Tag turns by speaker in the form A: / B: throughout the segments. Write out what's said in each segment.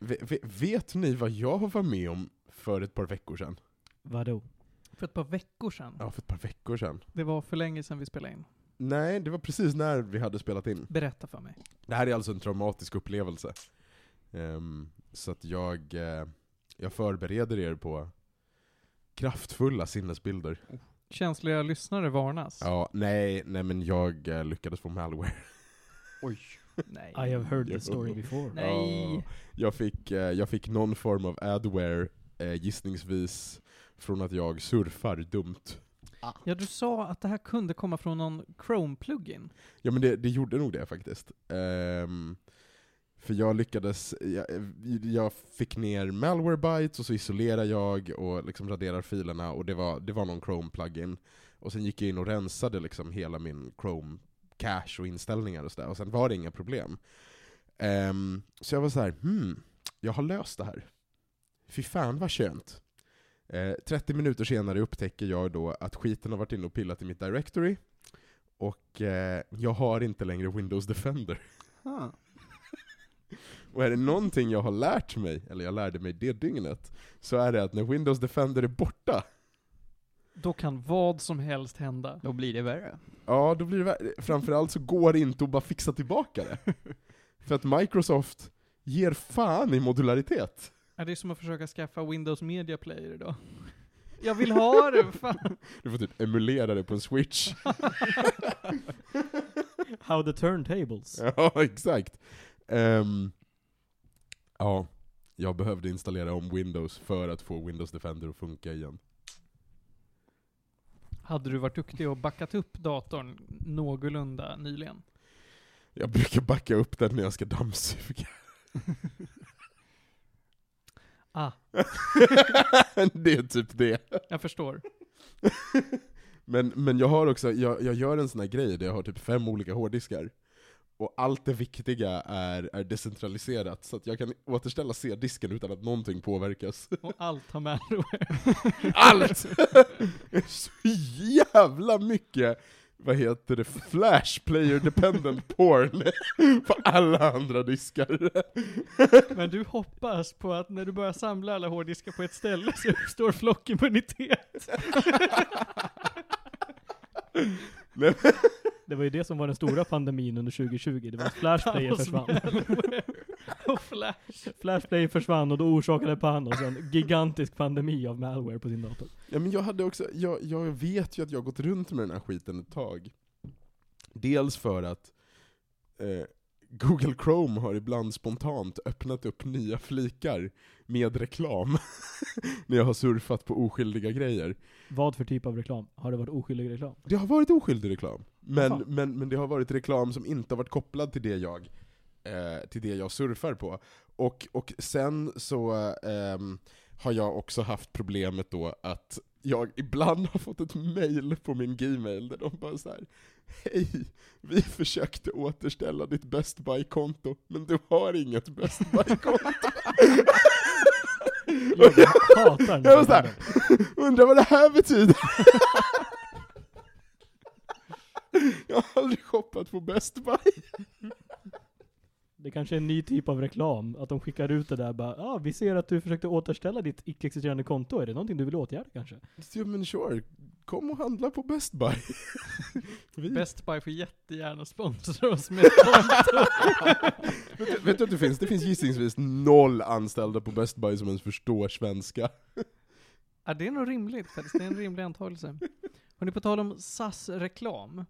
A: Ve- ve- Vet ni vad jag var med om för ett par veckor sedan?
B: Vadå?
C: För ett par veckor sedan.
A: Ja, för ett par veckor sedan.
C: Det var för länge sedan vi spelade in.
A: Nej, det var precis när vi hade spelat in.
C: Berätta för mig.
A: Det här är alltså en traumatisk upplevelse. Ehm, så att jag, eh, jag förbereder er på kraftfulla sinnesbilder.
C: Känsliga lyssnare varnas.
A: Ja, nej, nej men jag eh, lyckades få malware.
D: Oj.
C: Nej.
B: I have heard
A: Jo.
B: this story before.
C: Nej.
A: Ja, jag, fick, eh, jag fick någon form av adware, eh, gissningsvis, från att jag surfar dumt.
C: Ja, du sa att det här kunde komma från någon Chrome-plugin.
A: Ja men det, det gjorde nog det faktiskt. Ehm, för jag lyckades, jag, jag fick ner malwarebytes och så isolerar jag och liksom raderar filerna och det var, det var någon Chrome-plugin. Och sen gick jag in och rensade liksom hela min Chrome cache och inställningar och sådär, och sen var det inga problem. Ehm, så jag var så här, hmm, jag har löst det här. Fy fan vad skönt. Eh, 30 minuter senare upptäcker jag då att skiten har varit inne och pillat i mitt directory, och eh, jag har inte längre Windows Defender.
D: Ah.
A: Och är det någonting jag har lärt mig, eller jag lärde mig det dygnet, så är det att när Windows Defender är borta,
C: Då kan vad som helst hända.
D: Då blir det värre.
A: ja då blir det vär- Framförallt så går det inte att bara fixa tillbaka det. För att Microsoft ger fan i modularitet.
C: Ja, det är som att försöka skaffa Windows Media Player idag. Jag vill ha det, fan.
A: Du får typ emulera det på en switch.
B: How the turntables.
A: Ja, exakt. Ehm, ja, jag behövde installera om Windows för att få Windows Defender att funka igen.
C: Hade du varit duktig och backat upp datorn någorlunda nyligen?
A: Jag brukar backa upp den när jag ska dammsuga.
C: Ah,
A: det är typ det.
C: jag förstår.
A: Men, men jag har också, jag, jag gör en sån här grej där jag har typ fem olika hårddiskar. Och allt det viktiga är, är decentraliserat, så att jag kan återställa C-disken utan att någonting påverkas.
C: Och allt har malware.
A: Allt! Så jävla mycket, vad heter det, flash player dependent porn på alla andra diskar.
C: Men du hoppas på att när du börjar samla alla hårddiskar på ett ställe så uppstår flockimmunitet.
B: Det var ju det som var den stora pandemin under 2020. Det var att Flashplayer
C: Allt
B: försvann.
C: malware Och flash.
B: Flashplayer försvann och då orsakade Panos en gigantisk pandemi av malware på sin dator.
A: Ja, men jag, hade också, jag, jag vet ju att jag har gått runt med den här skiten ett tag. Dels för att eh, Google Chrome har ibland spontant öppnat upp nya flikar med reklam när jag har surfat på oskyldiga grejer.
B: Vad för typ av reklam? Har det varit oskyldig reklam?
A: Det har varit oskyldig reklam, men,
B: Jaha.
A: men, men det har varit reklam som inte har varit kopplad till det jag, eh, till det jag surfar på. Och, och sen så ehm, har jag också haft problemet då att jag ibland har fått ett mail på min gmail där de bara så här. Hej, vi försökte återställa ditt Best Buy-konto, men du har inget Best Buy-konto.
B: Jag hatar den
A: Jag var
B: här
A: såhär,
B: pandemin.
A: undrar vad det här betyder? Jag har aldrig shoppat på Best Buy.
B: Det kanske är en ny typ av reklam, att de skickar ut det där bara ah, vi ser att du försökte återställa ditt icke-existerande konto, är det någonting du vill åtgärda kanske?
A: Ja men sure, kom och handla på Best Buy. Vi,
C: Best Buy får jättegärna sponsra oss med
A: vet, du- vet du att det finns, det finns gissningsvis noll anställda på Best Buy som ens förstår svenska.
C: Ja, det är nog rimligt faktiskt. Det är en rimlig antagelse. Hörrni, på tal om SAS-reklam.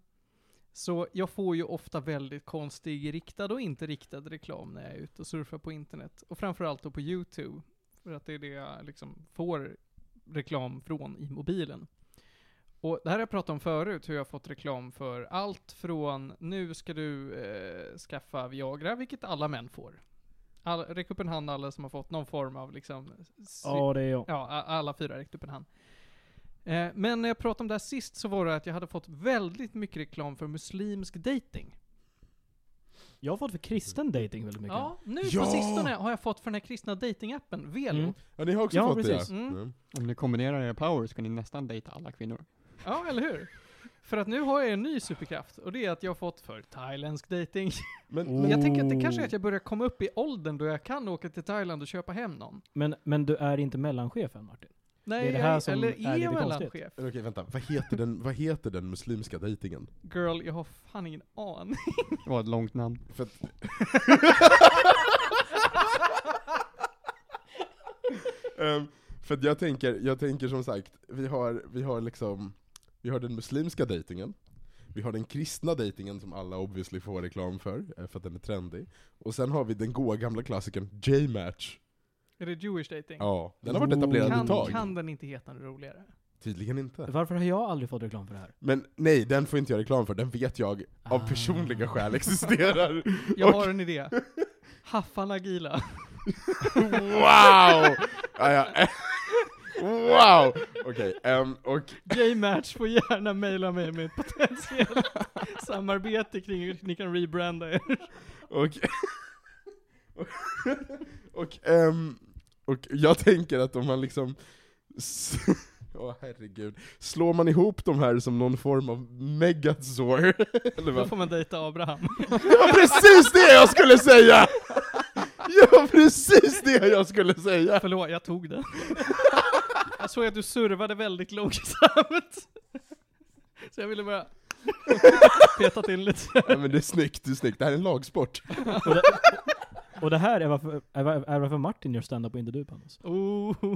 C: Så jag får ju ofta väldigt konstig riktad och inte riktad reklam när jag är ute och surfar på internet. Och framförallt då på YouTube. För att det är det jag liksom får reklam från i mobilen. Och det här har jag pratat om förut, hur jag har fått reklam för allt från nu ska du eh, skaffa Viagra, vilket alla män får. All, räck upp en hand alla som har fått någon form av liksom... sy-
B: Ja, det är jag.
C: Ja, a- alla fyra räckte upp en hand. Eh, Men när jag pratade om det här sist så var det att jag hade fått väldigt mycket reklam för muslimsk dating.
B: Jag har fått för kristen dating väldigt mycket.
C: Ja, nu
A: Ja!
C: på sistone har jag fått för den här kristna datingappen Velo.
B: Mm.
A: Ja ni har också
B: Ja,
A: fått
B: precis.
A: det ja.
C: Mm.
A: Mm.
D: Om ni kombinerar era powers kan ni nästan dejta alla kvinnor.
C: Ja, eller hur? För att nu har jag en ny superkraft och det är att jag har fått för thailändsk dating.
A: Men,
B: Oh.
C: Men
A: men
C: jag tänker att det kanske är att jag börjar komma upp i åldern då jag kan åka till Thailand och köpa hem någon.
B: Men, men du är inte mellanchefen Martin?
C: Nej,
B: Det är det här
C: jag-
B: som är
C: eller
B: lite
C: är jag
B: konstigt.
C: mellanchef?
A: men okej, vänta. Vad heter, den, vad heter den muslimska dejtingen?
C: Girl, jag har fan ingen aning.
D: Det var ett långt namn.
A: För att, ehm, för att jag, tänker, jag tänker som sagt, vi har, vi har liksom Vi har den muslimska dejtingen Vi har den kristna dejtingen som alla obviously får reklam för, eh, för att den är trendig Och sen har vi den goa gamla klassikern J-match
C: Är det Jewish dating?
A: Ja, den har varit
B: Ooh.
A: etablerad ett
C: kan,
A: tag
C: kan den inte heta något roligare?
A: Tydligen inte
B: Varför har jag aldrig fått reklam för det här?
A: Men nej, den får inte jag reklam för, den vet jag av
B: Ah.
A: personliga skäl existerar
C: Jag
A: Och-
C: har en idé. Haffan Agila.
A: Wow! Ja, ja. Wow! Okej, ehm, och
C: J-match får gärna mejla mig med potentiellt samarbete kring hur ni kan rebranda er.
A: Och, och, ehm, och jag tänker att om man liksom... s- Åh herregud. Slår man ihop de här som någon form av megazor? Eller
C: Då
A: vad?
C: får man dejta Abraham.
A: Det var precis det jag skulle säga! Det var precis det jag skulle säga!
C: Förlåt, jag tog den. Jag såg att du servade väldigt långsamt. Så jag ville bara peta in lite.
A: Nej, men det är snyggt, det är snyggt. Det här är en lagsport.
B: Och det, och det här är varför, är, var- är varför Martin gör stand-up och inte du Panos.
C: Oh.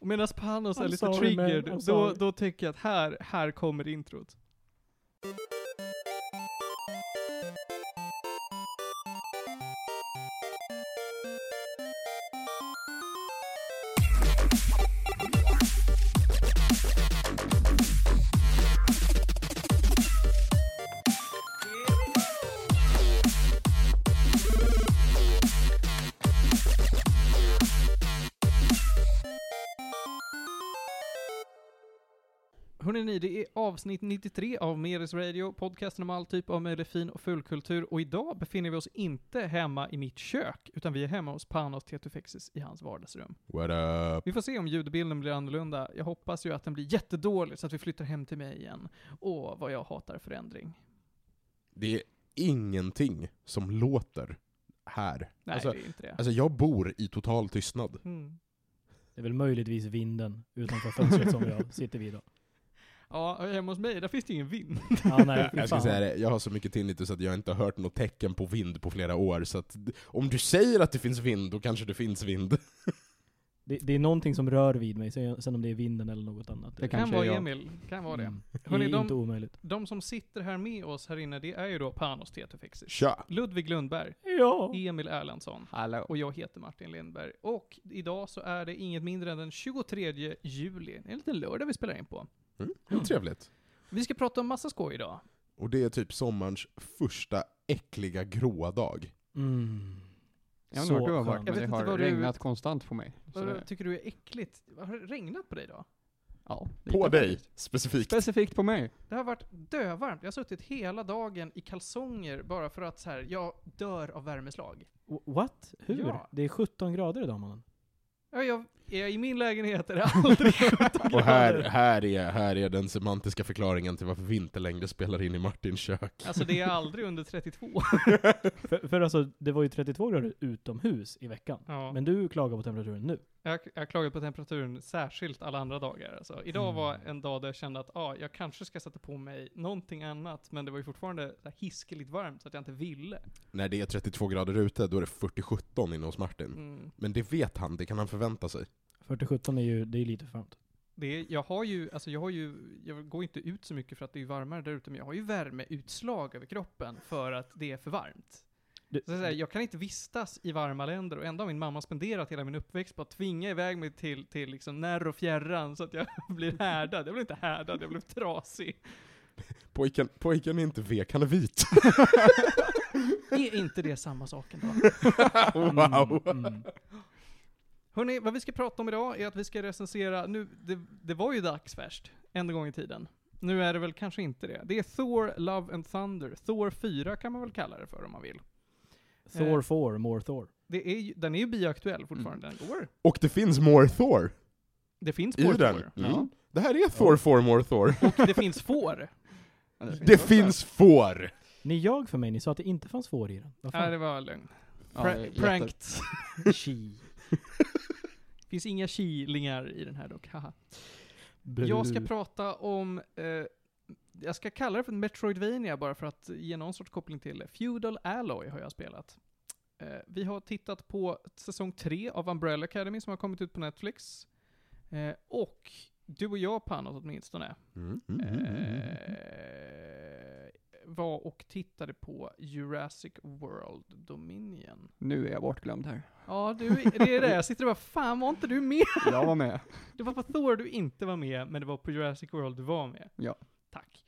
C: Och medan Panos är
B: I'm
C: lite
B: sorry,
C: triggered,
B: man. I'm
C: då,
B: sorry.
C: då tänker jag att här, här kommer introt. Hörrni ni, det är avsnitt 93 av Meris Radio, podcasten om all typ av möjlig fin och fullkultur. Och idag befinner vi oss inte hemma i mitt kök, utan vi är hemma hos Panos Tetufexis i hans vardagsrum.
A: What up?
C: Vi får se om ljudbilden blir annorlunda. Jag hoppas ju att den blir jättedålig så att vi flyttar hem till mig igen. Åh, vad jag hatar förändring.
A: Det är ingenting som låter här.
C: Nej,
A: Alltså-
C: det är inte det.
A: Alltså jag bor i total tystnad.
C: Mm.
B: Det är väl möjligtvis vinden utanför fönstret som jag sitter vid idag.
C: Ja, och hemma hos mig, där finns det ingen vind.
B: Ja, nej, fy
A: Jag ska
B: fan.
A: säga det, jag har så mycket tinnitus att jag inte har hört något tecken på vind på flera år, så att d- om du säger att det finns vind, då kanske det finns vind.
B: Det, det är någonting som rör vid mig, sen sen om det är vinden eller något annat.
D: Det
C: Kan
D: Kanske
C: vara
D: jag.
C: Emil, kan vara det.
B: Mm.
C: Hörrni,
B: det är
C: de-
B: inte omöjligt.
C: De som sitter här med oss här inne, det är ju då Panos Tetufexis.
A: Tja!
C: Ludvig Lundberg,
B: Ja.
D: Oh.
C: Emil Erlandsson.
D: Hallå.
C: Och jag heter Martin Lindberg. Och idag så är det inget mindre än den 23 juli. Det är en liten lördag vi spelar in på.
A: Mm, det är trevligt.
C: Vi ska prata om massa skoj idag.
A: Och det är typ sommarens första äckliga gråa dag.
B: Mm.
D: Jag vet
B: Så
D: inte vart du har varit,
B: skönt.
C: Jag
D: men det
C: vet inte
D: har
C: vad du-
D: regnat konstant på mig. Så
C: Vad
D: det,
C: tycker du är äckligt? Har det regnat på dig idag?
D: ja, det
A: På
D: gick
A: dig,
D: faktiskt.
A: specifikt.
D: Specifikt på mig.
C: Det har varit dövarmt. Jag har suttit hela dagen i kalsonger bara för att så här, jag dör av värmeslag.
B: W- What? Hur?
C: Ja.
B: Det är 17 grader idag mannen.
C: Ja, jag, är jag i min lägenhet är det aldrig 17
A: Och här,
C: grader.
A: här, är, här är den semantiska förklaringen till varför vi inte längre spelar in i Martins kök.
C: Alltså det är aldrig under 32.
B: För, för alltså, det var ju 32 grader utomhus i veckan.
C: Ja.
B: Men du klagar på temperaturen nu.
C: Jag, jag klagade på temperaturen särskilt alla andra dagar. Alltså, idag var en dag där jag kände att ah, jag kanske ska sätta på mig någonting annat, men det var ju fortfarande så här hiskeligt varmt så att jag inte ville.
A: När det är 32 grader ute, då är det 40-17 inne hos Martin.
C: Mm.
A: Men det vet han, det kan han förvänta sig.
B: 40-17 är ju det är lite för varmt.
C: Det är, jag har ju, alltså jag har ju, jag går inte ut så mycket för att det är varmare där ute, men jag har ju värmeutslag över kroppen för att det är för varmt.
B: Du-
C: Så att säga, jag kan inte vistas i varma länder och ändå har min mamma spenderat hela min uppväxt på att tvinga iväg mig till, till liksom när och fjärran så att jag blir härdad. Jag blev inte härdad, jag blev trasig.
A: Pojken, pojken är inte vek, han är vit.
C: Är inte det samma sak ändå?
A: wow!
B: Mm, mm.
C: Hörrni, vad vi ska prata om idag är att vi ska recensera, nu, det, det var ju dagsfärskt en gång i tiden. Nu är det väl kanske inte det. Det är Thor, Love and Thunder. Thor 4 kan man väl kalla det för om man vill.
B: Thor
C: Eh.
B: 4, more Thor.
C: Det är, ju- den är ju bioaktuell fortfarande. Den går.
A: Och det finns more Thor
C: Det finns
A: i
C: More
A: den.
C: Thor.
A: Mm. Det här är Thor, Formor, Thor.
C: Och det finns får.
D: Ja,
A: Det
D: också.
A: finns får!
B: Ni ljög för mig, ni sa att det inte fanns får i den. Vad
C: Nej,
B: fan?
C: det var lögn.
D: Ja,
C: Pra-
D: det är jätte-
C: pranked.
B: Chi.
C: Det finns inga kilingar i den här dock, haha.
B: Bu.
C: Jag ska prata om, eh, jag ska kalla det för Metroidvania bara för att ge någon sorts koppling till det. Feudal Alloy har jag spelat. Eh, vi har tittat på säsong tre av Umbrella Academy som har kommit ut på Netflix. Eh, och du och jag Panos åtminstone,
A: Mm.
C: eh, var och tittade på Jurassic World Dominion.
D: Nu är jag bortglömd här.
C: Ja, du, det är det. Jag sitter och bara, fan var inte du med?
D: Jag var med.
C: Det var på Thor du inte var med, men det var på Jurassic World du var med.
D: Ja.
C: Tack.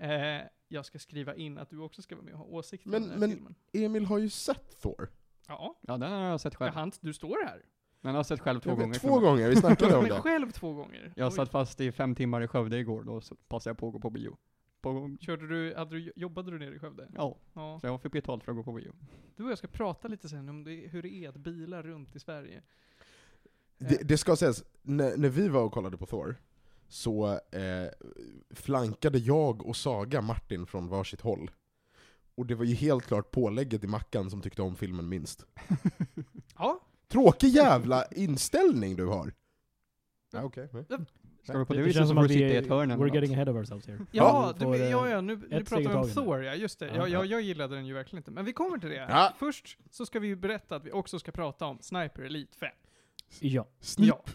C: Eh, jag ska skriva in att du också ska vara med och ha åsikter
A: Men-
C: om den här
A: men-
C: filmen.
A: Emil har ju sett Thor.
C: Ja,
D: Ja, den har jag sett
C: jag
D: själv.
C: hann, du står här.
D: Den har jag sett själv två
A: Jag vet,
D: gånger.
A: Två gånger, vi snackade om
C: Men
A: det.
C: själv två gånger.
D: Jag
C: Oj.
D: satt fast i fem timmar i Skövde igår, då så passade jag på att gå på bio. På,
C: Körde du, hade du, jobbade du nere i Skövde?
D: ja,
C: Ja.
D: så jag fick betalt för att gå på bio.
C: Du och jag ska prata lite sen om det, hur det är att bila runt i Sverige.
A: det. Det ska sägas, när, när vi var och kollade på Thor, så eh, flankade jag och Saga Martin från varsitt håll. Och det var ju helt klart pålägget i Mackan som tyckte om filmen minst.
C: Ja,
A: Tråkig jävla inställning du har! Ja, okej. nej.
D: Ska du på
B: Det,
D: det
B: det
D: viset
B: känns
D: så
B: som
D: får du
B: att
D: sitta
B: vi
D: i ett hörn eller
B: we're
D: något.
B: getting ahead of ourselves here.
C: ja,
B: Vi
C: du,
B: får, eh,
C: ja, ja nu, nu
B: steg i
C: pratar vi om
B: taget.
C: Thor, ja just det.
B: Ja.
C: Ja, jag, jag gillade den ju verkligen inte, men vi kommer till det.
A: Ja.
C: Först så ska vi ju berätta att vi också ska prata om Sniper Elite 5.
B: Ja,
A: Snipp.
C: Ja. Typ.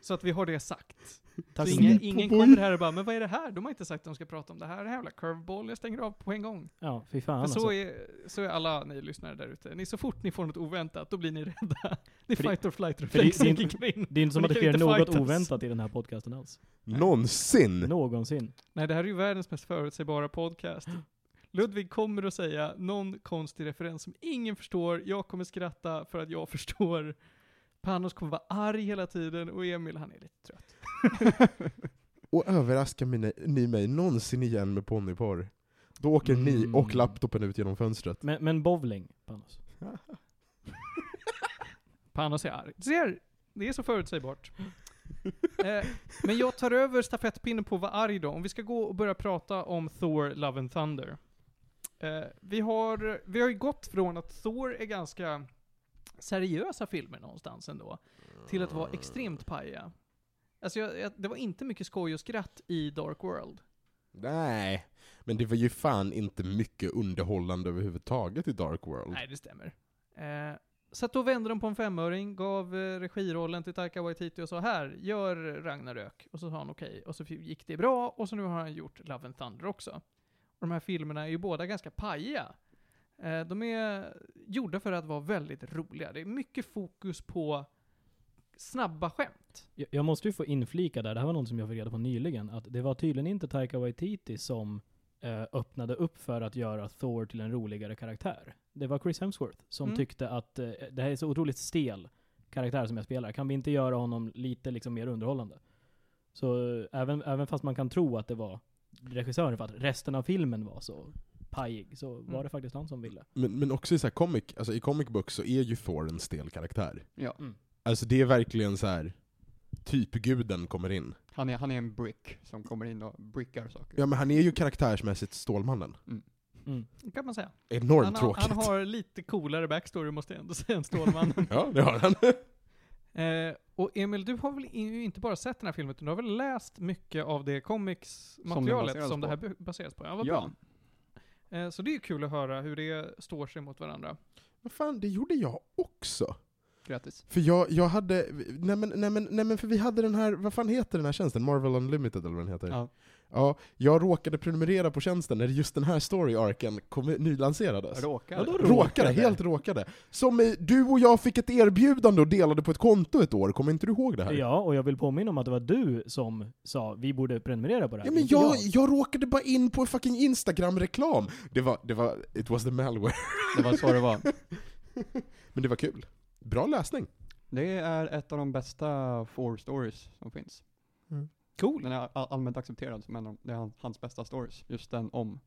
C: Så att vi har det sagt.
B: tack
C: så
B: så
C: ingen,
B: mycket.
C: ingen
A: boy.
C: kommer här och bara, men vad är det här? De har inte sagt att de ska prata om det här. Det här jävla curveball, jag stänger av på en gång.
B: Ja, fy fan
C: För så
B: alltså.
C: är, så är alla ni lyssnare där ute. Ni, så fort ni får något oväntat, då blir ni rädda. Det är
B: För det-
C: fight or flight
B: för det-
C: reflex som
B: det är inte-
C: kickar in.
B: Det är inte som
C: Men
B: att det
C: det kan
B: sker
C: ju inte
B: något
C: fightas.
B: oväntat i den här podcasten alls.
A: Någonsin!
B: Någonsin.
C: Nej, det här är ju världens mest förutsägbara podcast. Ludvig kommer att säga någon konstig referens som ingen förstår. Jag kommer skratta för att jag förstår. Panos kommer vara arg hela tiden och Emil, han är lite trött.
A: Och överraskar mina, ni mig någonsin igen med ponnyporr? Då åker ni
B: Mm.
A: och laptopen ut genom fönstret.
B: Men, men bowling, Panos.
C: Panos är arg. Ser, det är så förutsägbart. eh, men jag tar över stafettpinnen på vad arg då. Om vi ska gå och börja prata om Thor Love and Thunder. Eh, vi, har, vi har ju gått från att Thor är ganska seriösa filmer någonstans ändå, till att
A: Mm.
C: vara extremt paja. Alltså jag, jag, det var inte mycket skoj och skratt i Dark World.
A: Nej, men det var ju fan inte mycket underhållande överhuvudtaget i Dark World.
C: Nej, det stämmer. Eh, så att då vände de på en femöring, gav eh, regirollen till Taika Waititi och sa här, gör Ragnarök. Och så sa han okej, och så gick det bra, och så nu har han gjort Love and Thunder också. Och de här filmerna är ju båda ganska pajiga. Eh, de är gjorda för att vara väldigt roliga. Det är mycket fokus på snabba skämt.
B: Jag, jag måste ju få inflika där, det här var något som jag fick reda på nyligen, att det var tydligen inte Taika Waititi som eh, öppnade upp för att göra Thor till en roligare karaktär. Det var Chris Hemsworth som
C: Mm.
B: tyckte att eh, det här är så otroligt stel karaktär som jag spelar, kan vi inte göra honom lite liksom mer underhållande? Så eh, även, även fast man kan tro att det var regissören för att resten av filmen var så pajig, så var
C: Mm.
B: det faktiskt han som ville.
A: Men, men också i så här comic, alltså i comic books så är ju Thor en stel karaktär.
D: Ja,
A: Alltså det är verkligen så här. typ guden kommer in.
D: han är, han är en brick som kommer in och brickar saker.
A: Ja men han är ju karaktärsmässigt Stålmannen.
B: Mm.
C: Kan man säga.
A: Enormt
C: Han har,
A: tråkigt.
C: han har lite coolare backstory måste jag ändå säga än Stålmannen.
A: Ja, det har han.
C: Eh, och Emil, du har väl in, ju inte bara sett den här filmen, utan du har väl läst mycket av det comics-materialet som, det
D: baseras på.
C: här bu- baseras på? Ja, vad
D: Ja,
C: bra. Eh, så det är ju kul att höra hur det står sig mot varandra.
A: Vad fan, det gjorde jag också.
D: grattis.
A: För jag, jag hade, nej men, nej men, nej men för vi hade den här, vad fan heter den här tjänsten? Marvel Unlimited eller vad den heter?
D: Ja.
A: Ja, jag råkade prenumerera på tjänsten när just den här story-arken kom, nylanserades.
D: Råkar.
B: Vadå
A: Råkade, helt råkade. Som i, du och jag fick ett erbjudande och delade på ett konto ett år, kommer inte du ihåg det här?
B: Ja, och jag vill påminna om att det var du som sa vi borde prenumerera på det här.
A: Ja, men
B: inte
A: jag, jag råkade bara in på en fucking Instagram-reklam! Det var, det var, it was the malware.
D: Det var så det var.
A: Men det var kul. Bra läsning.
D: Det är ett av de bästa four stories som finns.
C: Cool.
D: Den är all- allmänt accepterad som en av det är han- hans bästa stories. Just den om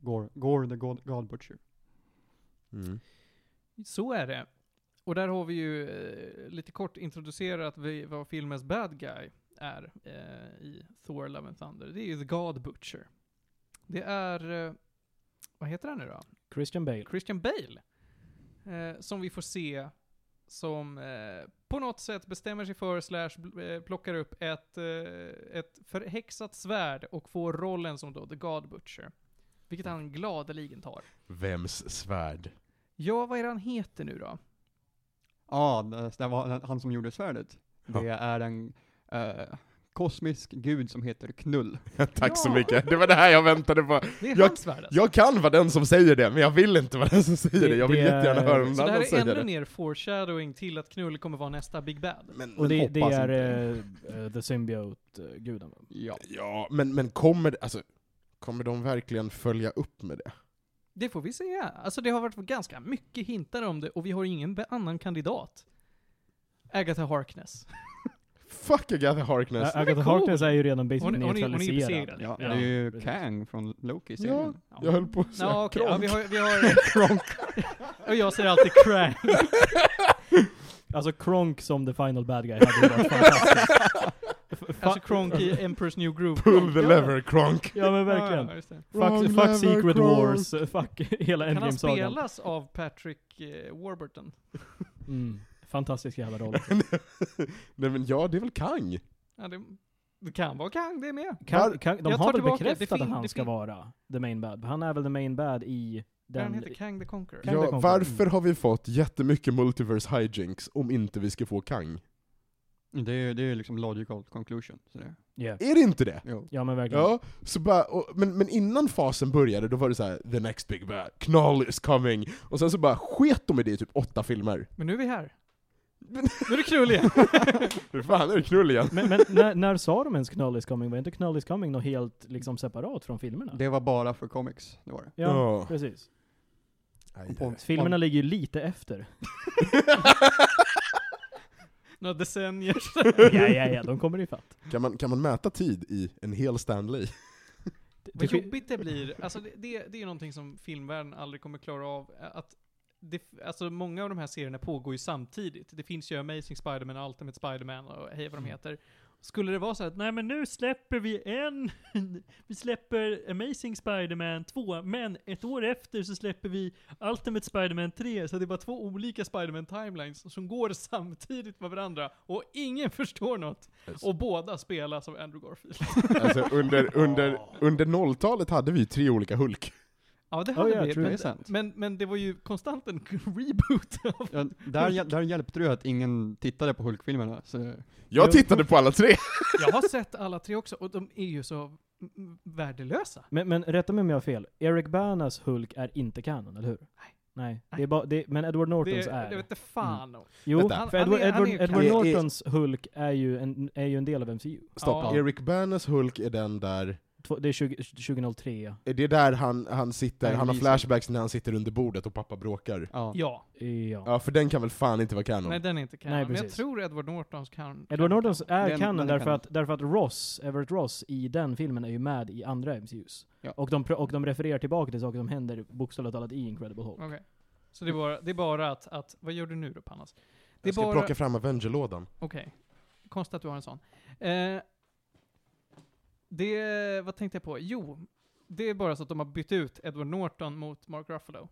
D: Gore, Gore the God, God Butcher.
C: Så är det. Och där har vi ju eh, lite kort introducerat vi, vad filmens bad guy är eh, i Thor Love and Thunder, det är ju The God Butcher. Det är, eh, vad heter han nu då?
B: Christian Bale.
C: Christian Bale. Eh, som vi får se som eh, på något sätt bestämmer sig för, slash bl- eh, plockar upp ett, eh, ett förhäxat svärd och får rollen som då The God Butcher. Vilket han gladeligen tar.
A: Vems svärd?
C: Ja, vad är det han heter nu då?
D: Ja, det, det var han som gjorde svärdet.
A: Ja.
D: Det är en eh, kosmisk gud som heter Knull.
A: Tack så
C: Ja.
A: mycket, det var det här jag väntade på.
C: Det är
A: Jag-
C: hans svärd alltså.
A: Jag kan vara den som säger det, men jag vill inte vara den som säger det.
B: Det-
A: Jag vill
B: det är-
A: jättegärna höra någon
C: Så det här
A: annan
C: är
A: säga
C: ännu
A: det.
C: mer foreshadowing till att Knull kommer vara nästa Big Bad.
A: Men,
B: Och det,
D: Men
B: det
D: hoppas
B: är
D: inte.
B: eh, eh, The Symbiote-guden va?
D: Ja.
A: ja, men, men kommer, alltså, kommer de verkligen följa upp med det?
C: Det får vi se. Alltså det har varit ganska mycket hintar om det och vi har ingen be- annan kandidat. Agatha Harkness.
A: Fuck Agatha Harkness!
B: Ä- Agatha
C: cool.
B: Harkness är ju redan
C: Hon är-
B: basically
C: hon är- hon är
B: neutraliserad.
C: besegrad.
D: Ja,
B: Ja,
D: det är ju
B: precis.
D: Kang från
A: Ja,
D: Loki-serien.
A: jag höll på att säga
C: Ja, okej. Ja,
A: Kronk.
C: vi har... Vi har och jag säger alltid Krang.
B: Alltså Kronk som the final bad guy hade ju varit fantastiskt. F- fa-
C: Alltså Kronk i Emperor's New Groove.
A: Pull the lever, Kronk!
B: Ja men verkligen.
C: Ja, just det.
A: Wrong
B: Fuck,
A: lever,
B: fuck Secret
A: Kronk.
B: Wars, eh, fuck hela
C: Kan han
B: Endgame-sagan.
C: spelas av Patrick eh, Warburton?
B: Mm. Fantastisk jävla roll.
A: Nej men ja, det är väl Kang?
C: Ja, det, det kan vara Kang det med.
A: Var-
B: Kan, kan, de
C: Jag tar
B: har väl
C: tillbaka det. Det
B: bekräftat
C: fin-
B: att han
C: det
B: ska
C: fin-
B: vara the main bad? Han är väl the main bad i
C: Den
B: den...
C: heter Kang the Conqueror.
B: Kang det
A: Ja,
B: kom
A: varför
B: från.
A: har vi fått jättemycket multiverse hijinks om inte vi ska få Kang?
D: Det är det är liksom logical conclusion. Så det,
B: Yeah.
A: Är det inte det?
D: jo.
B: Ja men verkligen.
A: Ja, så bara, och, men, men innan fasen började då var det så här: the next big bad, Knall is coming, och sen så bara sket de i det i typ åtta filmer.
C: Men nu är vi här.
A: Men-
C: Nu är det knull igen.
A: Hur fan är det knull igen?
B: Men, men när, när sa de ens Knull is coming? Var inte Knull is coming något helt liksom separat från filmerna?
D: Det var bara för comics, det var det.
B: Ja,
A: Ja.
B: precis.
A: Aj,
D: På-
B: Filmerna ligger ju lite efter.
C: Några decennier.
B: ja, ja, ja, de kommer ifatt.
A: Kan man, kan man mäta tid i en hel Stanley?
C: Vad jobbigt det blir. Alltså det, det, det är ju någonting som filmvärlden aldrig kommer klara av. eh, Att det, alltså många av de här serierna pågår ju samtidigt. Det finns ju Amazing Spider-Man, Ultimate Spider-Man och hej vad de
B: Mm.
C: heter. Skulle det vara så att nej men nu släpper vi en, vi släpper Amazing Spider-Man 2, men ett år efter så släpper vi Ultimate Spider-Man 3, så det är bara två olika Spider-Man timelines som går samtidigt med varandra och ingen förstår något. Och båda spelas av Andrew Garfield.
A: Alltså under, under, under 0-talet hade vi ju tre olika Hulk.
C: Ja det
B: Ja,
C: hade
B: ja,
C: vi,
B: Oh, true.
D: Det är
C: men,
D: sant.
C: men, men det var ju konstant en reboot av...
D: Ja, där, hjäl- där hjälpte det ju att ingen tittade på Hulk-filmerna. Så
A: Jag
B: Jo.
A: tittade på alla tre!
C: Jag har sett alla tre också, och de är ju så mm, värdelösa.
B: Men, men rätta mig om jag har fel. Eric Banas Hulk är inte kanon, eller hur?
C: Nej.
B: Nej.
C: Nej.
B: Det är bara, det, men Edward
C: Det,
B: Nortons är.
C: det vete fan
A: Mm.
C: om.
B: Jo,
A: Vänta.
B: för
C: Han-
B: Edward,
C: han är- han är
B: Edward,
C: ju
B: Edward
A: kanon.
B: Nortons Hulk är ju, en, är ju en del av MCU.
A: Stopp,
C: Ja.
A: Eric Banners Hulk är den där,
B: Två, det är 20, 2003.
A: är det där han, han sitter,
D: Nej,
A: han har
D: vi-
A: flashbacks när han sitter under bordet och pappa bråkar?
D: ja.
C: Ja,
B: Ja.
A: Ja, för den kan väl fan inte vara kanon?
C: nej den är inte kan.
B: Nej,
C: Men jag
B: precis.
C: tror Edward Nortons kan.
B: Edward Nortons är
D: Den-
B: kanon
D: den är
B: därför,
D: kanon.
B: Att, därför att Ross, Everett Ross, i den filmen är ju med i andra MCUs.
D: Ja.
B: Och, de, pr- och de refererar tillbaka till saker som händer bokstavligt talat i Incredible Hulk.
C: Okej. Så det är bara, det är bara att, att, vad gör du nu då Pannas? Det är
A: Jag ska
C: bara,
A: plocka fram Avenger-lådan.
C: okej. Konstigt att du har en sån. Eh, det, vad tänkte jag på? Jo, det är bara så att de har bytt ut Edward Norton mot Mark Ruffalo.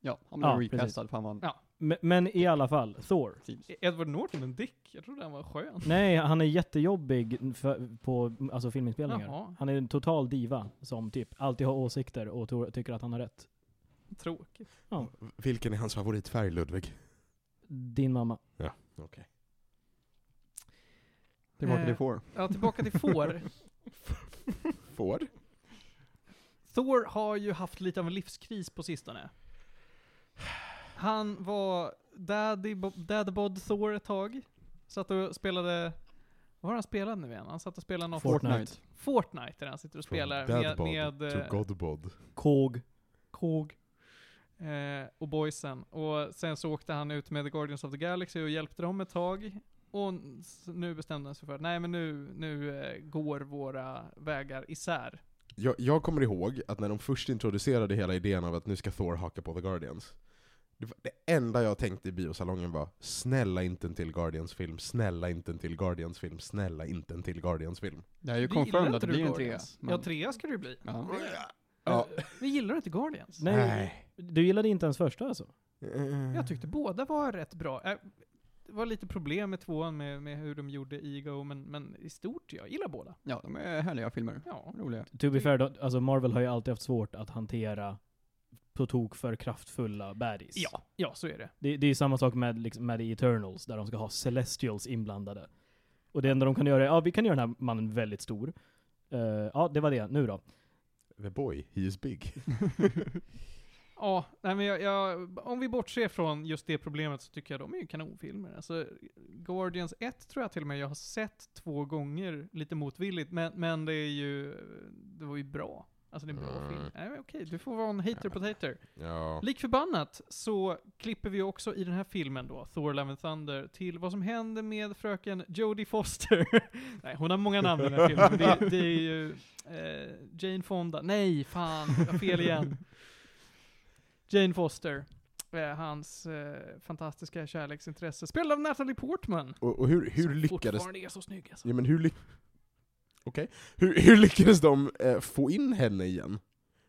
D: ja, han blev
B: Ja,
D: recastad för han var en
C: Ja.
B: Men, men i alla fall, Thor.
D: Thieves.
C: Är Edward Norton en dick? Jag trodde han var skön.
B: Nej, han är jättejobbig för, på alltså, filminspelningar.
C: Jaha.
B: Han är en total diva som typ alltid har åsikter och tror, tycker att han har rätt.
C: Tråkigt.
A: Vilken är hans favoritfärg, Ludvig?
B: Din mamma.
D: Tillbaka till
C: Eh.
D: Four.
C: Ja, tillbaka till får.
A: Får?
C: Thor har ju haft lite av en livskris på sistone. Han var daddy, bo- dad bod Thor ett tag. Satt och spelade... Vad har han spelat nu igen? Han satt och spelade någon
B: Fortnite.
C: Fortnite där han sitter och spelar med, med eh,
A: Godbod.
B: Kåg.
C: Kog eh, och boysen. Och sen så åkte han ut med The Guardians of the Galaxy och hjälpte dem ett tag. Och n- s- nu bestämde han sig för att nej men nu, nu eh, går våra vägar isär.
A: Jag, jag kommer ihåg att när de först introducerade hela idén av att nu ska Thor haka på The Guardians, Det, var- det enda jag tänkte i biosalongen var snälla inte en till Guardians-film, snälla inte en till Guardians-film, snälla inte en till Guardians-film.
D: Det är ju
C: Vi gillar
D: confirmed att
C: inte
D: det blir en trea.
C: Guardians.
D: men-
C: Ja, trea ska det ju bli.
D: Ja.
A: Ja.
C: Vi gillar inte Guardians.
B: Nej, Du gillade inte ens första alltså?
C: Jag tyckte båda var rätt bra. Eh, Det var lite problem med tvåan med, med hur de gjorde Ego, men, men i stort, jag gillar båda.
D: ja, de är härliga filmer.
C: Ja.
D: Roliga.
B: To be fair, då, alltså Marvel har ju alltid haft svårt att hantera på tok för kraftfulla baddies.
C: Ja, ja så är det.
B: Det, det är ju samma sak med, liksom, med The Eternals, där de ska ha Celestials inblandade. Och det enda de kan göra är, ja vi kan göra den här mannen väldigt stor. Eh, ja, det var det. Nu då?
A: The boy, he is big.
C: Ja, nej men jag, jag, om vi bortser från just det problemet så tycker jag de är ju kanonfilmer. Alltså, Guardians 1 tror jag till och med jag har sett två gånger, lite motvilligt, men, men det är ju, det var ju bra. Alltså det är en bra
A: Mm.
C: film. Nej men okej, du får vara en hater
A: Ja.
C: potater.
A: Ja.
C: Lik förbannat så klipper vi också i den här filmen då, Thor Love and Thunder, till vad som händer med fröken Jodie Foster. Nej, hon har många namn i den här filmen. Det, det är ju eh, Jane Fonda. Nej, fan, jag har fel igen. Jane Foster. Eh, hans eh, fantastiska kärleksintresse. Spelad av Natalie Portman.
A: Och, och hur, hur
C: som
A: lyckades...
C: fortfarande är så snygg alltså.
A: Ja, men hur, lyck... Okej. hur, hur lyckades de eh, få in henne igen?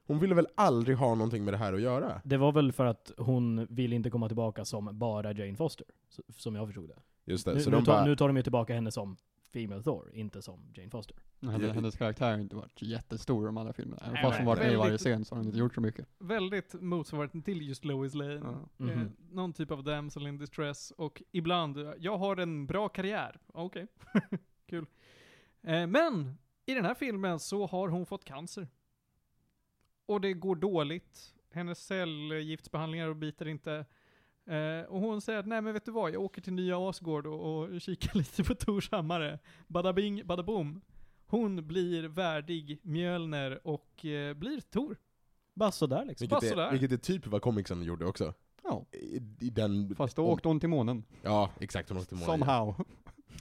A: Hon ville väl aldrig ha någonting med det här att göra?
B: Det var väl för att hon vill inte komma tillbaka som bara Jane Foster, så- som jag förstod det.
A: Just det,
B: Nu,
A: så
B: nu,
A: de
B: tar,
A: bara...
B: nu tar de ju tillbaka henne som Female Thor, inte som Jane Foster.
D: Men Hennes,
A: Ja.
D: hennes karaktär har inte varit jättestor i de andra filmerna. Även
C: Nej,
D: fast hon varit med i varje
C: väldigt-
D: scen så har hon inte gjort så mycket.
C: Väldigt motsvarigheten till just Lois Lane.
D: Ja.
B: Mhm.
C: Eh, någon typ av damsel in distress och ibland, eh, jag har en bra karriär. Ah, Okej, kul. Eh, men i den här filmen så har hon fått cancer. Och det går dåligt. Hennes cellgiftsbehandlingar biter inte. Eh, och hon säger att nej men vet du vad, jag åker till nya Asgård och, och kikar lite på Tors hammare. Badabing, badabom. Hon blir värdig Mjölner och eh, blir Tor.
B: Bara sådär liksom.
A: Vilket,
C: bara sådär.
A: är, vilket är typ vad comicsen gjorde också.
D: Ja.
A: I, i den...
D: Fast då
A: om-
D: åkte hon till månen.
A: Ja, exakt. Hon åkte till månen.
D: Somehow.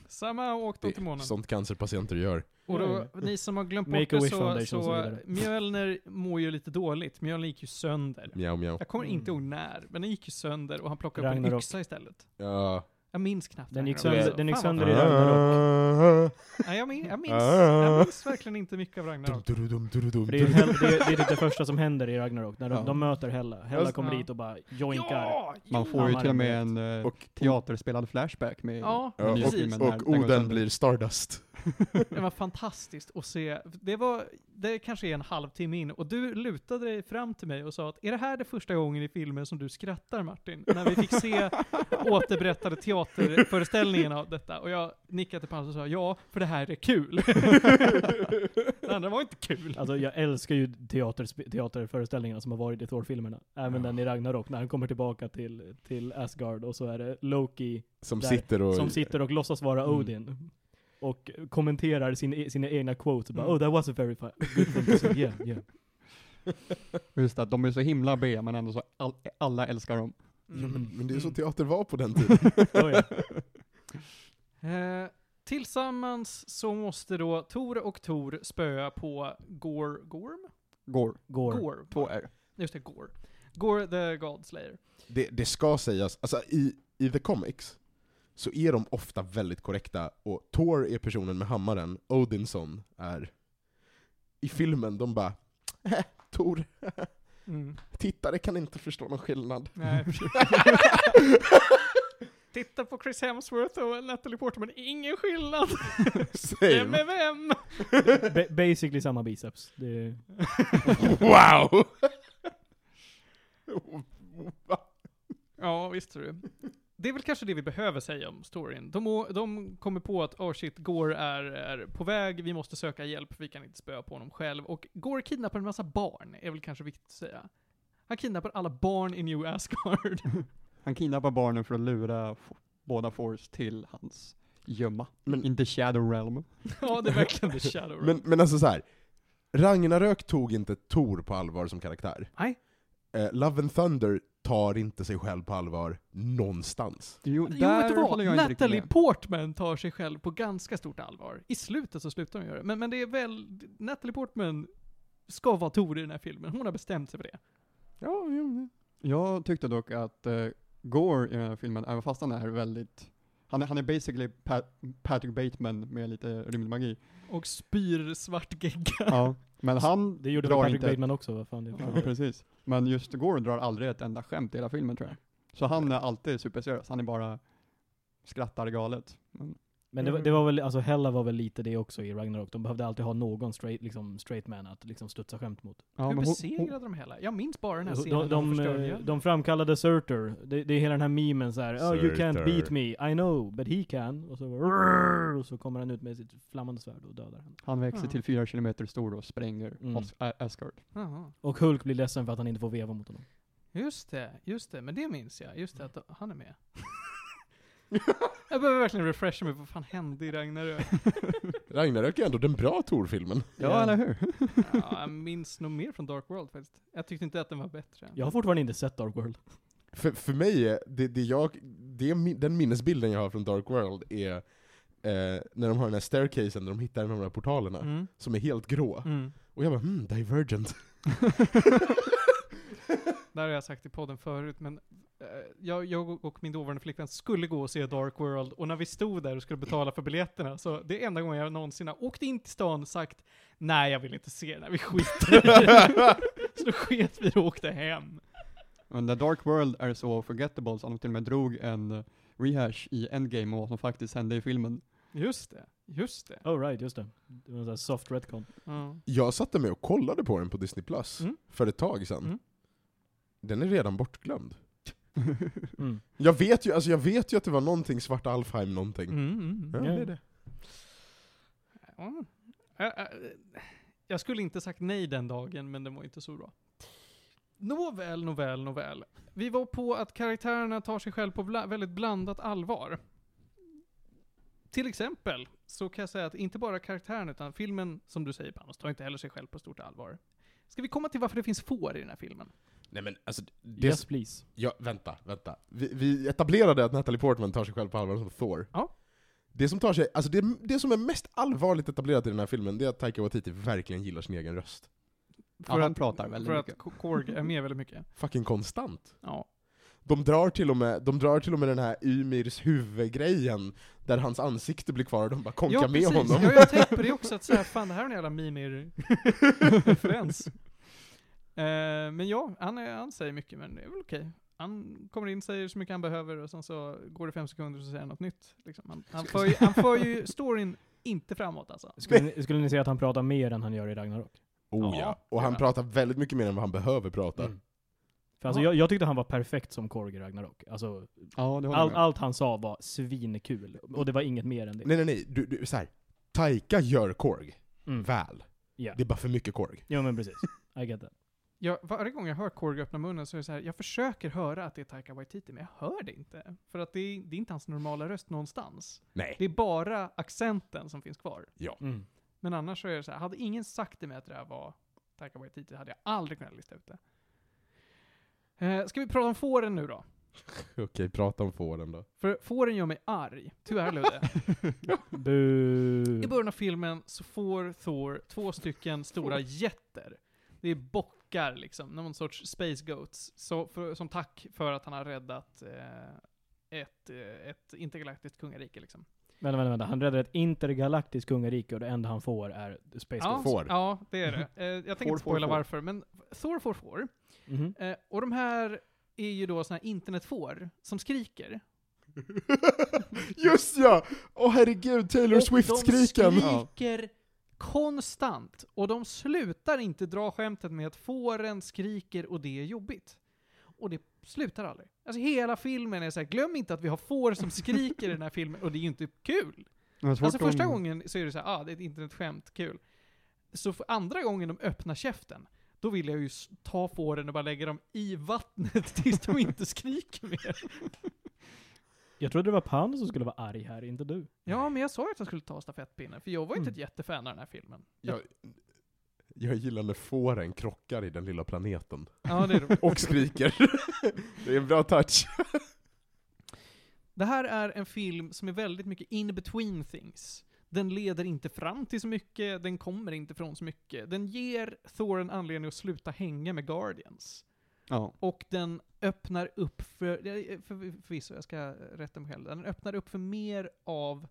C: Samma åkte hon till
A: Det är
C: månen.
A: sånt cancerpatienter gör.
C: Och då,
B: Ja, ja.
C: ni som har glömt
B: Mm. Make
C: bort
B: a
C: det
B: wish
C: så,
B: foundation och så
C: så
B: vidare.
C: Mjölner mår ju lite dåligt. Mjölner gick ju sönder.
A: Mjau, mjau.
C: Jag kommer
B: Mm.
C: inte ihåg när, men den gick ju sönder och han plockade upp en
B: Ragnarok.
C: yxa istlet.
A: Ja.
C: Jag minns knappt.
B: Den gick
C: Ragnarok.
A: sönder-
B: den gick
C: Fan vad
B: sönder
C: fan.
B: i Ragnarok.
A: Ah.
C: Nej, jag, min, jag, minns, jag minns verkligen inte mycket av
A: Dum,
C: Ragnarok.
A: dum, dum, dum, dum,
B: För det är ju
A: dum.
B: Hel- det, är- det är typ det första som händer i Ragnarok, när de,
D: Ja.
B: de möter Hella. Hella
A: Fast-
B: kommer
C: ja.
B: dit och bara joinkar.
C: Ja!
D: Man
C: jo.
D: får ju till och med
B: Hammaren
D: en eh,
A: Och-
D: teaterspelad flashback med
C: Ja,
A: Ja,
D: med
C: precis.
D: filmen när-
A: Och
D: när den går
A: Oden
D: sönder.
A: blir Stardust.
C: Det var fantastiskt att se. Det var, det kanske är en halvtimme in och du lutade dig fram till mig och sa att är det här det första gången i filmen som du skrattar Martin? När vi fick se återberättade teaterföreställningen av detta. Och jag nickade till Palme och sa ja, för det här är kul. det andra var inte kul.
B: Alltså jag älskar ju teatersp- teaterföreställningarna som har varit i Thor-filmerna. Även
A: Ja.
B: den i Ragnarok, när han kommer tillbaka till, till Asgard och så är det Loki
A: Som
B: Där.
A: sitter och...
B: som sitter och låtsas vara
D: Mm.
B: Odin. Och kommenterar sin, e- sina egna quotes. Bara,
D: Mm.
B: Oh that was a very fun... Good thing to say. Yeah, yeah.
D: Just det, att de är så himla B men ändå så all, alla älskar dem.
A: Ja, men, men det är så
C: Mm.
A: teater var på den tiden.
B: Oh, ja.
C: Eh, tillsammans så måste då Tor och Tor spöa på Gore, Gorm?
D: Går.
B: Går.
C: Gore.
D: Två R.
C: Just det, Gore. Gore the God Slayer.
A: det, det ska sägas, alltså i, i The Comics så är de ofta väldigt korrekta, och Thor är personen med hammaren, Odinson är... I filmen, de bara "Äh, Thor, tittare kan inte förstå någon skillnad.
C: Nej, Titta på Chris Hemsworth och Natalie Portman, ingen skillnad. Vem är vem?
B: Ba- basically samma biceps. Det är...
A: wow!
C: Ja, visst tror du. Det är väl kanske det vi behöver säga om storyn. De, å- de kommer på att oh shit, Gore är, är på väg, vi måste söka hjälp, vi kan inte spöa på honom själv. Och Gore kidnappar en massa barn, är väl kanske viktigt att säga. Han kidnappar alla barn i New Asgard.
D: Han kidnappar barnen för att lura f- båda Force till hans gömma.
A: Men-
D: In the shadow realm.
C: ja, det är verkligen the shadow. Realm.
A: men, men alltså så här. Ragnarök tog inte Thor på allvar som karaktär.
C: Nej.
A: Eh, Love and Thunder tar inte sig själv på allvar någonstans.
D: Jo,
C: Jo, vet du vad?
D: håller jag inte riktigt
C: Natalie
D: med.
C: Portman tar sig själv på ganska stort allvar. I slutet så slutar hon göra det. Men, men det är väl, Natalie Portman ska vara Tor i den här filmen. Hon har bestämt sig för det.
A: Ja, jo,
D: Jag tyckte dock att eh, Gore i den här filmen, även fast han är väldigt, han är, han är basically Pat, Patrick Bateman med lite rymdmagi.
C: Och spyr svart gegga.
D: ja, men han
B: Det gjorde väl
D: drar
B: Patrick
D: inte...
B: Bateman också, vad fan det är.
D: Ja, precis. Men just Gore drar aldrig ett enda skämt i hela filmen tror jag. Så han är alltid superseriös, han är bara skrattar galet. Men,
B: Men det, var- det var väl, alltså Hella var väl lite det också i Ragnarok. De behövde alltid ha någon straight, liksom, straight man att liksom studsa skämt mot.
D: ja,
C: Hur
D: men hon- hon-
C: besegrade de hela? Jag minns bara den här
B: De,
C: scenen när
B: de,
C: förstörde
B: de,
C: ihjäl.
B: de framkallade Surtur. Det, det är hela den här memen såhär oh, You can't
A: Surtur.
B: beat me, I know, but he can. Och så, bara, och så kommer han ut med sitt flammande svärd och dödar henne.
D: Han växer
C: Ja.
D: till fyra kilometer stor och spränger
B: Mm.
D: Os- Ä- Asgard.
C: Jaha.
B: Och Hulk blir ledsen för att han inte får veva mot honom.
C: Just det, just det. Men det minns jag. Just det, att han är med. jag behöver verkligen refresha mig på vad fan hände i Ragnarök.
A: Ragnarök är ändå den bra Tor-filmen.
D: Ja, eller hur?
C: Ja, jag minns nog mer från Dark World faktiskt. Jag tyckte inte att den var bättre.
B: Jag har fortfarande inte sett Dark World.
A: För, för mig, är det, det jag, det, är mi- den minnesbilden jag har från Dark World är eh, när de har den här staircasen där de hittar de här portalerna,
C: Mm.
A: som är helt grå.
C: Mm.
A: Och jag bara hmm, divergent.
C: Det här har jag sagt i podden förut, men eh, jag, jag och min dåvarande flickvän skulle gå och se Dark World, och när vi stod där och skulle betala för biljetterna, så det är enda gången jag någonsin har åkt in till stan och sagt nej, jag vill inte se den här, vi skiter i det." Så då sket vi och åkte hem.
D: Men The Dark World är så forgettable så han till och med drog en eh, rehash i Endgame och vad som faktiskt hände i filmen.
C: Just det, just det.
B: Oh right, just det. Det var en sån här soft retcon.
C: Ja.
A: Jag satte mig och kollade på den på Disney Plus
C: Mm.
A: för ett tag sedan.
C: Mm.
A: Den är redan bortglömd.
B: Mm.
A: Jag vet ju, alltså jag vet ju att det var någonting Svart Alfheim någonting.
C: Mm, mm, mm.
A: Ja,
B: Ja.
A: det är det.
C: Ja. Ä- ä- Jag skulle inte sagt nej den dagen, men den var inte så bra. Nåväl, nåväl, nåväl. Vi var på att karaktärerna tar sig själv på bla- väldigt blandat allvar. Till exempel så kan jag säga att inte bara karaktären utan filmen, som du säger Panos, tar inte heller sig själv på stort allvar. Ska vi komma till varför det finns får i den här filmen?
A: Nej men alltså, det,
B: Yes please.
A: ja, vänta, vänta. Vi, vi etablerade att Natalie Portman tar sig själv på allvar som Thor.
C: Ja.
A: Det som, tar sig, alltså det, det som är mest allvarligt etablerat i den här filmen, det är att Taika Waititi verkligen gillar sin egen röst.
D: Ja, han pratar väldigt
C: för
D: mycket.
C: För att K- Korg är med väldigt mycket.
A: Fucking konstant.
C: Ja.
A: De drar, till och med, de drar till och med den här Ymirs huvudgrejen, där hans ansikte blir kvar och de bara konkar
C: ja,
A: med honom.
C: Ja, jag har tänkt på det också, att så här, fan det här är en jävla Mimir-referens. Eh, men ja, han, är, han säger mycket, men det är väl okej. Han kommer in, säger så mycket han behöver och sen så går det fem sekunder och så säger han något nytt. Liksom. Han, han, för ju, han för ju storyn inte framåt alltså.
B: Skulle ni, skulle ni säga att han pratar mer än han gör i Ragnarok?
A: Oh,
C: Ja,
A: ja. Och han
C: ja. Mm.
A: pratar väldigt mycket mer än vad han behöver prata.
B: Mm. För alltså,
C: Ja.
B: jag, jag tyckte han var perfekt som Korg i Ragnarok. Alltså,
D: Ja, det håller jag
B: all,
D: med.
B: allt han sa var svinkul. Och det var inget mer än det.
A: Nej nej nej, du, du, så här. Taika gör Korg,
B: Mm.
A: väl.
B: Ja.
A: Det är bara för mycket Korg.
B: Jo men precis. I get that.
C: Jag, varje gång jag hör Korg öppna munnen så är det så här, jag försöker höra att det är Taika Waititi, men jag hör det inte. För att det är, det är inte hans normala röst någonstans.
A: Nej.
C: Det är bara accenten som finns kvar.
B: Mm.
C: Men annars så är det så här, hade ingen sagt till mig att det här var Taika Waititi hade jag aldrig kunnat lista ut det. Eh, ska vi prata om fåren nu då?
A: Okej, prata om fåren då.
C: För fåren gör mig arg. Tyvärr Ludde.
D: Mm.
B: Bu.
C: I början av filmen så får Thor två stycken stora jätter. Det är bockar liksom, någon sorts space goats. Så för, som tack för att han har räddat eh, ett, eh, ett intergalaktiskt kungarike liksom.
B: Vänta, vänta, vänta. Han räddar ett intergalaktiskt kungarike och det enda han får är Space
C: ja,
B: Ghost.
A: får.
C: Ja, det är det. Eh, jag tänker
D: Får,
C: inte
D: får,
C: spoila
D: får.
C: varför, men Thor får får.
B: Mhm.
C: Eh, och de här är ju då såna här internetfår som skriker.
A: Just ja! Åh herregud, Taylor
C: Och
A: Swift-skriken!
C: De
A: Ja.
C: skriker konstant. Och de slutar inte dra skämtet med att fåren skriker och det är jobbigt. Och det slutar aldrig. Alltså hela filmen är såhär, glöm inte att vi har får som skriker i den här filmen, och det är ju inte kul.
D: Det var svårt
C: Alltså första
D: om-
C: gången så är det så här, ah det är ett internetskämt, kul. Så för andra gången de öppnar käften, då vill jag ju s- ta fåren och bara lägga dem i vattnet tills de inte skriker mer.
B: Jag trodde det var Pan som skulle vara arg här, inte du.
C: Ja, men jag sa ju att jag skulle ta stafettpinnen, för jag var ju inte
B: Mm.
C: ett jättefan av den här filmen.
A: Jag, jag gillar när fåren krockar i den lilla planeten.
C: Ja, det är roligt.
A: Och skriker. det är en bra touch.
C: Det här är en film som är väldigt mycket in between things. Den leder inte fram till så mycket, den kommer inte från så mycket. Den ger Thor en anledning att sluta hänga med Guardians.
D: Ja.
C: Och den öppnar upp för, eh, för, förvisso, jag ska rätta mig själv, den öppnar upp för mer av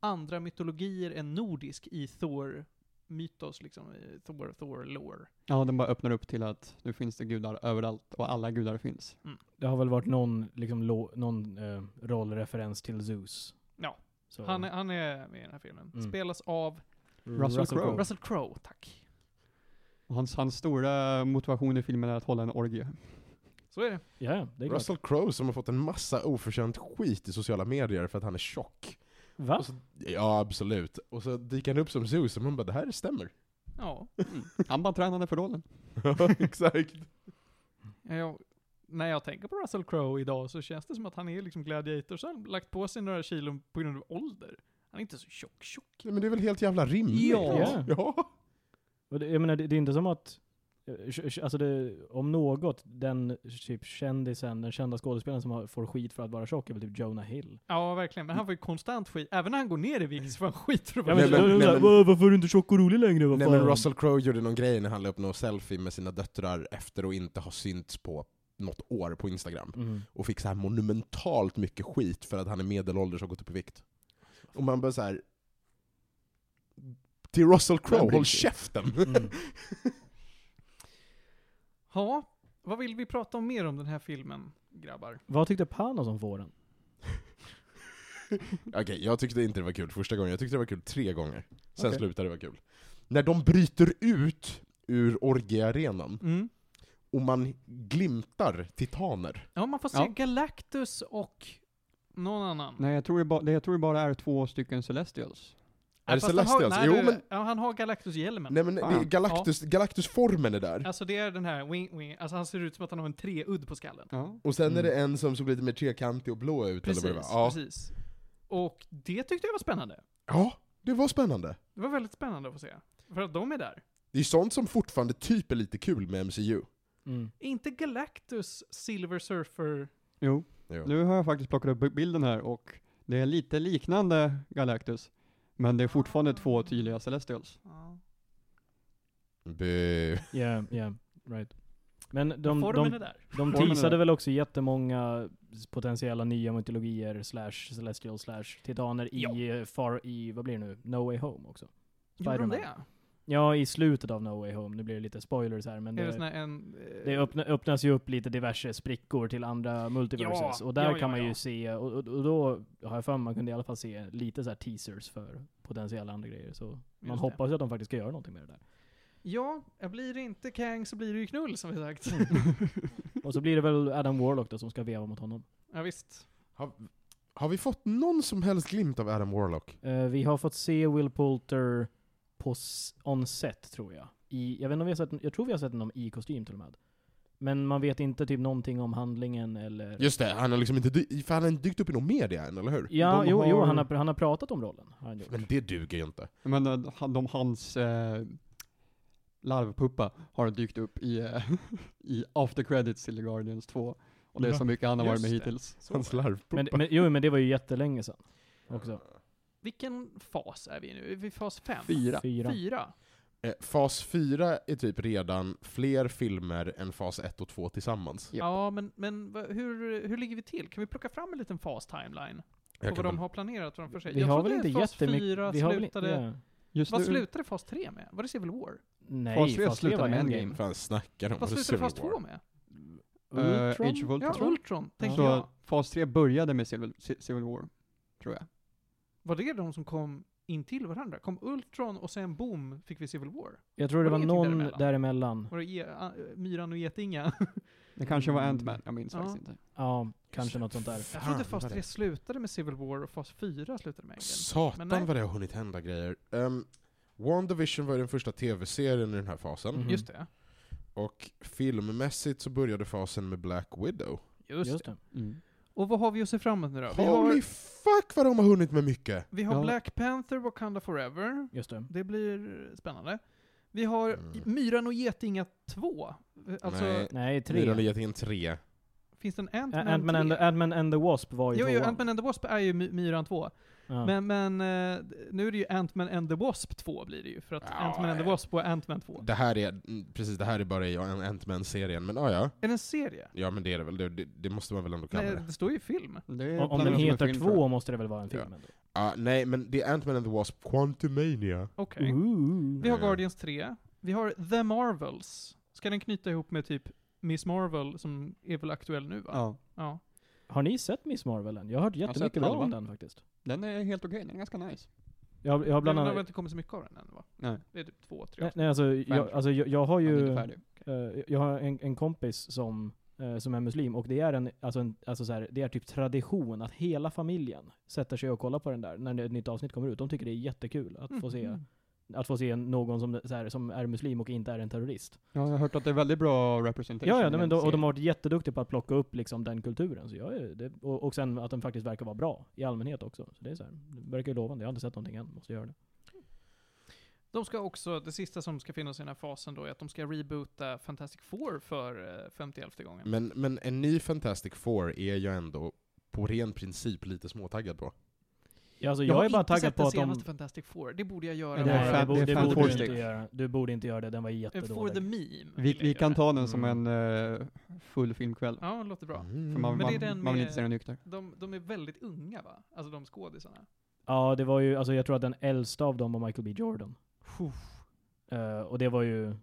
C: andra mytologier än nordisk i Thor-mytos, liksom, i Thor, Thor-lore.
D: ja, den bara öppnar upp till att nu finns det gudar överallt och alla gudar finns.
B: Det har väl varit någon, liksom, lo, någon eh, rollreferens till Zeus.
C: Ja.
B: Så-
C: Han, är- han är med i den här filmen.
B: Mm.
C: Spelas av
A: Mm.
D: Russell Crowe.
B: Crowe.
C: Russell Crowe, tack.
D: Och hans, hans stora motivation i filmen är att hålla en orgie.
C: Så är det.
B: Ja, ja, det är klart.
A: Russell Crowe som har fått en massa oförtjänt skit i sociala medier för att han är tjock.
B: Va?
A: Och så, ja, absolut. Och så dyker han upp som Zeus och man bara det här stämmer.
C: Ja.
D: Han bara tränade för rollen.
A: Ja, exakt.
C: Jag, när jag tänker på Russell Crowe idag så känns det som att han är liksom gladiator, så har han lagt på sig några kilo på grund av ålder. Han är inte så tjock, tjock.
A: Men det är väl helt jävla rimligt?
B: Ja.
A: ja.
B: Och det, jag menar, det, det är inte som att, eh, sh- sh- alltså det, om något, den typ kändisen, den kända skådespelaren som har, får skit för att vara tjock är väl typ Jonah Hill.
C: Ja, verkligen. Men han får ju konstant skit. Även när han går ner i vikt så får han skit för att
B: Ja,
C: vara
B: men,
A: Nej, men-
B: så-
A: nej,
B: så-
A: men-
B: "Va, varför är du inte tjock och rolig längre? Vad
A: Nej
B: fan?"
A: men Russell Crowe gjorde någon grej när han la upp någon selfie med sina döttrar efter att inte ha synts på något år på Instagram.
B: Mm.
A: Och fick så här monumentalt mycket skit för att han är medelålders och gått upp i vikt. Och man bara så här. Till Russell
D: Vem
A: Crowe,
D: bryr
A: håll
D: sig?
A: käften!
B: Mm.
C: Ja, vad vill vi prata om mer om den här filmen, grabbar?
B: Vad tyckte Panos om våren?
A: Okej, jag tyckte inte det var kul första gången, jag tyckte det var kul tre gånger. Sen
D: Okej.
A: slutade det vara kul. När de bryter ut ur orgiearenan
C: Mm.
A: och man glimtar titaner.
C: Ja, man får se
D: Ja.
C: Galactus och någon annan.
D: Nej, jag tror det, ba, det, jag tror det bara är två stycken Celestials.
A: Är det
C: Fast han har-
A: Celestials?
C: nej,
A: Jo,
C: det-
A: men-
C: ja, han har Galactus-hjälmen.
A: Nej men det är
D: Fan.
A: Galactus, Galactus-formen är där.
C: Alltså det är den här wing, wing. Alltså han ser ut som att han har en treudd på skallen.
D: Ja.
A: Och sen
B: Mm.
A: är det en som såg lite mer trekantig och blå ut
C: Precis,
A: eller vad det var. Ja.
C: precis. Och det tyckte jag var spännande.
A: ja, det var spännande.
C: Det var väldigt spännande att få se. För att de är där.
A: Det är sånt som fortfarande typ är lite kul med MCU.
B: Mm.
C: Är inte Galactus Silver Surfer...
D: Jo.
A: Jo.
D: Nu har jag faktiskt plockat upp bilden här och det är lite liknande Galactus. Men det är fortfarande två tydliga Celestials.
C: Ja.
A: Bu.
B: Yeah, yeah, right. Men de, de,
C: Formen
B: de,
C: är där.
D: är
B: teasade
D: där.
B: väl också jättemånga potentiella nya mytologier slash celestial slash titaner i,
C: Ja.
B: eh, far, i, vad blir det nu, No Way Home också.
C: Gjorde de
B: Spider-Man.
C: det?
B: Ja, i slutet av No Way Home. Nu blir det lite spoilers här, men
C: Är det
B: det,
C: sån här en... eh,
B: det öppna, öppnas ju upp lite diverse sprickor till andra multiverses.
C: Ja,
B: och där
C: ja, ja,
B: kan man ju
C: ja.
B: se, och, och, och då har jag för mig man kunde i alla fall se lite så här teasers för potentiella andra grejer. Så man
C: det.
B: hoppas ju att de faktiskt ska göra någonting med det där.
C: Ja, blir det inte Kang så blir det ju knull som vi sagt.
B: Mm. Och så blir det väl Adam Warlock då som ska veva mot honom.
C: ja, visst.
A: Har, har vi fått någon som helst glimt av Adam Warlock?
B: Eh, vi har fått se Will Poulter på s- on set, tror jag. I, jag, vet inte om vi har sett, jag tror vi har sett honom i kostym till och med. Men man vet inte typ någonting om handlingen eller...
A: Just det, han har liksom inte, dy- för han har inte dykt upp i någon media än, eller hur?
B: Ja,
D: De
B: jo, jo
D: har-
B: han, har, han har pratat om rollen. Har han gjort.
A: Men det duger ju inte.
D: Men eh, han- de, hans eh, larvpuppa har dykt upp i, eh, i after credits till The Guardians 2. Och det är så mycket han har varit med
C: Just det.
D: hittills.
A: Hans larvpuppa.
B: Men, men, jo, men det var ju jättelänge sedan. Också.
C: Vilken fas är vi i nu? Är vi i fas fem?
D: Fyra.
B: Fyra.
C: Fyra?
A: Eh, Fas 4 är typ redan fler filmer än fas 1 och 2 tillsammans.
D: Japp.
C: Ja, men, men vad- hur, hur ligger vi till? Kan vi plocka fram en liten fas-timeline? På
A: Jag
C: vad
A: kan
C: de
A: väl-
C: har planerat framför sig?
B: Vi
C: Jag
B: har väl
C: trodde
B: inte
C: fas
B: jättemycket...
C: fyra
B: Vi har väl inte...
C: slutade...
B: Ja.
D: Just
C: Vad
D: nu,
C: slutade fas 3 med? Var det Civil War?
B: Nej,
D: Fas tre
B: fas tre
D: slutade
B: var
D: med
B: Endgame.
D: Endgame.
A: fan snackar de?
C: Vad
A: Var det
C: slutade fas
A: Civil War?
C: 2 med?
D: eh,
B: Ultron?
D: Age of Ultron.
C: Mm, Ja, Ultron, tänker jag.
D: så fas 3 började med Civil, Ci- Civil War, tror jag.
C: Var det de som kom in till varandra? Kom Ultron och sen boom fick vi Civil War?
B: Jag tror det var
C: Var det
B: någon
C: ingenting
B: däremellan.
C: däremellan? Var det ge, a, Myran och Getinga?
D: Det kanske var
B: Mm.
D: Ant-Man, jag minns
C: Ja.
D: faktiskt inte.
B: Ja, kanske något sånt där.
C: Jag
A: Fan,
C: trodde fas
A: vad är
C: 3
A: det?
C: slutade med Civil War och fas 4 slutade med Endgame. Men
A: Satan
C: nej.
A: vad det har hunnit hända grejer. Um, WandaVision var ju den första tv-serien i den här fasen,
B: Mhm.
C: Just det.
A: och filmmässigt så började fasen med Black Widow.
C: Just,
B: Just
C: det.
B: det.
D: Mm.
C: Och vad har vi att se fram emot nu då? Vi
A: Holy
C: har,
A: fuck vad de har hunnit med mycket!
C: vi har
D: Ja.
C: Black Panther, Wakanda Forever.
B: Just det.
C: Det blir spännande. Vi har
A: Mm.
C: Myran och Getinga 2. Alltså,
A: Nej.
B: Nej,
A: Myran och
B: tre.
A: Getingen 3.
C: Finns det en Ant-Man
B: Ant-Man and,
C: 3?
B: the- Ant-Man and the Wasp var ju
C: Jo, jo,
B: tvåan.
C: Ant-Man and the Wasp är ju My- Myran 2.
B: Ja.
C: Men, men eh, nu är det ju Ant-Man and the Wasp 2 blir det ju. För att
A: Ja,
C: Ant-Man and the
A: eh.
C: Wasp var Ant-Man 2.
A: Det här är, mm, precis, det här är bara i Ant-Man-serien, men ja, ja.
C: Är det en serie?
A: Ja men det är det väl, det, det, det måste man väl ändå kalla
C: Nej,
A: det.
C: det står ju film.
D: Det är
B: Om- Om
D: planerat
B: den
D: som en
B: heter
D: film, tror jag.
B: två måste det väl vara en film ändå?
A: Ah, nej men det är Ant-Man and the Wasp Quantumania.
C: Okej.
B: Mm. Ooh.
C: Vi har
A: Eh.
C: Guardians 3. Vi har The Marvels. Ska den knyta ihop med typ Miss Marvel som är väl aktuell nu va?
D: Ja.
C: Ja.
B: Har ni sett Miss Marvel än? Jag har hört
D: har sett
B: jättemycket bra
D: halva.
B: om den faktiskt.
D: Den är helt okej, den är ganska nice.
B: Jag, jag har bland
C: Men Det har väl
B: annat...
C: inte kommit så mycket av den än va?
D: Nej,
C: Det är typ två, tre
B: Nej,
C: avsnitt.
B: nej alltså, jag, alltså jag, jag har
D: den är
B: ju...
D: inte färdig.
B: eh, jag har en, en kompis som, eh, som är muslim och det är en, alltså en, alltså så här, det är typ tradition att hela familjen sätter sig och kollar på den där när ett nytt avsnitt kommer ut. De tycker det är jättekul att få se,
C: Mm.
B: att få se någon som, så här, som är muslim och inte är en terrorist.
D: Ja, jag har hört att det är väldigt bra representation.
B: Ja, ja
D: i
B: nej, men
D: den
B: de, och de
D: serien.
B: har varit jätteduktiga på att plocka upp liksom den kulturen. Så jag är, det, och, och sen att den faktiskt verkar vara bra i allmänhet också. Så det, är så här, det verkar ju lovande. Jag har inte sett någonting än, måste göra det.
C: De ska också, det sista som ska finnas i den här fasen då är att de ska reboota Fantastic Four för eh, femtielfte gången.
A: Men, men en ny Fantastic Four är jag ändå på ren princip lite småtaggad på.
B: Ja, alltså,
C: jag,
B: jag,
C: har
B: är bara
C: inte
B: taggad
C: sett
B: på
C: den
B: att de...
C: senaste Fantastic Four, det borde jag göra.
B: Nej,
D: det är
B: det
D: fan-
B: borde,
D: det
B: det
D: är
B: borde du
D: fantastiskt.
B: inte göra. Du borde inte göra det, den var
C: Eh, For the
B: jättedålig.
C: meme.
D: Vi,
C: vill jag
D: vi
C: göra.
D: kan ta den som
A: Mm.
D: en eh, full filmkväll.
C: Ja, det låter bra.
A: Mm.
D: För man,
C: Men det är
D: man,
C: den
D: man vill
C: med-
D: inte se den nykter.
C: De, de är väldigt unga va? Alltså de skådisarna.
B: Ja, det var ju, alltså jag tror att den äldsta av dem var Michael B Jordan. Eh, och det var ju,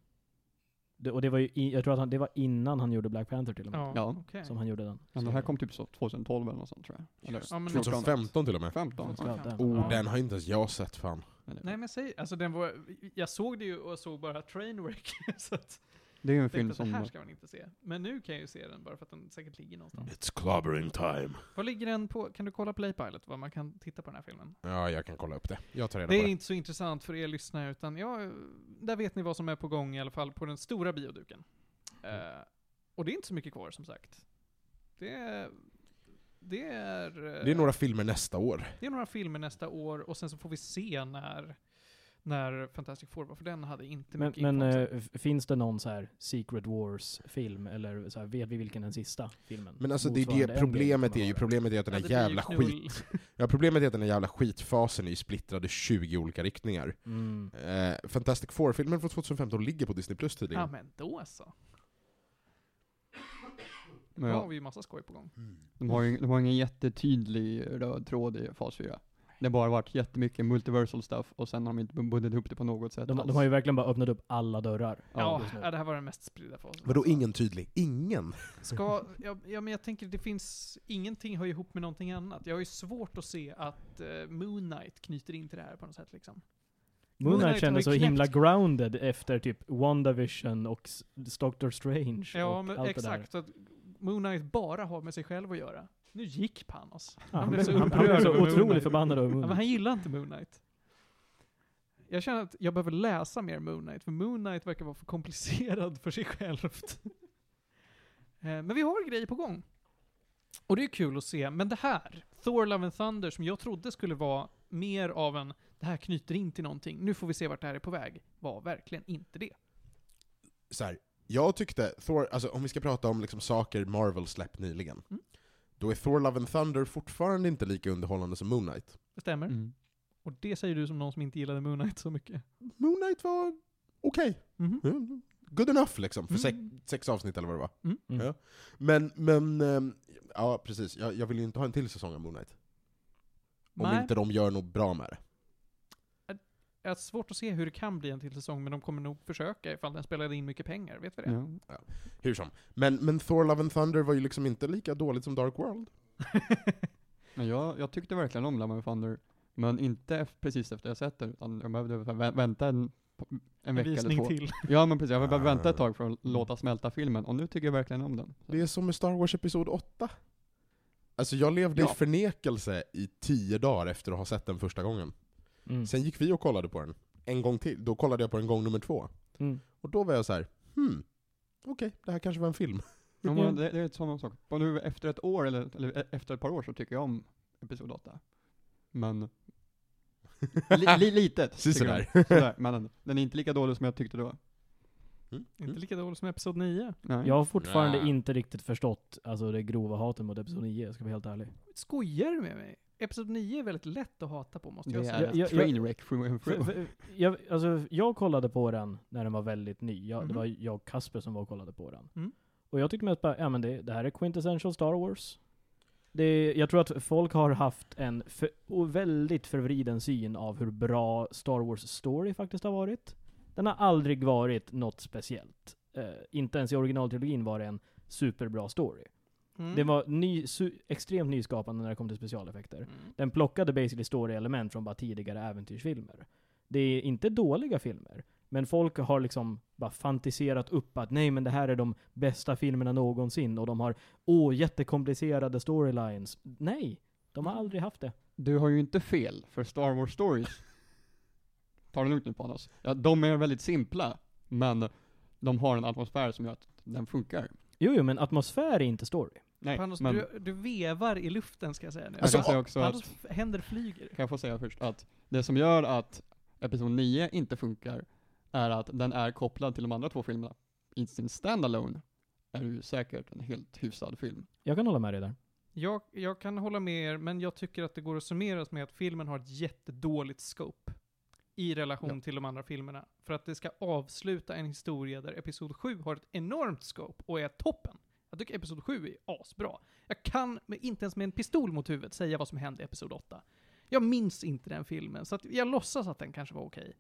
B: det, och det var ju, i, jag tror att han, det var innan han gjorde Black Panther till och med.
C: Ja,
D: Ja.
C: okej.
B: Som han gjorde den.
D: Men den här kom typ så 2012 eller något sånt tror jag. Eller
C: Ja, men-
A: 2015 till och med.
D: 15.
B: Ja, den.
A: Oh,
C: Ja.
A: den har inte ens jag sett fan.
C: Nej men säg, alltså den var, jag såg det ju och såg bara Trainwreck. så att
D: Det är ju en
C: jag tänkte
D: film
C: att det här
D: som...
C: ska man inte se. Men nu kan jag ju se den bara för att den säkert ligger
D: Mm.
C: någonstans.
A: It's clobbering time.
C: Vad ligger den på? Kan du kolla Playpilot vad man kan titta på den här filmen?
A: Ja, jag kan kolla upp det. Jag tar reda
C: Det
A: på
C: är
A: det.
C: inte så intressant för er lyssnare utan ja, där vet ni vad som är på gång i alla fall på den stora bioduken.
A: Mm.
C: Eh, och det är inte så mycket kvar som sagt. Det är... Det är, eh,
A: Det är några filmer nästa år.
C: det är några filmer nästa år och sen så får vi se när, när Fantastic Four var, för den hade inte
B: Men,
C: mycket
B: men
C: info.
B: eh, f- finns det någon så här Secret Wars-film, eller så här, vet vi vilken den sista filmen
A: Men alltså det är
B: motsvarande liksom?
A: det
B: Endgame
A: problemet är
B: kommer
A: ju,
B: vara?
A: problemet är att den
C: Ja,
A: här
C: Alltså, det blir ju
A: jävla
C: knull.
A: skit... Ja, problemet är att den här jävla skitfasen är ju splittrad i 20 olika riktningar.
B: Mm.
A: Eh, Fantastic Four-filmen från 2015 ligger på Disney Plus
C: Ja
A: tydligen.
C: men då så. Då
D: Men ja,
C: har vi ju massa skoj på gång.
A: Mm.
D: de, har ju, de har ingen jättetydlig röd tråd i fas 4. Det har bara varit jättemycket multiversal stuff och sen har de inte bundit ihop det på något sätt
B: De,
D: alls.
B: de har ju verkligen bara öppnat upp alla dörrar.
C: Ja,
D: Ja,
B: just nu.
C: ja det här var den mest spridda fasen.
A: Vadå
C: alltså.
A: ingen tydlig? Ingen?
C: Ska, ja, ja men jag tänker det finns, ingenting hör ju ihop med någonting annat. Jag har ju svårt att se att eh, Moon Knight knyter in till det här på något sätt liksom. Moon
B: Moon Knight
C: Knight
B: kändes så
C: har ju
B: himla
C: knäppt-
B: grounded efter typ WandaVision och s- Doctor Strange
C: Ja
B: och
C: men
B: allt
C: exakt, så att Moon Knight bara har med sig själv att göra. Nu gick Panos.
B: det där. Han blev
C: blev så
B: så, han blev
C: upprörd
B: så
C: över Moon
B: otroligt
C: Knight.
B: förbannad över Moon
C: Ja, men
B: Knight.
C: han gillar inte Moon Knight. Jag känner att jag behöver läsa mer Moon Knight, för Moon Knight verkar vara för komplicerad för sig självt. Eh, men vi har grejer på gång. Och det är kul att se, men det här, Thor Love and Thunder, som jag trodde skulle vara mer av en det här knyter in till någonting, nu får vi se vart det här är på väg, var verkligen inte det.
A: så här, jag tyckte Thor, alltså om vi ska prata om liksom saker Marvel släppt nyligen,
C: Mm.
A: då är Thor Love and Thunder fortfarande inte lika underhållande som Moon Knight.
C: Det stämmer.
D: Mm.
C: Och det säger du som någon som inte gillade Moon Knight så mycket.
A: Moon Knight var okej.
C: Mhm.
A: Mm. Good enough liksom, för sex,
C: Mm.
A: sex avsnitt eller vad det var.
B: Mm.
A: Ja. Men, men, ehm, ja precis, jag, jag vill ju inte ha en till säsong av Moon Knight. Om
C: Nej,
A: inte de gör något bra med det.
C: jag har svårt att se hur det kan bli en till säsong, men de kommer nog försöka ifall den spelade in mycket pengar, vet vi det?
D: Ja.
A: Hur som. Men, men Thor Love and Thunder var ju liksom inte lika dåligt som Dark World.
D: Men jag, jag tyckte verkligen om Love and Thunder, men inte ef- precis efter jag sett det, utan jag behövde så här vä- vänta en, en vecka eller två.
C: till.
D: Ja men precis, jag behövde
A: Ah.
D: vänta ett tag för att låta smälta filmen, och nu tycker jag verkligen om den.
A: Det är som med Star Wars Episod 8. Alltså jag levde
D: Ja.
A: i förnekelse i tio dagar efter att ha sett den första gången.
B: Mm.
A: Sen gick vi och kollade på den en gång till. Då kollade jag på den gång nummer två.
B: Mm.
A: Och då var jag så här, hmm, okej, det här kanske var en film.
D: Ja,
B: Ja.
D: men det, det är samma sak. Och nu efter ett år, eller, eller e- efter ett par år, så tycker jag om Episod 8. Men, li, li, litet.
A: Precis
D: tycker jag
A: sådär.
D: om. sådär. Men den är inte lika dålig som jag tyckte då.
A: Mm.
C: Inte
A: Mm.
C: lika dålig som Episod 9.
D: Nej.
B: Jag har fortfarande
A: Nej.
B: inte riktigt förstått alltså, det grova hatet mot Episod 9, jag ska vara helt ärlig.
C: Skojar du med mig? Episod 9 är väldigt lätt att hata på måste
D: Det
C: jag säga.
D: är
B: Jag- jag-
D: ett trainwreck through and
B: För,
D: through.
B: för, jag, alltså, jag kollade på den när den var väldigt ny. Jag, Det
C: Mhm.
B: var jag och Kasper som var och kollade på den.
C: Mm.
B: Och jag tyckte mest bara, ja men det, det här är quintessential Star Wars. Det, jag tror att folk har haft en för, och väldigt förvriden syn av hur bra Star Wars story faktiskt har varit. Den har aldrig varit något speciellt. Eh, inte ens i originaltrilogin var det en superbra story.
C: Mm.
B: Det var ny, su, extremt nyskapande när det kom till specialeffekter.
C: Mm.
B: Den plockade basically story-element från bara tidigare äventyrsfilmer. Det är inte dåliga filmer, men folk har liksom bara fantiserat upp att nej men det här är de bästa filmerna någonsin och de har åh jättekomplicerade storylines. Nej, de har aldrig haft det.
D: Du har ju inte fel, för Star Wars Stories, ta det lugnt nu Panos, ja, de är väldigt simpla, men de har en atmosfär som gör att den funkar.
B: Jo, jo men atmosfär är inte story.
D: Nej,
C: Panos,
D: men
C: du, du vevar i luften ska jag säga nu.
D: jag kan säga också att,
C: Panos händer flyger.
D: kan jag få säga först, att det som gör att Episod 9 inte funkar är att den är kopplad till de andra två filmerna. I sin standalone är det ju säkert en helt hyfsad film.
B: Jag kan hålla med dig där.
C: Jag, jag kan hålla med er, men jag tycker att det går att summeras med att filmen har ett jättedåligt scope i relation
D: Ja.
C: till de andra filmerna. För att det ska avsluta en historia där Episod 7 har ett enormt scope och är toppen. Jag tycker Episod 7 är asbra. Jag kan med, inte ens med en pistol mot huvudet säga vad som hände i Episod 8. Jag minns inte den filmen, så att jag låtsas att den kanske var okej.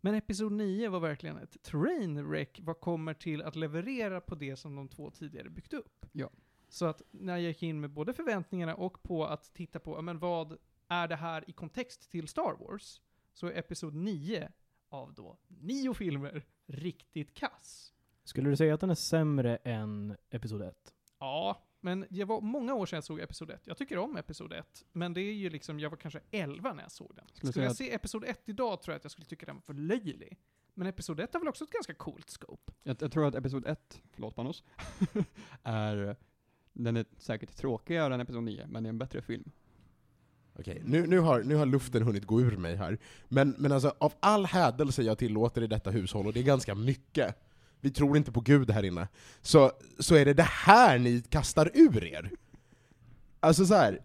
C: Men Episod 9 var verkligen ett trainwreck vad kommer till att leverera på det som de två tidigare byggt upp.
D: Ja.
C: Så att när jag gick in med både förväntningarna och på att titta på, ja, men vad är det här i kontext till Star Wars? Så är Episod 9 av då nio filmer riktigt kass.
B: Skulle du säga att den är sämre än Episod 1?
C: Ja, men det var många år sedan jag såg Episod 1. Jag tycker om Episod 1, men det är ju liksom, jag var kanske 11 när jag såg den. Skulle,
D: Skulle säga
C: jag
D: att-
C: se Episod 1 idag tror jag att jag skulle tycka den var för löjlig. Men Episod 1 har väl också ett ganska coolt scope?
D: Jag, jag tror att Episod 1, förlåt Panos, är, den är säkert tråkigare än Episod 9, men det är en bättre film.
A: Okej, nu, nu, har, nu har luften hunnit gå ur mig här. Men, men alltså, av all hädelse jag tillåter i detta hushåll, och det är ganska mycket, vi tror inte på Gud här inne, så, så är det det här ni kastar ur er. Alltså så här.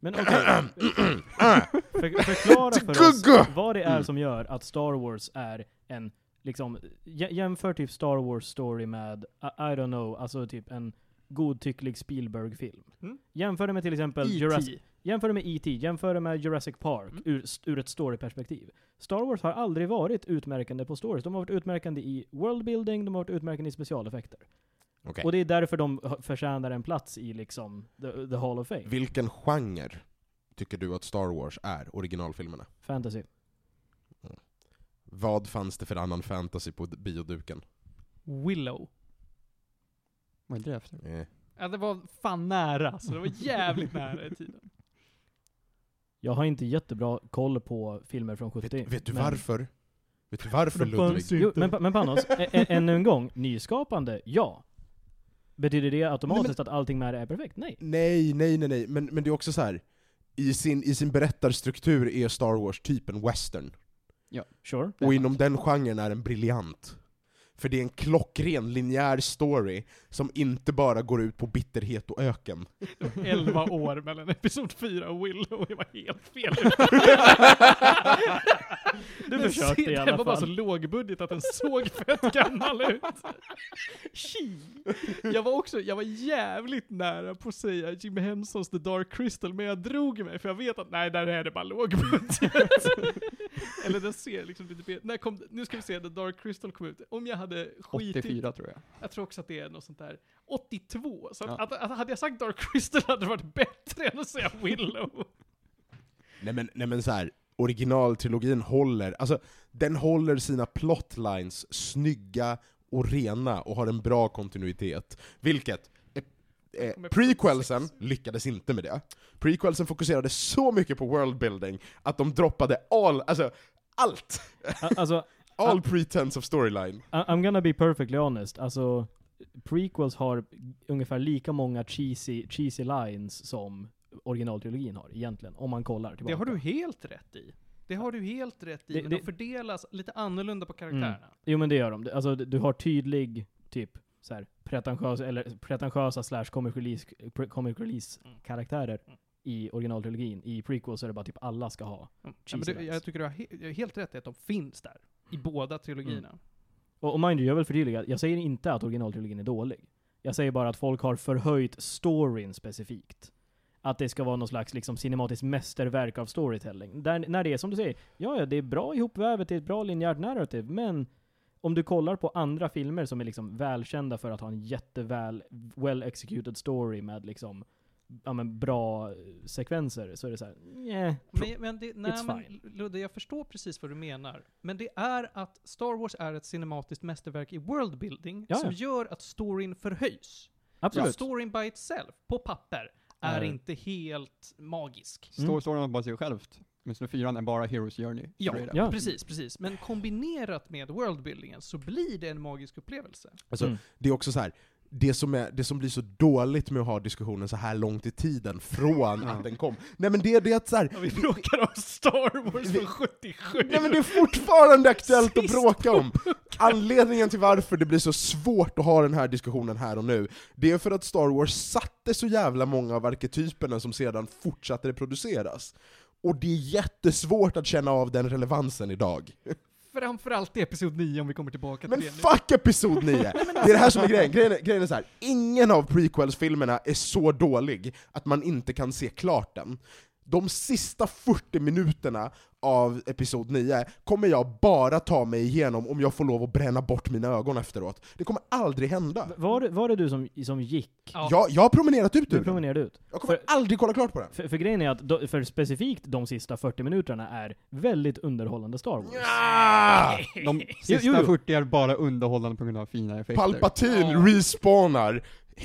B: Men okej, för, förklara för oss
A: Gugga!
B: vad det är
D: Mm.
B: som gör att Star Wars är en, liksom, jä- jämför typ Star Wars story med, I, I don't know, alltså typ en godtycklig Spielberg-film.
C: Mm. E
B: Jämför det med till exempel Jurassic,
C: E.T.
B: jämför det med E.T., jämför det med Jurassic Park
C: Mm.
B: ur, ur ett storyperspektiv. Star Wars har aldrig varit utmärkande på stories. De har varit utmärkande i worldbuilding, de har varit utmärkande i specialeffekter.
A: Okej.
B: Och det är därför de h- förtjänar en plats i liksom the, the Hall of Fame.
A: Vilken genre tycker du att Star Wars är, originalfilmerna?
B: Fantasy.
A: Vad fanns det för annan fantasy på d- bioduken?
C: Willow.
D: Vad är det efter?
A: Eh.
C: Ja, det var fan nära, så det var jävligt nära i tiden.
B: Jag har inte jättebra koll på filmer från 70.
A: Vet, vet du
B: men-
A: varför? Vet du varför Ludvig?
B: Jo, men, men Panos, ä- ä- ännu en gång, nyskapande, ja. Betyder det automatiskt att allting med det är perfekt? Nej.
A: Nej, nej, nej, nej. Men, men det är också så här. I sin, I sin berättarstruktur är Star Wars typ en western.
B: Sure.
A: Och inom den genren är den briljant. För det är en klockren, linjär story som inte bara går ut på bitterhet och öken.
C: Det var 11 år mellan episod 4 och Willow, det var helt fel.
B: Du
C: Den
B: försökte i
C: ser-
B: alla
C: Den var bara så
B: fall.
C: lågbudget att den såg fett gammal ut. Tji. Jag var också, jag var jävligt nära på att säga Jim Hensons The Dark Crystal, men jag drog mig för jag vet att nej, där är det bara lågbudget. Eller den ser liksom lite mer, när kom, nu ska vi se, The Dark Crystal kom ut. Om jag hade skitit
D: 84 tror jag.
C: Jag tror också att det är något sånt där 82. Så att,
D: Ja.
C: att, att, hade jag sagt Dark Crystal hade det varit bättre än att säga Willow.
A: Nej men, nej, men så här. originaltrilogin håller, alltså den håller sina plotlines snygga och rena och har en bra kontinuitet. Vilket, eh, eh, prequelsen lyckades inte med det. Prequelsen fokuserade så mycket på worldbuilding att de droppade all, alltså allt!
B: A- Alltså,
A: All pretense of storyline.
B: I- I'm gonna be perfectly honest. Alltså, prequels har ungefär lika många cheesy, cheesy lines som originaltrilogin har egentligen, om man kollar tillbaka.
C: helt rätt i. Det har du helt rätt i,
B: Det- Mm.
C: men
B: det-
C: de fördelas lite annorlunda på karaktärerna.
B: Jo men det gör de. Det- Alltså d- du har tydlig, typ, så här, pretentiös, eller pretentiösa slash comic release, pre- comic release
C: Mm.
B: karaktärer
C: Mm.
B: i originaltrilogin. I prequels så är det bara typ alla ska ha.
C: Mm. Ja, men
B: Cheesy Mm.
C: du,
B: lines.
C: jag tycker du har he jag har helt rätt i att de finns där, i båda trilogierna.
B: Och, och mind you, jag vill förtydliga, jag säger inte att originaltrilogin är dålig. Jag säger bara att folk har förhöjt storyn specifikt. Att det ska vara någon slags liksom, cinematiskt mästerverk av storytelling. Där, när det är som du säger, ja ja, det är bra ihopvävet, det är ett bra linjärt narrativ, men om du kollar på andra filmer som är liksom välkända för att ha en jätteväl, well executed story med liksom, ja men bra eh, sekvenser, så är det så här, yeah.
C: Men, men det, nej,
B: It's
C: men
B: fine.
C: Ludde, jag förstår precis vad du menar. Men det är att Star Wars är ett cinematiskt mästerverk i worldbuilding
B: Ja,
C: som
B: ja.
C: gör att storyn förhöjs. Alltså,
B: Absolut.
C: Storyn by itself, på papper, är
B: Är-
C: inte helt magisk.
B: Mm.
D: Står storyn bara sig självt. Åtminstone fyran är bara Heroes Journey.
C: Ja,
D: För det är det.
B: Ja.
C: precis, precis. Men kombinerat med worldbuildingen så blir det en magisk upplevelse.
A: Alltså,
B: Mm.
A: Det är också så här. Det som, är, det som blir så dåligt med att ha diskussionen så här långt i tiden från
D: Ja.
A: att den kom. Nej men det är det att så här,
C: vi bråkar om Star Wars
A: från
C: 77!
A: Nej men det är fortfarande aktuellt att
C: Sist.
A: bråka om! Anledningen till varför det blir så svårt att ha den här diskussionen här och nu, det är för att Star Wars satte så jävla många av arketyperna som sedan fortsatte reproduceras. Och det är jättesvårt att känna av den relevansen idag.
C: Framförallt i Episod 9 om vi kommer tillbaka till
A: Men
C: det nu. alltså-
A: fuck episod 9! Det är det här som är grejen, grejen är, grejen är så här. ingen av prequels-filmerna är så dålig att man inte kan se klart den. De sista 40 minuterna av Episod 9 kommer jag bara ta mig igenom om jag får lov att bränna bort mina ögon efteråt. Det kommer aldrig hända.
B: Var, det- var det du som, som gick?
C: Ja.
A: Jag, jag har promenerat ut
B: Du
A: ur den.
B: promenerade ut?
A: Jag kommer
B: för-
A: aldrig kolla klart på den.
B: För, för grejen är att, do, för specifikt de sista 40 minuterna är väldigt underhållande Star Wars.
A: Nja!
D: De sista
B: jo, jo.
D: 40 är bara underhållande på grund av fina effekter.
A: Palpatine
C: Ja.
A: respawnar,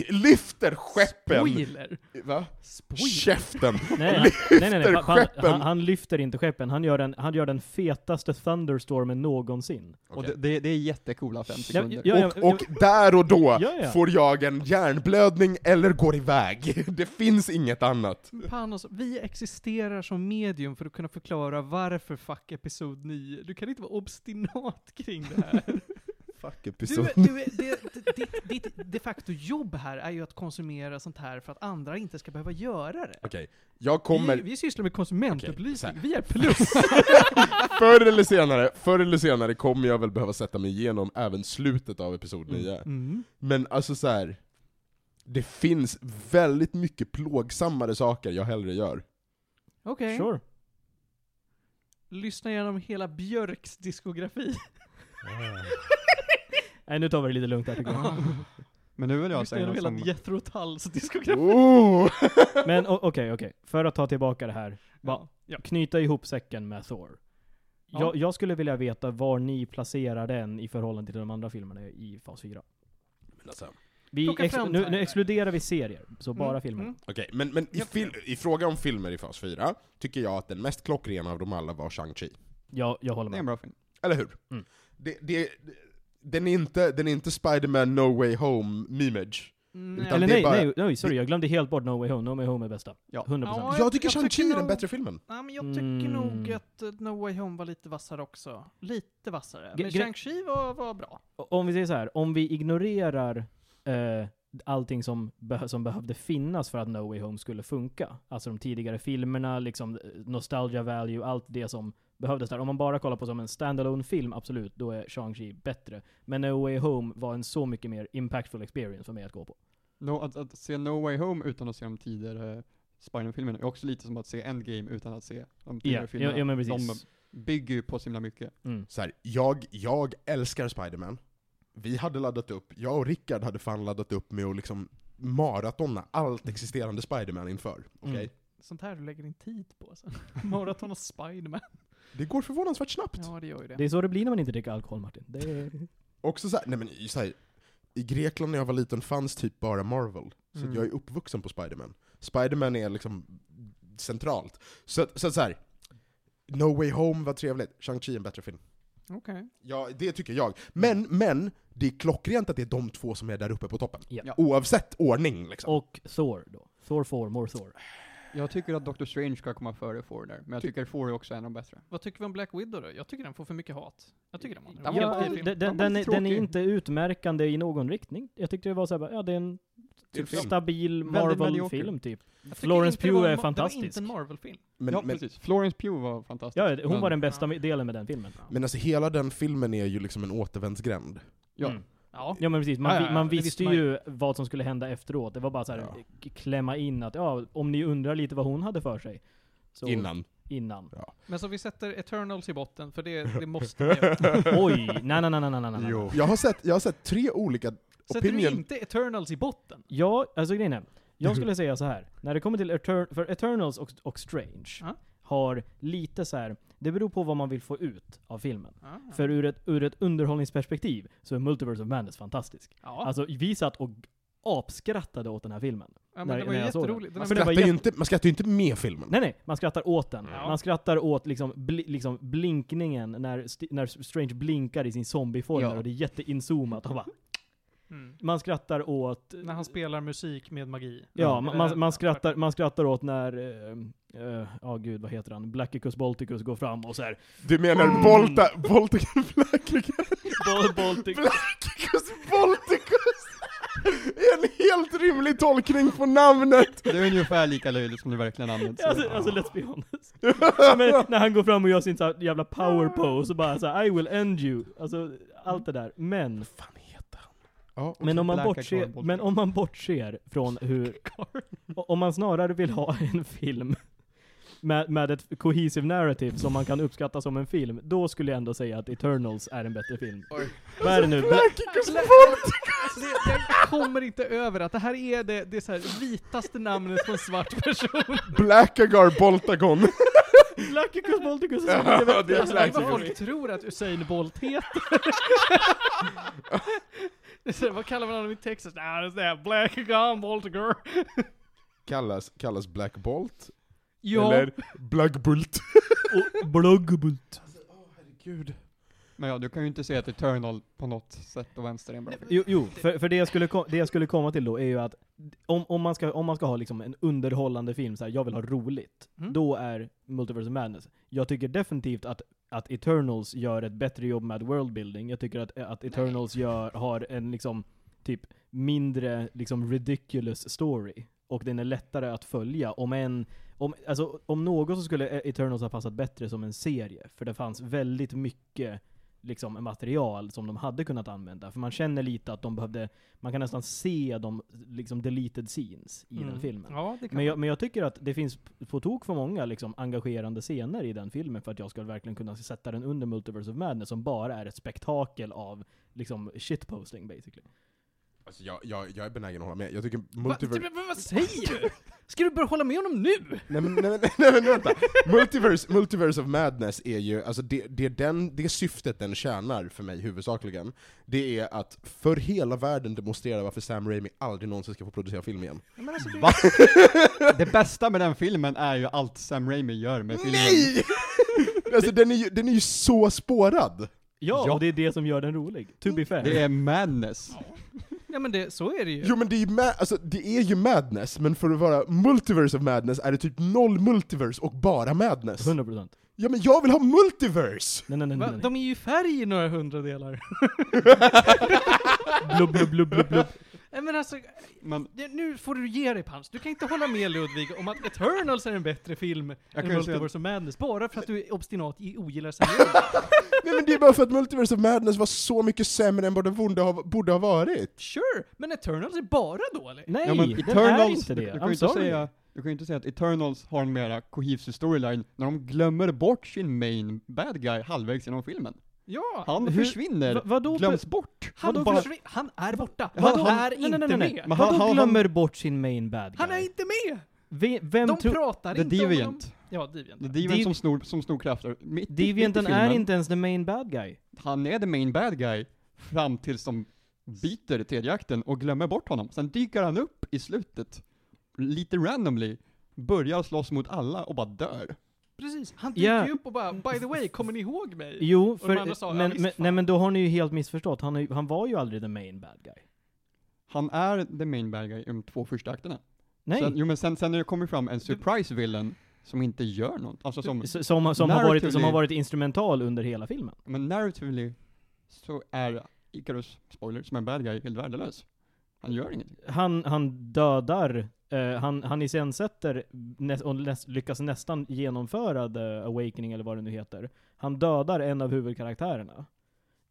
A: lyfter skeppen...
C: Spoiler!
A: Va?
C: Spoiler!
A: Käften!
B: Nej, nej, nej, nej.
A: Lyfter
B: Han, han-
A: skeppen.
B: han, han lyfter inte skeppen, han gör den, han gör den fetaste Thunderstormen någonsin.
D: Och det, det, det är jättecoola fem sekunder.
B: ja, ja,
A: och, och där och då
B: Ja, ja.
A: får jag en hjärnblödning eller går iväg. Det finns inget annat.
C: Panos, vi existerar som medium för att kunna förklara varför fuck Episod 9. Du kan inte vara obstinat kring det här.
A: Fuck
C: Du, är- du, är- det, det- ditt, ditt de facto jobb här är ju att konsumera sånt här för att andra inte ska behöva göra det.
A: Okej, jag kommer
C: Vi, vi sysslar med konsumentupplysning,
A: Okej,
C: vi är plus.
A: förr eller senare, förr eller senare kommer jag väl behöva sätta mig igenom även slutet av episod 9.
C: Mm.
A: Men alltså så här. det finns väldigt mycket plågsammare saker jag hellre gör.
C: Okej,
B: Sure.
C: lyssna igenom hela Björks diskografi.
B: Nej, nu tar vi det lite lugnt här tycker jag.
D: Men nu vill jag
C: lyssna
D: säga
C: igenom hela
D: något som...
C: Jethro Tulls diskografi.
A: Oh!
B: Men o- okej, okej. För att ta tillbaka det här. Va-
C: Ja.
B: Knyta ihop säcken med Thor.
C: Ja.
B: Jag, jag skulle vilja veta var ni placerar den i förhållande till de andra filmerna i Fas 4.
A: Men alltså,
B: Vi
C: Plocka
B: ex-
C: fram
B: nu, nu
C: timer.
B: exkluderar vi serier, så bara
C: Mm,
B: filmer.
C: mm.
A: Okej, men, men i,
C: Jag-
A: fil- i fråga om filmer i fas 4, tycker jag att den mest klockrena av dem alla var Shang-Chi.
B: Ja, jag håller
D: Det är
B: med.
D: en bra film.
A: Eller hur?
B: Mm.
A: Det, det, den, är inte, den är inte Spider-Man No Way Home mimage.
C: Nej.
A: Utan
B: Eller
A: det är
B: nej,
A: bara-
B: nej, nej, sorry, jag glömde helt bort No Way Home. No Way Home är bästa.
D: Ja.
B: 100%.
C: Ja,
A: Jag tycker
C: jag
A: Shang-Chi
C: tycker
A: är den
C: nog-
A: bättre filmen.
C: Nej, men jag tycker
B: Mm.
C: nog att eh, No Way Home var lite vassare också. Lite vassare.
B: Gre-
C: Men
B: gre-
C: Shang-Chi var, var bra.
B: O- Om vi säger så här, om vi ignorerar eh, allting som, behö- som behövde finnas för att No Way Home skulle funka. Alltså de tidigare filmerna, liksom eh, nostalgia value, allt det som behövdes där. Om man bara kollar på som en standalone film absolut, då är Shang-Chi bättre. Men No Way Home var en så mycket mer impactful experience för mig att gå på.
D: No, att, att se No Way Home utan att se de tidigare Spider-Man-filmerna är också lite som att se Endgame utan att se de tidigare
B: Ja,
D: filmerna.
B: ja, ja men precis.
D: De bygger ju på så himla mycket.
B: Mm.
A: Så här, jag, jag älskar Spider-Man. Vi hade laddat upp, jag och Rickard hade fan laddat upp med att liksom maratona allt existerande Spider-Man inför. Okej?
B: Mm.
C: Sånt här du lägger din tid på. Alltså. Maraton och Spiderman.
A: Det går förvånansvärt snabbt.
C: Ja, det gör ju det.
B: Det är så det blir när man inte dricker alkohol Martin. Det är...
A: Också så här, nej men så här, i Grekland när jag var liten fanns typ bara Marvel. Så att
D: Mm.
A: jag är uppvuxen på Spider-Man. Spider-Man är liksom centralt. Så, att- så, att så här, No Way Home var trevligt, Shang-Chi är en bättre film.
C: Okej.
A: Ja, det tycker jag. Men, men, det är klockrent att det är de två som är där uppe på toppen.
B: Ja.
D: Ja.
A: Oavsett ordning liksom.
B: Och Thor då. Thor 4, more Thor.
D: Jag tycker att Doctor Strange ska komma före Foreigner, men jag
A: Ty-
D: tycker Foreigner också är en av de bättre.
C: Vad tycker vi om Black Widow då? Jag tycker den får för mycket hat. Jag tycker den var en
D: Ja,
C: helt
B: Ja,
C: okej
D: det-
C: film.
B: den, den,
D: var
B: den, är-
D: lite
B: den är
D: tråkig.
B: inte utmärkande i någon riktning. Jag tyckte det var såhär, bara, ja det är en typ
A: Till film.
B: stabil
D: Väldigt medioker.
B: Marvel-film typ.
C: Jag tycker
B: Florence
C: inte det var
B: Pugh är
C: en ma- Det var
B: fantastisk.
C: inte en Marvel-film.
A: Men,
D: ja,
A: men,
D: precis. Florence Pugh var fantastisk.
B: Ja, hon
D: men-
B: var den bästa delen med den filmen.
A: men alltså hela den filmen är ju liksom en återvändsgränd.
D: Ja.
B: Mm.
C: Ja.
B: Ja men precis, man,
D: Ja, ja,
B: vi- man
D: det
B: visste,
D: visste man
B: ju vad som skulle hända efteråt. Det var bara så här,
A: Ja.
B: k- klämma in att, ja, om ni undrar lite vad hon hade för sig. Så,
A: Innan.
B: Innan.
C: Men så vi sätter Eternals i botten, för det, det måste vi göra.
B: Oj, nej nej nej nej nej nej, nej.
A: Jo. Jag har sett, jag har sett tre olika
C: Sätter vi
A: opinion...
C: inte Eternals i botten?
B: Ja, alltså grejen är, jag skulle säga så här. När det kommer till Etern- för Eternals och, och Strange,
C: Ja.
B: har lite så här. det beror på vad man vill få ut av filmen.
C: Ah.
B: För ur ett, ur ett underhållningsperspektiv så är Multiverse of Madness fantastisk.
C: ja.
B: Alltså vi satt och apskrattade åt den här filmen.
C: ja,
B: när-
C: men det var
B: när
C: ju
B: jag såg den.
C: jätteroligt. Den
A: Man
B: Man
C: här-
B: För det var
A: skrattar, ju inte, man skrattar ju inte med filmen.
B: Nej nej, man skrattar åt den.
C: Ja.
B: Man skrattar åt liksom, bli, liksom blinkningen när, sti- när Strange blinkar i sin zombieform
D: Ja.
B: och det är jätteinzoomat. Och bara,
C: Mm.
B: man skrattar åt...
C: När han spelar musik med magi.
B: Ja,
C: Eller-
B: man, man, man, skrattar, man skrattar åt när, ja eh, ah, gud vad heter han, Blackicus Balticus går fram och såhär,
A: Du
C: Mm.
A: menar Bolta... Bolticus Blackicus?
B: Bal Baltic...
A: Blackicus Bolticus! Är en helt rimlig tolkning på namnet!
D: Det är ungefär lika löjligt som det verkligen används.
B: Alltså, alltså let's be honest. Men när han går fram och gör sin så här jävla power pose och bara såhär I will end you. Alltså allt det där. Men,
A: fan heter han? Ja,
B: men, om, man
D: Black
B: bortser,
D: Cardboard.
B: men om man bortser från hur, o- om man snarare vill ha en film med, med ett cohesive narrative som man kan uppskatta som en film, då skulle jag ändå säga att Eternals är en bättre film. Vad är det nu? Bla-
A: Blackicus Bolticus!
C: Alltså, det, jag kommer inte över att det här är det, det är så här vitaste namnet på en svart person.
A: Blackagar Boltagon!
B: Blackicus Balticus
A: Ja, det är
C: Alltså, det är vad
A: Black
C: folk tror att Usain Bolt heter. det är så här, vad kallar man honom i Texas? Nah, det är så här, Black Gun Bolt Girl.
A: Kallas, kallas Black Bolt?
C: Ja,
A: Eller Black Bult?
B: och Blugbult.
A: Gud.
D: Men ja, du kan ju inte säga att Eternal på något sätt och vänster är en bra film.
B: Jo, jo för, för det, jag skulle kom, det jag skulle komma till då är ju att om, om, man, ska, om man ska ha liksom en underhållande film, så här, jag vill ha roligt,
C: Mm.
B: då är Multiverse of Madness. Jag tycker definitivt att, att Eternals gör ett bättre jobb med worldbuilding. Jag tycker att, att Eternals gör, har en liksom, typ mindre liksom ridiculous story. Och den är lättare att följa. Om en, om, alltså, om något så skulle Eternals ha passat bättre som en serie. För det fanns väldigt mycket liksom, material som de hade kunnat använda. För man känner lite att de behövde, man kan nästan se de liksom, deleted scenes i den
C: Mm.
B: filmen.
C: ja det kan
B: Men jag, men jag tycker att det finns p- på tok för många liksom, engagerande scener i den filmen för att jag skulle verkligen kunna sätta den under Multiverse of Madness som bara är ett spektakel av liksom, shitposting basically.
A: Alltså jag, jag, jag är benägen att hålla med, jag tycker
C: Va, Typ-
A: multiver-
C: men vad säger du? Ska du börja hålla med honom nu?
A: Nej men, nej, men, nej, men vänta! Multiverse, Multiverse of Madness är ju, alltså det, det, är den, det syftet den tjänar för mig huvudsakligen, det är att för hela världen demonstrera varför Sam Raimi aldrig någonsin ska få producera film igen.
C: Men alltså, det,
D: Va? Det bästa med den filmen är ju allt Sam Raimi gör med filmen.
A: Nej! alltså den är, ju, den är ju så spårad!
B: Ja,
D: Ja.
B: och det är det som gör den rolig. To be fair.
D: Det är madness.
C: ja, men det, så är det ju.
A: Jo men det är ju, ma- alltså, det är ju madness, men för att vara multiverse of madness är det typ noll multiverse och bara madness.
B: 100%.
A: Ja men jag vill ha multiverse!
B: Nej, nej, nej,
C: Va,
B: nej. nej.
C: de är ju i färg i några hundradelar.
B: Blubb, blubb, blubb, blubb, blubb.
C: Nej, men alltså,
D: Men
C: det, nu får du ge dig Pans. Du kan inte hålla med Ludvig om att Eternals är en bättre film
D: jag
C: än
D: kan ju säga
C: Multiverse of Madness. Bara för att du är obstinat i ogillar Sam Raimi.
A: Nej men det är bara för att Multiverse of Madness var så mycket sämre än vad det borde ha, borde ha varit.
C: Sure, men Eternals är bara dålig.
B: Nej,
D: ja, men
B: den är
D: Eternals,
B: inte
D: du,
B: det.
D: du, kan
B: I'm
D: ju inte
B: sorry.
D: säga, du kan ju inte säga att Eternals har en mera cohesive storyline när de glömmer bort sin main bad guy halvvägs genom filmen.
C: Ja,
D: Han
B: Hur-
D: försvinner,
B: Va, vadå?
D: glöms bort.
C: han,
D: bara-
C: försvin- han är borta.
D: Han-
C: Han,
D: han-
C: är
B: nej, nej,
C: inte
B: nej, nej.
C: med.
D: Men han-
B: Vadå
D: han- han-
B: glömmer bort sin main bad guy?
C: Han är inte med!
B: Ve- Vem
C: De
B: tror...
C: pratar
D: The
C: inte om honom.
D: Deviant.
C: Ja, Deviant.
D: The Deviant
B: Div-
D: som, snor, som snor krafter. Mitt, i-
B: Devianten
D: mitt i
B: är
D: filmen.
B: inte ens the main bad guy.
D: Han är the main bad guy fram tills de byter i tredje akten och glömmer bort honom. Sen dyker han upp i slutet, lite randomly, börjar slåss mot alla och bara dör.
C: Precis. Han dyker
B: Ja.
C: ju upp och bara ”By the way, kommer ni ihåg mig?”
B: Jo,
C: de
B: för,
C: andra sa, ja,
B: men,
C: visst,
B: men,
C: fan.
B: nej, men då har ni ju helt missförstått. Han, är ju- han var ju aldrig the main bad guy.
D: Han är the main bad guy i de två första akterna.
B: Nej.
D: Sen, jo men sen, sen när det kommer fram en surprise villain som inte gör något, alltså som,
B: S- som, som, har varit, som
D: Narratively-
B: har varit instrumental under hela filmen.
D: men narratively så är Icarus, spoiler, som en bad guy helt värdelös. Han gör ingenting.
B: Han, han dödar, eh, han, han iscensätter nä, och näs, lyckas nästan genomföra The Awakening eller vad det nu heter. Han dödar en av huvudkaraktärerna.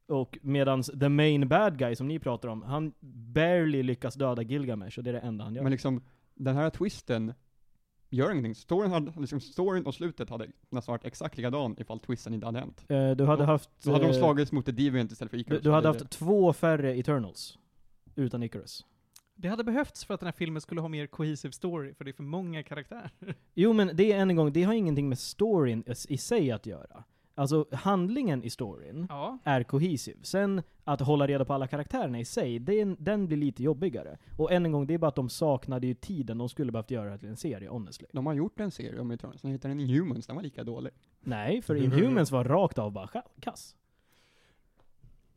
B: Och medans the main bad guy som ni pratar om, han barely lyckas döda Gilgamesh och det är det enda han gör.
D: Men liksom, den här twisten gör ingenting. Storyn, hade, liksom, storyn och slutet hade nästan varit exakt likadan ifall twisten inte hade hänt.
B: Eh, du hade
D: Då-
B: haft...
D: liksom- Då hade
B: eh,
D: de slagits mot The Deviant istället för
B: Du,
D: Icarus.
B: du hade
D: Det-
B: haft två färre Eternals. Utan Icarus.
C: Det hade behövts för att den här filmen skulle ha mer cohesive story, för det är för många karaktärer.
B: Jo men det är än en gång, det har ingenting med storyn i- i sig att göra. Alltså handlingen i storyn
C: Ja.
B: är kohesiv. Sen att hålla reda på alla karaktärerna i sig, det är en- den blir lite jobbigare. Och än en gång, det är bara att de saknade ju tiden de skulle behövt göra till en serie, honestly.
D: De har gjort en serie om Eternals, den heter Inhumans, den var lika dålig.
B: Nej, för Inhumans var rakt av bara ka- kass.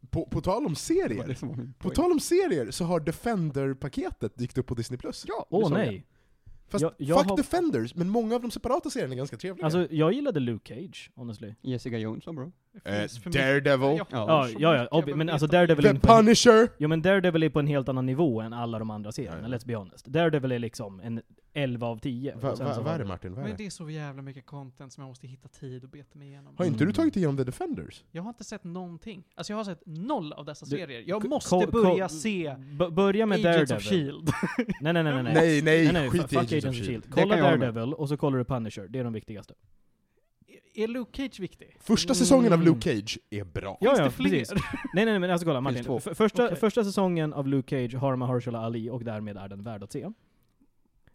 A: På, på tal om
D: Det var
A: serier,
D: det som var min
A: på
D: poäng.
A: tal om serier så har Defender-paketet dykt upp på Disney+. Plus.
D: Ja, du
B: Åh
D: såg
B: nej.
A: Fast
B: Jag- jag
A: fuck
B: har-
A: Defenders, men många av de separata serierna är ganska trevliga.
B: Alltså, jag gillade Luke Cage, honestly.
D: det. Jessica Jones var bra.
A: Eh,
C: finns för mycket-
A: Daredevil,
C: Ja.
B: Ja,
C: så
B: ja,
C: mycket
B: ja
C: jag
B: obvi-
C: vill
B: men
C: veta.
B: alltså Daredevil är
A: The
B: inte på en-
A: Punisher!
B: Jo men Daredevil är på en helt annan nivå än alla de andra serierna,
A: Ja, ja.
B: let's be honest. Daredevil är liksom en 11 av
A: Va-
B: 10. Och sen
A: va-
B: så
A: Vad
B: har
A: är det
B: du-
A: Martin? Vad är det?
C: Men det är så jävla mycket content som jag måste hitta tid och beta mig igenom.
A: Har inte du
B: Mm.
A: tagit igenom The Defenders?
C: Jag har inte sett någonting. Alltså jag har sett noll av dessa
B: Du-
C: serier. Jag
B: Ko-
C: måste
B: ko-
C: börja
B: ko-
C: se
B: B- börja med
C: Agents of
B: Daredevil.
C: Shield.
B: Nej nej nej nej.
A: Nej, nej,
B: fuck
A: skit i E Agents of
B: of
A: Shield.
B: Shield. E Kolla
D: kan jag hålla med.
B: Daredevil och så kollar du Punisher, det är de viktigaste.
C: Är Luke Cage viktig?
A: Första
B: Mm.
A: säsongen av Luke Cage är bra.
B: Ja,
C: Finns
B: ja,
C: det fler?
B: precis. Nej nej nej men alltså kolla Martin.
D: två.
B: F- första,
C: Okej.
B: första säsongen av Luke Cage har Mahershala Ali och därmed är den värd att se.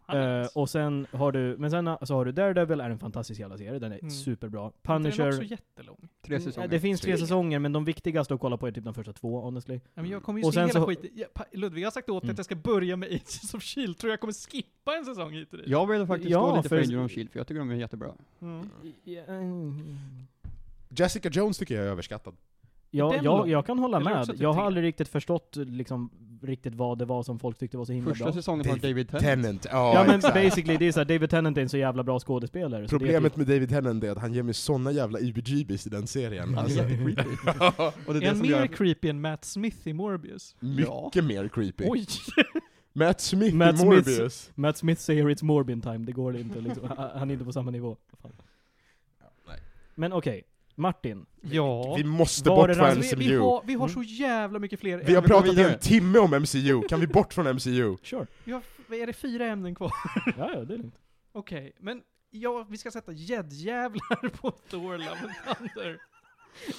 C: Han är
B: Eh,
C: nice.
B: och sen har du, men sen så har du Daredevil, är en fantastisk jävla serie, den är
C: Mm.
B: superbra.
C: Inte är Den också
B: Punisher,
C: jättelång.
D: Tre
B: Mm,
D: säsonger.
B: Det finns tre
A: Tre.
B: säsonger, men de viktigaste att kolla på är typ de första två, honestly.
C: Ja, men jag kommer ju
B: Och
C: se
B: sen
C: hela
B: så-
C: skiten. Ja, pa- Ludvig har sagt åt mig
B: Mm.
C: att jag ska börja med Agents of Shield. E Tror jag kommer skippa en säsong hit och dit.
D: Jag vill faktiskt
B: Ja,
D: stå lite för
B: för-
D: Agent of Shield, för jag tycker de är jättebra.
C: Mm.
A: Jessica Jones tycker jag är överskattad.
B: Ja,
C: Den
B: jag,
C: lång.
B: jag kan hålla
C: Eller
B: med.
C: också typ
B: Jag har
C: tre.
B: aldrig riktigt förstått liksom, riktigt vad det var som folk tyckte var så himla
D: Första
B: bra.
D: säsongen har
A: David
D: David Tennant.
A: Tennant, ja,
B: Ja men
A: exakt.
B: basically, det är såhär, David Tennant är en så jävla bra skådespelare. så det är
A: Problemet
B: typ-
A: med David Tennant är att han ger mig såna jävla ibgbis i den serien.
D: Han är
A: Alltså,
D: jättecreepy. Och det är
C: Är
D: det
C: han
D: som
C: mer
D: gör...
C: creepy än Matt Smith i Morbius?
A: mycket mer creepy.
C: Oj!
A: Matt Smith
B: Matt
A: i
B: Smith-
A: Morbius.
B: Matt Smith säger 'It's Morbin time', det går inte liksom. Han- Han är inte på samma nivå. Fan.
A: nej.
B: Men okej, Martin.
C: Ja.
A: Vi måste
B: Var
A: bort
B: är
A: från
B: det-
A: MCU.
C: Alltså, vi, vi, har, vi har så jävla mycket fler
A: Vi har
C: ämnen.
A: pratat i
D: vidare.
A: en timme om MCU, kan vi bort från MCU?
B: Sure.
C: Vi har, vad är det fyra ämnen kvar?
B: Ja, ja, det är lugnt.
C: Okej, men ja, vi ska sätta gäddjävlar på Thor Love and Thunder.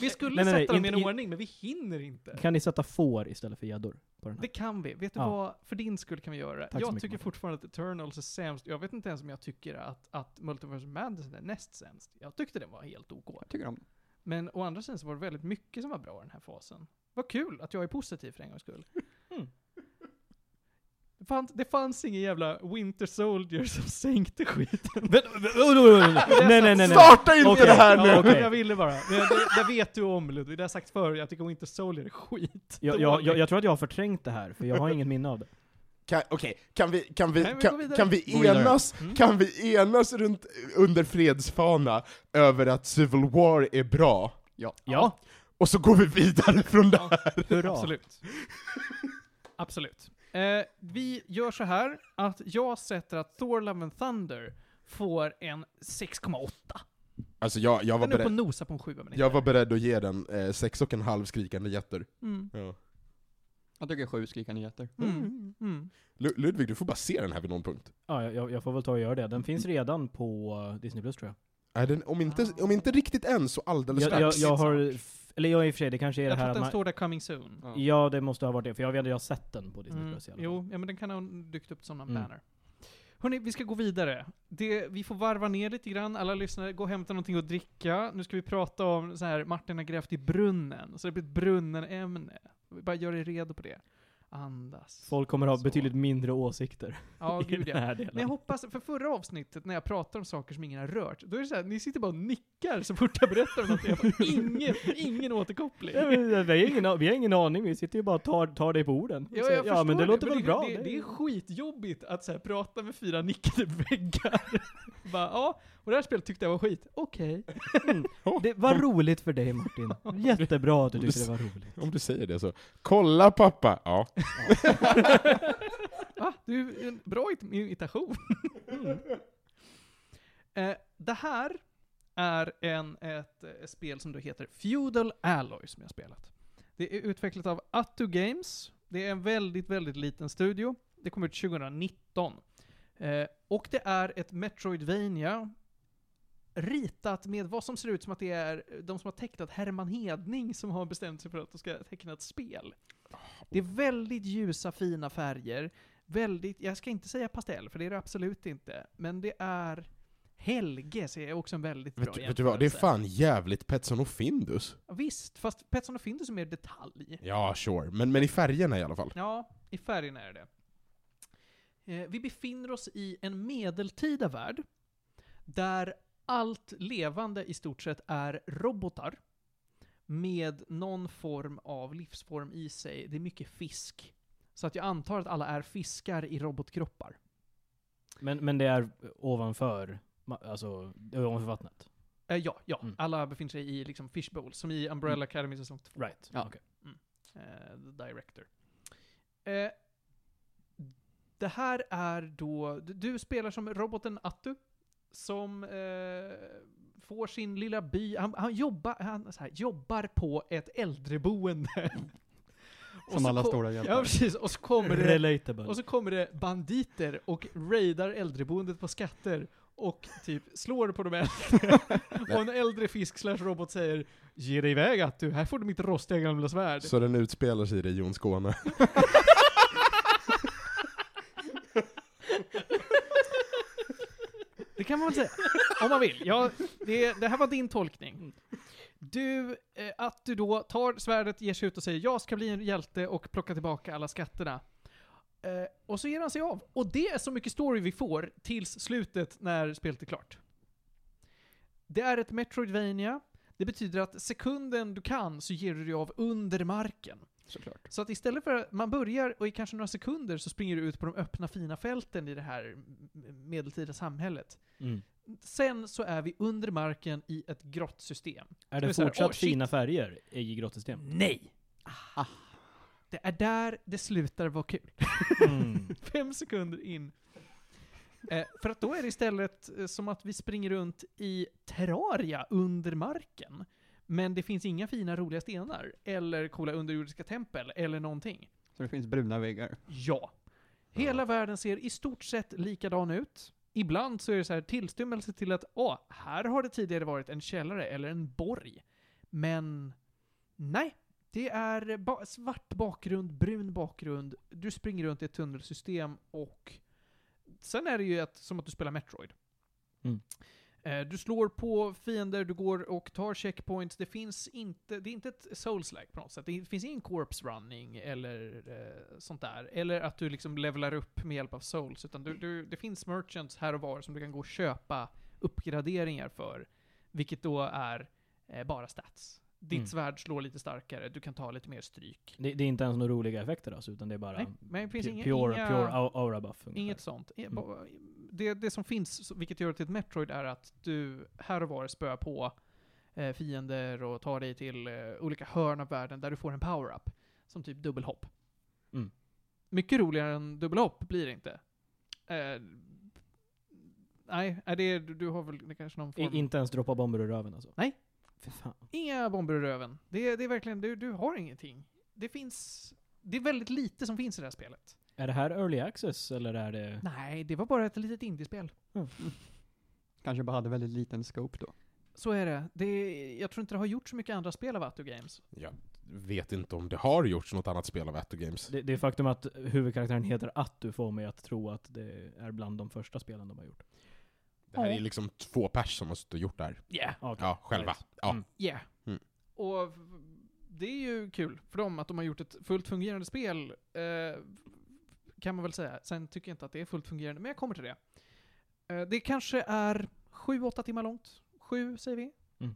C: Vi skulle
B: Nej, nej, nej,
C: sätta dem
B: inte-
C: i en
B: in-
C: ordning, men vi hinner inte.
B: Kan ni sätta får istället för gäddor? på den här?
C: Det kan vi. Vet du
B: Ja.
C: vad? För din skull kan vi göra det.
B: Tack så
C: jag
B: mycket,
C: tycker
B: Martin.
C: fortfarande att Eternals är sämst. Jag vet inte ens om jag tycker att, att Multiverse of Madness är näst sämst. Jag tyckte den var helt OK.
D: Jag tycker om
C: Men å andra sidan så var det väldigt mycket som var bra i den här fasen. Vad kul att jag är positiv för en gångs skull.
A: Hmm.
B: Mm.
C: Det, fanns, det fanns ingen jävla Winter Soldier som sänkte skiten.
B: Nej, nej, nej, nej.
A: Starta inte
B: Okej.
A: det här nu!
C: Ja,
B: okej.
C: Jag ville bara. Men det, det vet du om Ludvig, det har jag sagt förr. Jag tycker Winter Soldier är skit.
B: Jag, jag, jag, jag tror att jag har förträngt det här, för jag har inget minne av det.
A: Kan, okej, kan vi, kan vi,
C: Nej, vi går
A: kan,
C: vidare.
A: kan
D: Gå
A: vi
D: vidare.
A: enas,
C: Mm.
A: kan vi enas runt, under fredsfana över att Civil War är bra?
B: Ja,
A: Och så går vi vidare från det här.
B: hurra.
C: Absolut. Absolut. Eh, vi gör så här att jag sätter att Thor Love and Thunder får en 6,8.
A: Alltså jag, jag, var,
C: Den är uppe och
A: beredd,
C: nosar på en 7 men
A: jag var beredd att ge den eh, sex och en halv skrikande jätter.
C: Mm.
D: Jag tycker sju skrikande jätter.
C: Mm. Mm.
A: Lu- Ludvig, du får bara se den här vid någon punkt.
B: Ja, jag, jag får väl ta och göra det.
C: Mm.
B: Den finns redan på eh, Disney Plus tror jag.
A: Är den, om, inte, om inte riktigt än, så alldeles
B: Jag,
A: strax.
B: jag, jag har, f- eller jag i och för sig, det kanske är
C: Jag
B: det
C: tror
B: här
C: att
B: att
C: den
B: man,
C: står där coming soon.
D: Ja.
B: Ja, det måste ha varit det, för jag vet att jag har sett den på Disney
C: Mm.
B: Plus i alla fall.
C: Jo, ja, men den kan ha dykt upp som en
B: Mm.
C: banner. Hörni, vi ska gå vidare. Det, vi får varva ner lite grann. Alla lyssnare, gå och hämta någonting att dricka. Nu ska vi prata om så här, Martin har grävt i brunnen. Så det blir ett brunnenämne. Vi bara gör er redo på det. Andas.
B: Folk kommer ha
C: Så.
B: betydligt mindre åsikter
C: ja,
B: i
C: gud
B: den
C: ja.
B: här delen.
C: Men jag hoppas, för förra avsnittet när jag pratar om saker som ingen har rört, då är det så här, ni sitter bara och nickar så fort jag berättar om något. Jag bara, ingen, ingen återkoppling.
B: Ja, men, ja, vi, har ingen, a- vi har ingen aning, vi sitter ju bara och tar, tar dig på orden.
C: Ja,
B: Så,
C: jag
B: ja men
C: förstår
B: det låter
C: men
B: väl bra.
C: Det, det är skitjobbigt att så här, prata med fyra nickade väggar. Bara, ja, och det här spelet tyckte jag var skit. Okej.
B: Det var roligt för dig Martin. Jättebra att du tyckte det var roligt.
A: Om du säger det så. Kolla pappa! Ja.
C: Va? Ah, Du, en bra it- imitation. Eh, det här är en, ett, eh, spel som då heter Feudal Alloy som jag spelat. Det är utvecklat av Attu Games. Det är en väldigt, väldigt liten studio. Det kom ut 2019. Eh, och det är ett Metroidvania ritat med vad som ser ut som att det är eh, de som har tecknat Herman Hedning som har bestämt sig för att de ska teckna ett spel. Det är väldigt ljusa, fina färger väldigt, jag ska inte säga pastell, för det är det absolut inte. Men det är Helge ser jag också en väldigt bra
A: Vet, du- vet du vad, det är
C: jämförelse.
A: fan jävligt Petson och Findus.
C: Ja, Visst, fast Petson och Findus är mer detalj.
A: Ja, sure. Men, men i färgerna i alla fall.
C: Ja, i färgen är det eh, Vi befinner oss i en medeltida värld där allt levande i stort sett är robotar med någon form av livsform i sig. Det är mycket fisk. Så att jag antar att alla är fiskar i robotkroppar.
B: Men, men det är ovanför, ma- alltså det är ovanför vattnet.
C: Eh, ja, ja.
B: Mm.
C: Alla befinner sig i liksom fishbowl, som i Umbrella Academy säsong 2.
B: Right.
D: Ja.
B: okej.
C: Eh, the director. Eh, det här är då, du- du spelar som roboten Attu, som eh, får sin lilla by, han, han, jobbar, han så här, jobbar på ett äldreboende. Och
D: Som
C: så
D: alla
C: ko-
D: stora
C: Ja,
D: hjältar.
C: precis. Och så kommer det
B: Relatable.
C: och så kommer det banditer och raidar äldreboendet på skatter och typ slår på de äldre. och en äldre fisk slash robot säger Ge dig iväg Attu, här får du mitt rostiga gamla svärd.
A: Så den utspelar sig i Region Skåne.
C: Det kan man väl säga. Om man vill. Ja, det, det här var din tolkning. Du, eh, att du då tar svärdet, ger sig ut och säger jag ska bli en hjälte och plocka tillbaka alla skatterna. Eh, och så ger han sig av. Och det är så mycket story vi får tills slutet när spelet är klart. Det är ett Metroidvania. Det betyder att sekunden du kan så ger du dig av under marken.
D: Såklart.
C: Så att istället för att man börjar och i kanske några sekunder så springer du ut på de öppna fina fälten i det här m- medeltida samhället.
B: mm.
C: Sen så är vi under marken i ett grått system.
B: Är
C: Det är
B: det
C: så här,
B: fortsatt
C: "Åh, shit."
B: fina färger i grottsystemet?
C: Nej! Ah. Det är där det slutar vara kul.
B: Mm.
C: Fem sekunder in. Eh, för att då är det istället eh, som att vi springer runt i terraria under marken. Men det finns inga fina roliga stenar, eller coola underjordiska tempel, eller någonting.
D: Så det finns bruna väggar.
C: Ja. Hela världen ser i stort sett likadan ut. Ibland så är det så här tillstymmelse till att åh, här har det tidigare varit en källare eller en borg. Men nej, det är ba- svart bakgrund, brun bakgrund, du springer runt i ett tunnelsystem och sen är det ju ett, som att du spelar Metroid.
B: Mm.
C: Eh, Du slår på fiender, du går och tar checkpoints. Det finns inte, det är inte ett souls-like på något sätt. Det finns ingen corpse running eller eh, sånt där. Eller att du liksom levelar upp med hjälp av souls. Utan du, du, det finns merchants här och var som du kan gå och köpa uppgraderingar för. Vilket då är eh, bara stats. Ditt
B: Mm.
C: svärd slår lite starkare, du kan ta lite mer stryk.
B: Det, det är inte ens några roliga effekter alltså, utan det är bara
C: Nej, men det finns
B: pu-
C: inga-
B: pure,
C: inga-
B: pure au- aura buff. ungefär.
C: Inget sånt. Eh, ba- Det, det som finns, så- vilket gör det till ett Metroid, är att du här och var spöar på eh, fiender och tar dig till eh, olika hörn av världen där du får en power-up. Som typ dubbelhopp.
B: Mm.
C: Mycket roligare än dubbelhopp blir det inte. Eh, nej, är det, du, du har väl kanske någon form...
B: I, inte ens droppa bomber ur röven alltså?
C: Nej.
B: Fy fan.
C: Inga bomber i röven. Det, det är verkligen, du, du har ingenting. Det finns... Det är väldigt lite som finns i det här spelet.
B: Är det här early access eller är det...
C: Nej, det var bara ett litet indiespel.
D: Kanske bara hade väldigt liten scope då.
C: Så är det. det. Jag tror inte det har gjort så mycket andra spel av Atto Games.
A: Jag vet inte om det har gjorts något annat spel av Atto Games.
B: Det, det faktum att huvudkaraktären heter Attu får mig att tro att det är bland de första spelen de har gjort.
A: Det här
C: Ja.
A: är liksom två pers som har suttit och gjort det här.
C: Yeah.
B: Ah, okej.
A: Ja, själva.
B: Right.
A: Ja.
B: Mm.
C: Yeah.
A: Mm.
C: Och det är ju kul för dem att de har gjort ett fullt fungerande spel, eh, kan man väl säga. Sen tycker jag inte att det är fullt fungerande, men jag kommer till det. Eh, det kanske är 7-8 timmar långt. 7 säger vi.
B: Mm.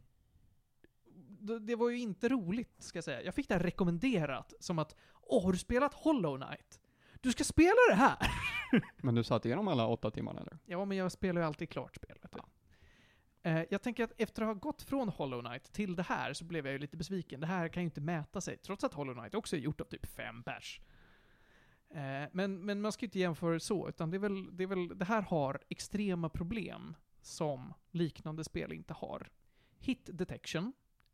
C: Det, det var ju inte roligt, ska jag säga. Jag fick det här rekommenderat som att Åh, har du spelat Hollow Knight? Du ska spela det här!
D: Men du satt igenom alla åtta timmarna eller?
C: Ja, men jag spelar ju alltid klart spel. Vet du. Eh, jag tänker att efter att ha gått från Hollow Knight till det här så blev jag ju lite besviken. Det här kan ju inte mäta sig, trots att Hollow Knight också är gjort av typ fem pers. Eh, men, men man ska ju inte jämföra så, utan det är, väl, det är väl, det här har extrema problem som liknande spel inte har. Hit detection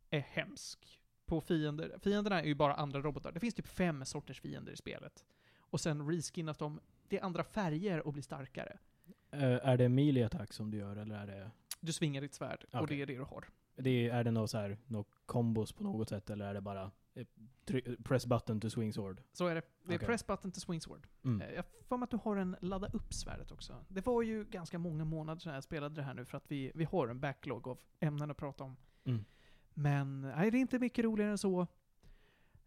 C: är hemsk på fiender. Fienderna är ju bara andra robotar. Det finns typ fem sorters fiender i spelet. Och sen reskinnas de till andra färger och blir starkare.
B: Eh, är det melee attack som du gör eller är det...
C: Du svingar ditt svärd och
B: Okej.
C: det är det du har.
B: det är, är det något så här, något kombos på något sätt eller är det bara eh, try- press button to swing sword?
C: Så är det. Det är
B: Okej.
C: press button till swing sword.
B: Mm.
C: Eh, Jag får för mig att du har en ladda upp svärdet också. Det var ju ganska många månader sedan jag spelade det här nu för att vi, vi har en backlog av ämnen att prata om.
B: Mm.
C: Men nej, det är inte mycket roligare än så.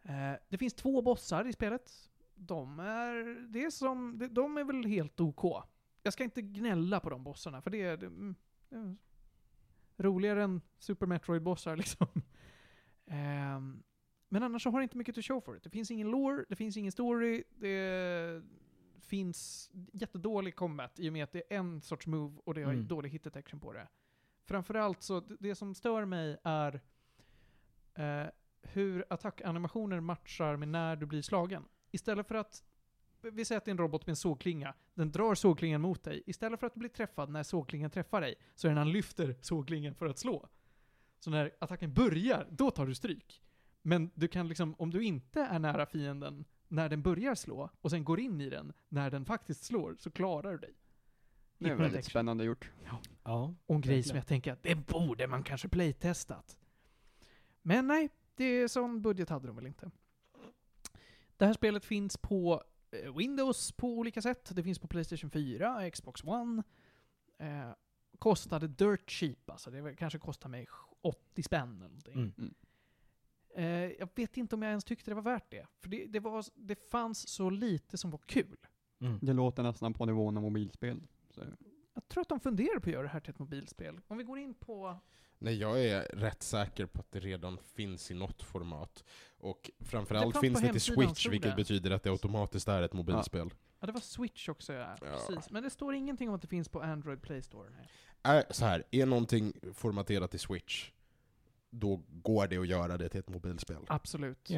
C: Eh, Det finns två bossar i spelet. De är, det är som, de- de är väl helt OK. Jag ska inte gnälla på de bossarna för det är, det- mm, det är roligare än Super Metroid-bossar liksom. Ehm, men annars så har det inte mycket att show for it. Det finns ingen lore, det finns ingen story, det finns jättedålig combat i och med att det är en sorts move och det har
B: Mm.
C: dålig hit detection på det. Framförallt så, d- det som stör mig är eh, hur attackanimationer matchar med när du blir slagen. Istället för att, vi säger att det är en robot med en sågklinga, den drar sågklingan mot dig. Istället för att bli träffad när sågklingan träffar dig, så är det när han lyfter sågklingan för att slå. Så när attacken börjar, då tar du stryk. Men du kan liksom, om du inte är nära fienden när den börjar slå och sen går in i den när den faktiskt slår, så klarar du dig.
D: Det är
C: Hit
D: väldigt
C: detection.
D: spännande gjort.
B: Ja.
C: Och en grej
B: Verkligen.
C: som jag tänker att det borde man kanske playtestat. Men nej, det är sån budget hade de väl inte. Det här spelet finns på eh, Windows på olika sätt. Det finns på Playstation 4, Xbox One. Eh, kostade dirt cheap, alltså det var- kanske kostade mig 80 spänn eller någonting.
B: Mm.
C: Eh, jag vet inte om jag ens tyckte det var värt det. För det, det, var, det fanns så lite som var kul.
B: Mm.
D: Det låter nästan på nivån av mobilspel. Så.
C: Jag tror att de funderar på att göra det här till ett mobilspel. Om vi går in på...
A: Nej, jag är rätt säker på att det redan finns i något format. Och
C: Det
A: framförallt
C: fanns
A: finns
C: på
A: det till
C: hemsidan,
A: Switch,
C: stod
A: vilket
C: det.
A: betyder att det automatiskt är ett mobilspel.
C: Ja, det var Switch också ja.
A: Ja.
C: Precis. Men det står ingenting om att det finns på Android Play Store. Nej.
A: Är, så här, är någonting formaterat till Switch, då går det att göra det till ett mobilspel.
C: Absolut.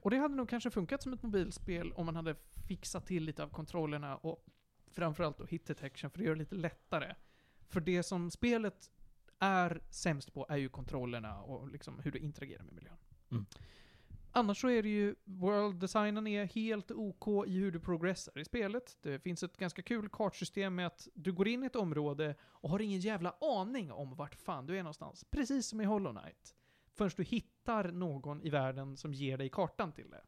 C: Och det hade nog kanske funkat som ett mobilspel om man hade fixat till lite av kontrollerna och framförallt då hit detection, för det gör det lite lättare. För det som spelet är sämst på är ju kontrollerna och liksom hur du interagerar med miljön.
B: Mm.
C: Annars så är det ju, world-designen är helt OK i hur du progressar i spelet. Det finns ett ganska kul kartsystem med att du går in i ett område och har ingen jävla aning om vart fan du är någonstans. Precis som i Hollow Knight förrän du hittar någon i världen som ger dig kartan till det.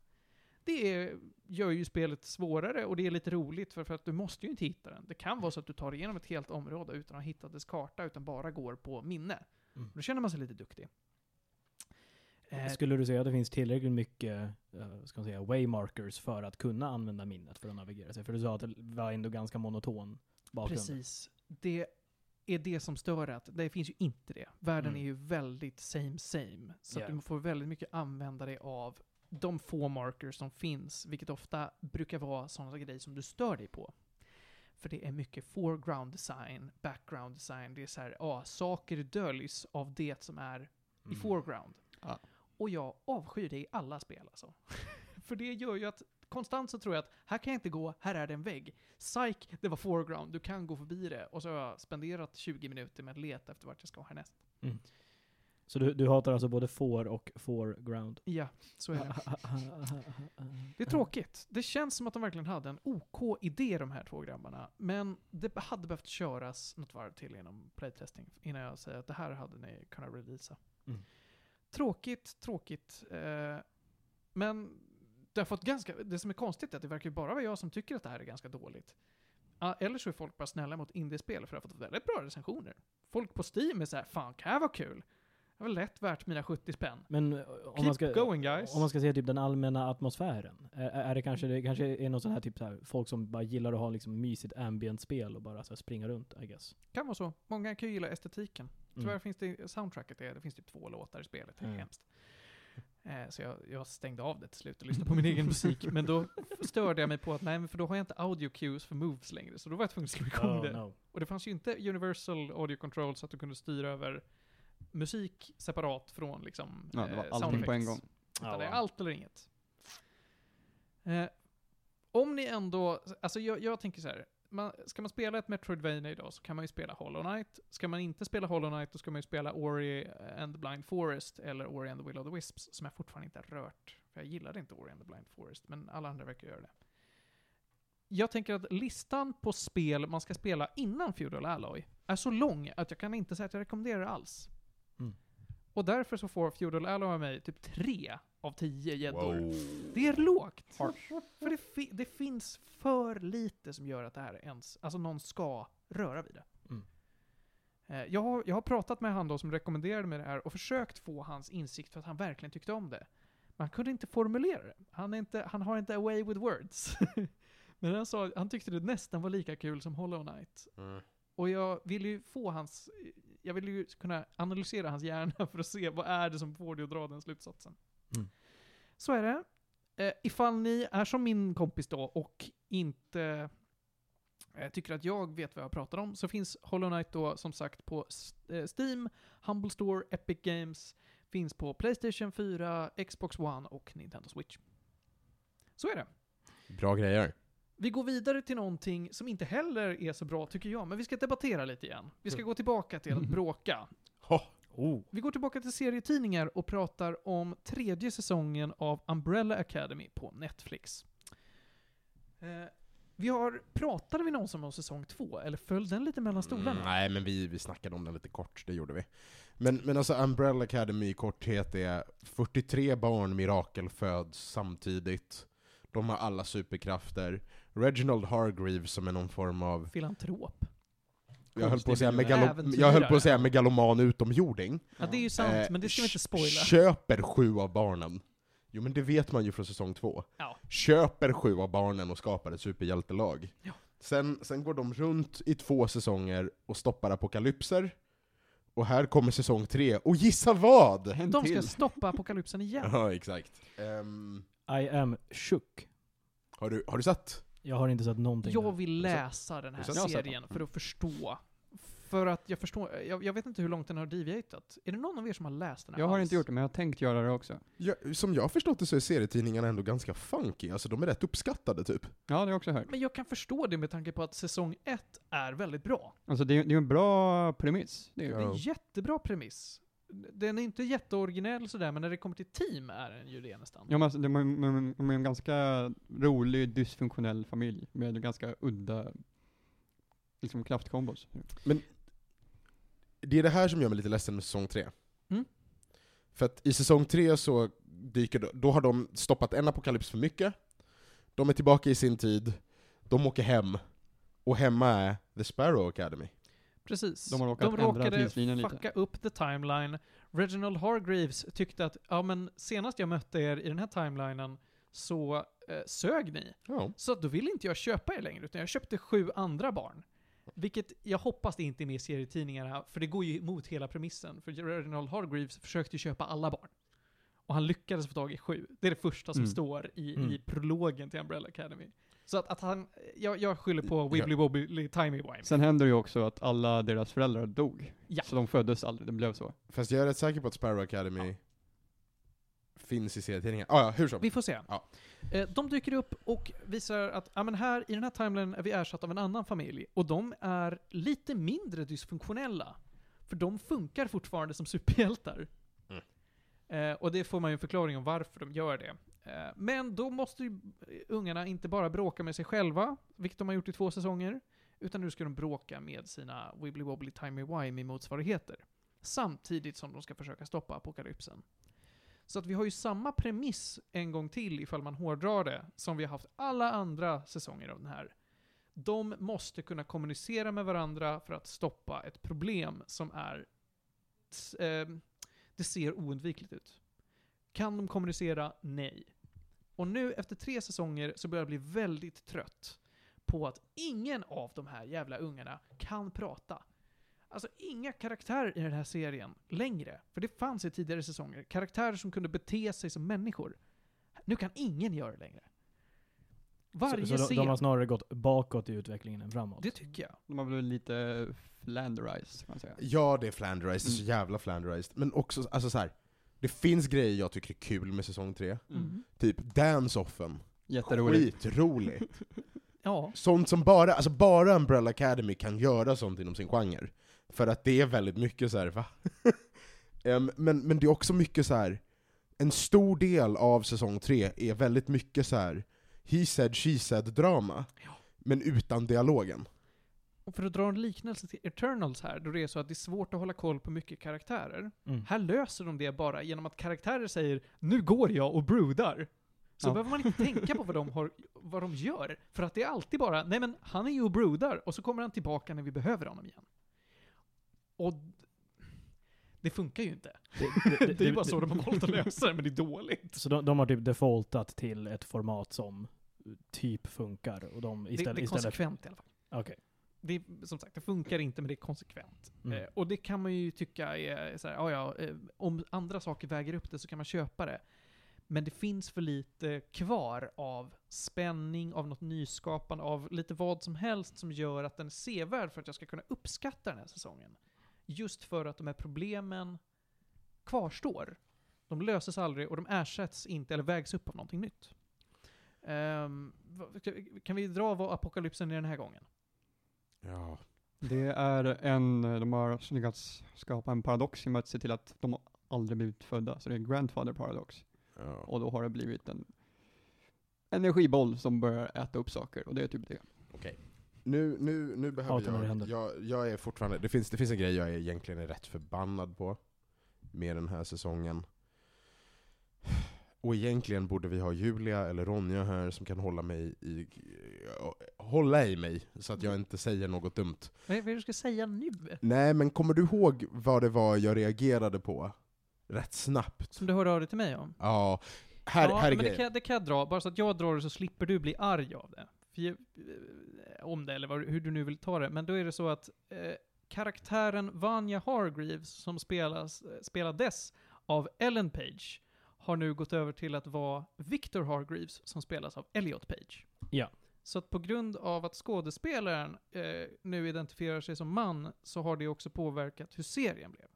C: Det är, gör ju spelet svårare och det är lite roligt för, för att du måste ju inte hitta den. Det kan vara så att du tar igenom ett helt område utan att ha hittat dess karta utan bara går på minne.
B: Mm.
C: Då känner man sig lite duktig. Eh,
B: Skulle du säga att det finns tillräckligt mycket eh, ska man säga, waymarkers för att kunna använda minnet för att navigera sig? För du sa att det var ändå ganska monoton bakgrund.
C: precis. Det är det som stör att det finns ju inte det. Världen
B: Mm.
C: är ju väldigt same same. Så
B: Ja.
C: att du får väldigt mycket använda dig av de få markers som finns, vilket ofta brukar vara sådana grejer som du stör dig på. För det är mycket foreground design, background design, det är så här, ja, saker döljs av det som är i
B: Mm.
C: foreground.
D: Ja.
C: Och jag avskyr det i alla spel alltså. För det gör ju att konstant så tror jag att här kan jag inte gå, här är det en vägg. Psych, det var foreground, du kan gå förbi det. Och så har jag spenderat 20 minuter med att leta efter vart jag ska härnäst.
B: Så du, du hatar alltså både får och foreground?
C: Ja, så är det. Det är tråkigt. Det känns som att de verkligen hade en OK idé de här två grabbarna. Men det hade behövt köras något varv till inom playtesting innan jag säger att det här hade ni kunnat releasa.
B: Mm.
C: Tråkigt, tråkigt. Eh, men det har fått ganska, det som är konstigt är att det verkar ju bara vara jag som tycker att det här är ganska dåligt. Ah, Eller så är folk bara snälla mot indiespel för det har fått väldigt bra recensioner. Folk på Steam är så här, fan kan det här vara kul? Det var lätt värt mina 70 spänn.
B: Men eh, om
C: Keep
B: man, ska,
C: going guys.
B: om man ska se typ den allmänna atmosfären. Är, är det kanske, det kanske är någon sån här typ så här, folk som bara gillar att ha liksom mysigt ambient-spel och bara så här, springa runt, I guess.
C: Kan vara så. Många kan ju gilla estetiken.
B: Mm.
C: Tyvärr finns det, soundtracket är, det finns typ två låtar i spelet, det är
B: Mm.
C: hemskt. Eh, så jag, jag stängde av det till slut och lyssnade på min egen musik, men då störde jag mig på att nej, men för då har jag inte audio cues för moves längre, så då var jag tvungen att slå igång det.
B: Oh, no.
C: Och det fanns ju inte universal audio control så att du kunde styra över musik separat från liksom
D: Ja, det var
C: eh,
D: allting
C: sound
D: på en
C: effects.
D: gång.
C: Utan
B: Ja,
C: det är
B: wow.
C: allt eller inget. Eh, om ni ändå, alltså jag, jag tänker så här. Man, ska man spela ett Metroidvania idag så kan man ju spela Hollow Knight. Ska man inte spela Hollow Knight då ska man ju spela Ori and the Blind Forest eller Ori and the Will of the Wisps som jag fortfarande inte har rört. För jag gillade inte Ori and the Blind Forest, men alla andra verkar göra det. Jag tänker att listan på spel man ska spela innan Feudal Alloy är så lång att jag kan inte säga att jag rekommenderar det alls.
B: Mm.
C: Och därför så får Feudal Alloy av mig typ tre av tio gäddor. Det är lågt. För det, fi- det finns för lite som gör att det här ens, alltså någon ska röra vid det.
B: Mm.
C: Eh, Jag har, jag har pratat med han då som rekommenderade mig det här och försökt få hans insikt för att han verkligen tyckte om det. Men han kunde inte formulera det. Han, är inte, han har inte away with words. Men han sa han tyckte det nästan var lika kul som Hollow Knight.
A: Mm.
C: Och jag vill ju få hans, jag vill ju kunna analysera hans hjärna för att se vad är det som får dig att dra den slutsatsen.
B: Mm.
C: Så är det. Eh, ifall ni är som min kompis då och inte eh, tycker att jag vet vad jag pratar om så finns Hollow Knight då som sagt på S- eh, Steam, Humble Store, Epic Games, finns på Playstation 4, Xbox One och Nintendo Switch. Så är det.
A: Bra grejer.
C: Vi går vidare till någonting som inte heller är så bra tycker jag, men vi ska debattera lite igen. Vi
A: Mm.
C: ska gå tillbaka till att bråka.
B: Oh.
C: Vi går tillbaka till serietidningar och pratar om tredje säsongen av Umbrella Academy på Netflix. Eh, vi har, pratade vi någonsin om säsong två, eller föll den lite mellan stolarna?
A: Mm, nej, men vi, vi snackade om den lite kort, det gjorde vi. Men, men alltså Umbrella Academy i korthet är 43 barn mirakel föds samtidigt. De har alla superkrafter. Reginald Hargreaves som är någon form av,
C: Filantrop.
A: jag höll på att säga,
D: Konstig
A: megalo-
C: äventyrare.
A: jag höll på att säga megaloman utomjording.
C: Ja, det är ju sant,
A: Eh,
C: men det ska vi inte
A: kö-
C: spoila.
A: Köper sju av barnen. Jo men det vet man ju från säsong två.
C: Ja.
A: Köper sju av barnen och skapar ett superhjältelag.
C: Ja.
A: Sen, sen går de runt i två säsonger och stoppar apokalypser. Och här kommer säsong tre, och gissa vad!
D: En
C: De ska
D: till.
C: stoppa apokalypsen igen.
A: Ja, exakt. Ehm,
B: I am shook.
A: har, du, har du sett?
B: Jag har inte sett någonting.
C: Jag
B: där.
C: vill läsa den här
A: Jag har sett den.
C: serien för att förstå. För att jag förstår, jag, jag vet inte hur långt den har deviatat. Är det någon av er som har läst den här
D: Jag har
C: alls?
D: inte gjort det, men jag har tänkt göra det också.
A: Ja, som jag har förstått det så är serietidningarna ändå ganska funky, alltså de är rätt uppskattade typ.
D: Ja, det har jag också hört.
C: Men jag kan förstå det med tanke på att säsong ett är väldigt bra.
D: Alltså det är ju en bra premiss. Det är,
C: Det
D: ju-
C: är en
A: Ja.
C: jättebra premiss. Den är inte jätteoriginell sådär, men när det kommer till team är den ju det nästan.
D: Ja, men alltså, de är de är- de är en ganska rolig, dysfunktionell familj med ganska udda liksom, kraftkombos.
A: Det är det här som gör mig lite ledsen med säsong tre.
C: Mm.
A: För att i säsong tre så dyker de, då har de stoppat en apokalyps för mycket, de är tillbaka i sin tid, de åker hem, och hemma är The Sparrow Academy.
C: Precis.
D: De har råkat ändra tidslinjen lite.
C: fucka upp the timeline. Reginald Hargreaves tyckte att, ja men senast jag mötte er i den här timelinen så eh, sög ni.
A: Ja.
C: Så att då vill inte jag köpa er längre, utan jag köpte sju andra barn. Vilket jag hoppas det inte är med i serietidningarna, för det går ju emot hela premissen. För Reginald Hargreaves försökte ju köpa alla barn. Och han lyckades få tag i sju. Det är det första som
D: Mm.
C: står i, i
B: Mm.
C: prologen till Umbrella Academy. Så att, att han, jag, jag skyller på
A: Ja.
C: Wibbly Wobbly Timey Wimey.
D: Sen händer det ju också att alla deras föräldrar dog.
C: Ja.
D: Så de föddes aldrig, det blev så.
A: Fast jag är rätt säker på att Sparrow Academy finns i serietidningen. Ah, ja, hur som.
C: Vi får se.
A: Ja.
C: Eh, De dyker upp och visar att ja, men här, i den här timelinen är vi ersatta av en annan familj. Och de är lite mindre dysfunktionella. För de funkar fortfarande som superhjältar.
A: Mm.
C: Eh, och det får man ju en förklaring om varför de gör det. Eh, men då måste ju ungarna inte bara bråka med sig själva, vilket de har gjort i två säsonger. Utan nu ska de bråka med sina Wibbly Wobbly Timey Wimey motsvarigheter. Samtidigt som de ska försöka stoppa apokalypsen. Så att vi har ju samma premiss en gång till, ifall man hårdrar det, som vi har haft alla andra säsonger av den här. De måste kunna kommunicera med varandra för att stoppa ett problem som är eh, Det ser oundvikligt ut. Kan de kommunicera? Nej. Och nu efter tre säsonger så börjar jag bli väldigt trött på att ingen av de här jävla ungarna kan prata. Alltså inga karaktärer i den här serien längre. För det fanns i tidigare säsonger. Karaktärer som kunde bete sig som människor. Nu kan ingen göra det längre. Varje
B: så, så de,
C: scen.
B: de har snarare gått bakåt i utvecklingen än framåt.
C: Det tycker jag.
D: De har blivit lite flanderized kan man säga.
A: Ja, det är flanderized. Det är så
D: Mm.
A: jävla flanderized. Men också, alltså så här. Det finns grejer jag tycker är kul med säsong tre.
D: Mm.
A: Typ dance-offen.
D: Jätteroligt.
A: Skitrolig.
C: Ja.
A: Sånt som bara, alltså bara Umbrella Academy kan göra sånt inom sin genre. För att det är väldigt mycket så här, va? Em, men, men det är också mycket så här. en stor del av säsong tre är väldigt mycket så här. he said, she said drama. Men utan dialogen.
C: Och för att dra en liknelse till Eternals här, då det är så att det är svårt att hålla koll på mycket karaktärer.
B: Mm.
C: Här löser de det bara genom att karaktärer säger “Nu går jag och brudar”. Så
D: Ja.
C: behöver man inte tänka på vad de, har, vad de gör. För att det är alltid bara “Nej men, han är ju och brudar” och så kommer han tillbaka när vi behöver honom igen. Och d- det funkar ju inte.
B: Det- det-
C: Det är ju
B: det-
C: bara så
B: det-
C: de har valt att lösa det, men det är dåligt.
B: Så de, de har typ defaultat till ett format som typ funkar och de
C: Det, det
B: istället...
C: är
B: istället
C: konsekvent i alla fall.
B: Okej.
C: det, är- som sagt, det funkar inte men det är konsekvent.
B: Mm.
C: Eh, och det kan man ju tycka är så här, ja, ja, eh, om andra saker väger upp det så kan man köpa det. Men det finns för lite kvar av spänning, av något nyskapande, av lite vad som helst som gör att den är sevärd för att jag ska kunna uppskatta den här säsongen. Just för att de här problemen kvarstår. De löses aldrig och de ersätts inte eller vägs upp av någonting nytt. Ehm, vad- kan vi dra vad apokalypsen är den här gången?
A: Ja.
D: Det är en, de har lyckats skapa en paradox genom att se till att de aldrig blivit födda, så det är grandfather paradox.
A: ja.
D: Och då har det blivit en energiboll som börjar äta upp saker, och det är typ det.
A: Nu, nu, nu behöver
B: Hatar när det
A: jag,
B: händer.
A: jag, jag är fortfarande, det finns, det finns en grej jag är egentligen är rätt förbannad på med den här säsongen. Och egentligen borde vi ha Julia eller Ronja här som kan hålla mig i, hålla i mig så att jag inte säger något dumt.
C: Vad är vad är det du ska säga nu?
A: Nej men kommer du ihåg vad det var jag reagerade på? Rätt snabbt.
C: Som du hörde av dig till mig om?
A: Ja, här,
C: ja,
A: här är
C: men det
A: grejen.
C: kan, jag- det kan jag dra. Bara så att jag drar det så slipper du bli arg av det. För, jag- eh, om det, eller vad, hur du nu vill ta det. Men då är det så att eh, karaktären Vanya Hargreaves, som spelas, eh, spelades av Ellen Page, har nu gått över till att vara Victor Hargreaves, som spelas av Elliot Page.
B: Ja.
C: Så att på grund av att skådespelaren eh, nu identifierar sig som man, så har det också påverkat hur serien blev.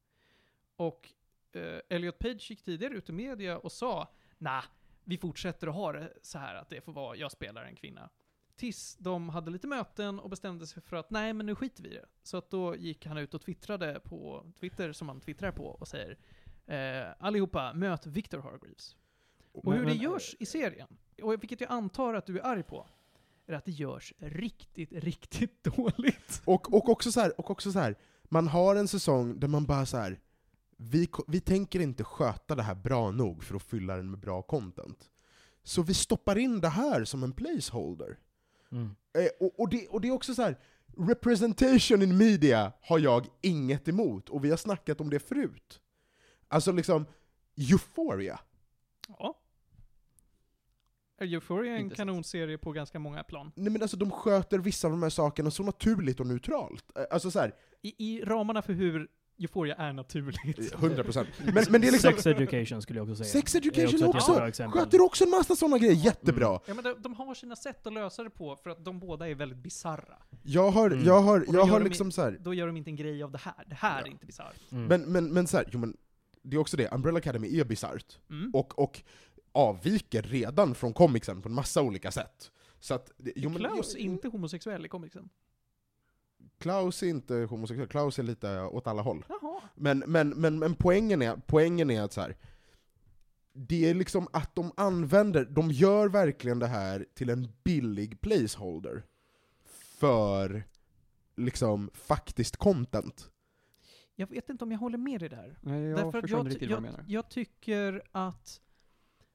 C: Och eh, Elliot Page gick tidigare ut i media och sa nah, vi fortsätter att ha det så här att det får vara, jag spelar en kvinna. Tills de hade lite möten och bestämde sig för att nej, men nu skiter vi i det. Så att då gick han ut och twittrade på Twitter, som han twittrar på, och säger eh, allihopa, möt Victor Hargreaves. Och
A: Men-
C: hur
A: men-
C: det görs i serien, och vilket jag antar att du är arg på, är att det görs riktigt, riktigt dåligt.
A: Och, och också så här, och också så här, man har en säsong där man bara så här. Vi, ko- vi tänker inte sköta det här bra nog för att fylla den med bra content. Så vi stoppar in det här som en placeholder.
B: Mm.
A: Eh, och, och, det, och det är också så här. representation in media har jag inget emot, och vi har snackat om det förut. Alltså liksom, euphoria.
C: Ja. Euphoria är en
D: Intressant.
C: kanonserie på ganska många plan.
A: Nej men alltså de sköter vissa av de här sakerna så naturligt och neutralt. Eh, Alltså såhär,
C: I, I ramarna för hur Euphoria är naturligt.
A: 100%. Men, men det är liksom,
B: Sex education skulle jag också säga.
A: sex
B: Det är
A: education
B: ett
A: också!
B: jättebra exempel.
A: Sköter också en massa sådana
C: Mm.
A: grejer, jättebra!
C: Ja, men de, de har sina sätt att lösa det på för att de båda är väldigt bizarra.
A: Jag har,
B: Mm.
A: jag har,
C: då
A: jag
C: gör
A: har
C: de
A: liksom såhär,
C: Då gör de inte en grej av det här. Det här
A: Ja.
C: är inte bisarrt.
B: Mm.
A: men, men, men såhär, jo men, det är också det, Umbrella Academy är bisarrt.
C: Mm.
A: Och, och avviker redan från comicsen på en massa olika sätt. Så att, det- jo, men,
C: Klaus är
A: jo,
C: inte homosexuell i komiksen.
A: Klaus är inte homosexuell, Klaus är lite åt alla håll.
C: Jaha.
A: Men, men, men, men poängen, är, poängen är att så här. Det är liksom att de använder, de gör verkligen det här till en billig placeholder. För liksom faktiskt content.
C: Jag vet inte om jag håller med dig där.
D: Nej, jag
C: Därför att
D: förstår inte
C: ty-
D: riktigt
C: jag,
D: vad du menar.
C: jag tycker att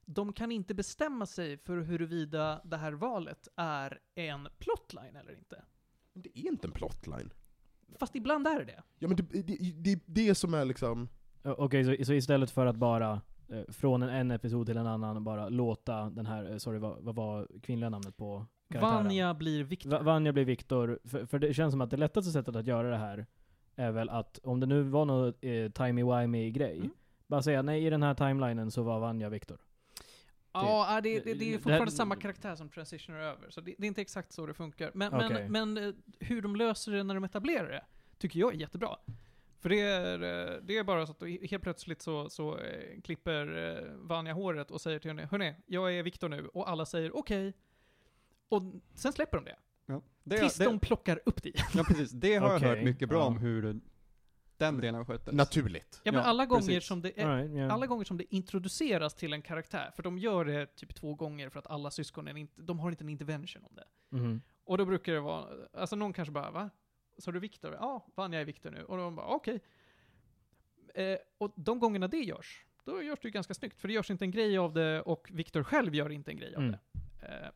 C: de kan inte bestämma sig för huruvida det här valet är en plotline eller inte.
A: Men det är inte en plotline.
C: Fast ibland är det det.
A: Ja men det, det, det, det är det som är liksom...
B: Ö, Okej, så, så istället för att bara eh, från en, en episod till en annan bara låta den här, eh, sorry vad, vad var kvinnliga namnet på karaktären?
C: Vanja blir Viktor.
B: Va- Vanja blir Viktor, för, för det känns som att det lättaste sättet att göra det här är väl att, om det nu var någon eh, timey-wimey grej,
C: Mm.
B: bara säga nej i den här timelinen så var Vanja Viktor.
C: Ja, ah, det, det, det är
B: det-
C: ju
B: det-
C: fortfarande samma karaktär som transitioner över, så det, det är inte exakt så det funkar. Men,
B: Okej.
C: men, men eh, hur de löser det när de etablerar det, tycker jag är jättebra. För det är, eh, det är bara så att he- helt plötsligt så, så eh, klipper eh, Vanja håret och säger till henne, hörni, jag är Viktor nu, och alla säger okej. Och sen släpper de det.
D: Ja. Det,
C: Tills
D: det,
C: de plockar upp det igen.
D: ja, precis. Det har jag
B: Okej,
D: hört mycket bra
B: ja.
D: om hur den delen sköttes.
A: Naturligt.
C: Ja, men
D: Ja,
C: alla, gånger
D: precis.
C: som det är,
B: All right, yeah.
C: alla gånger som det introduceras till en karaktär, för de gör det typ två gånger för att alla syskonen inte, de har inte en intervention om det.
B: Mhm.
C: Och då brukar det vara, alltså någon kanske bara va? Så du Viktor? Ja, vann jag är Viktor nu. Och de bara okej. Eh, och de gångerna det görs, då görs det ju ganska snyggt. För det görs inte en grej av det och Viktor själv gör inte en grej av
B: Mm.
C: det. Eh,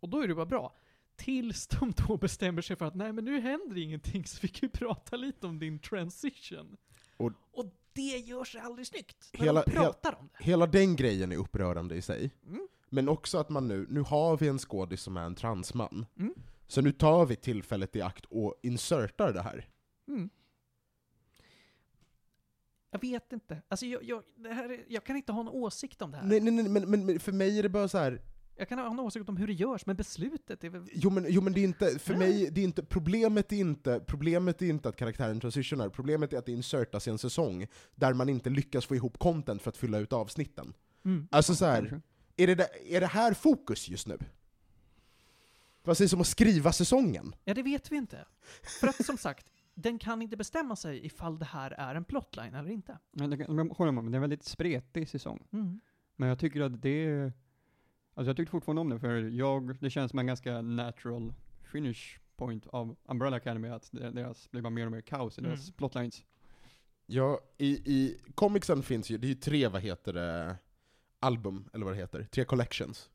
C: och då är det bara bra. Tills de då bestämmer sig för att nej men nu händer ingenting så vi kan ju prata lite om din transition.
A: Och-
C: det görs aldrig snyggt när
A: Hela-
C: de pratar om det.
A: Hela den grejen är upprörande i sig.
C: Mm.
A: Men också att man nu, nu har vi en skådis som är en transman.
C: Mm.
A: Så nu tar vi tillfället i akt och insertar det här.
C: Mm. Jag vet inte. Alltså jag, jag, det här, är- jag kan inte ha en åsikt om det här.
A: Nej, nej, nej men, men, men för mig är det bara så här.
C: Jag kan ha en åsikt om hur det görs, men beslutet är väl...
A: jo men, jo, men det är inte, för
C: Nej.
A: mig, det är inte, problemet är inte, problemet är inte att karaktären transitionar, problemet är att det insertas i en säsong där man inte lyckas få ihop content för att fylla ut avsnitten.
C: mm.
A: Alltså så här.
D: Kanske.
A: Är det, där- är det här fokus just nu? Vad sägs om att skriva säsongen?
C: Ja, det vet vi inte. För att som sagt, den kan inte bestämma sig ifall det här är en plotline eller inte. Mm.
D: Men det, kan- men jag håller med om, det är en väldigt spretig säsong. Men jag tycker att det... Alltså jag tyckte fortfarande om det, för jag, det känns som en ganska natural finish point av Umbrella Academy, att det- deras, blir bara mer och mer kaos i deras
C: Mm.
D: plotlines.
A: Ja, i, i comicsen finns ju, det är ju tre, vad heter det, album, eller vad det heter, tre collections.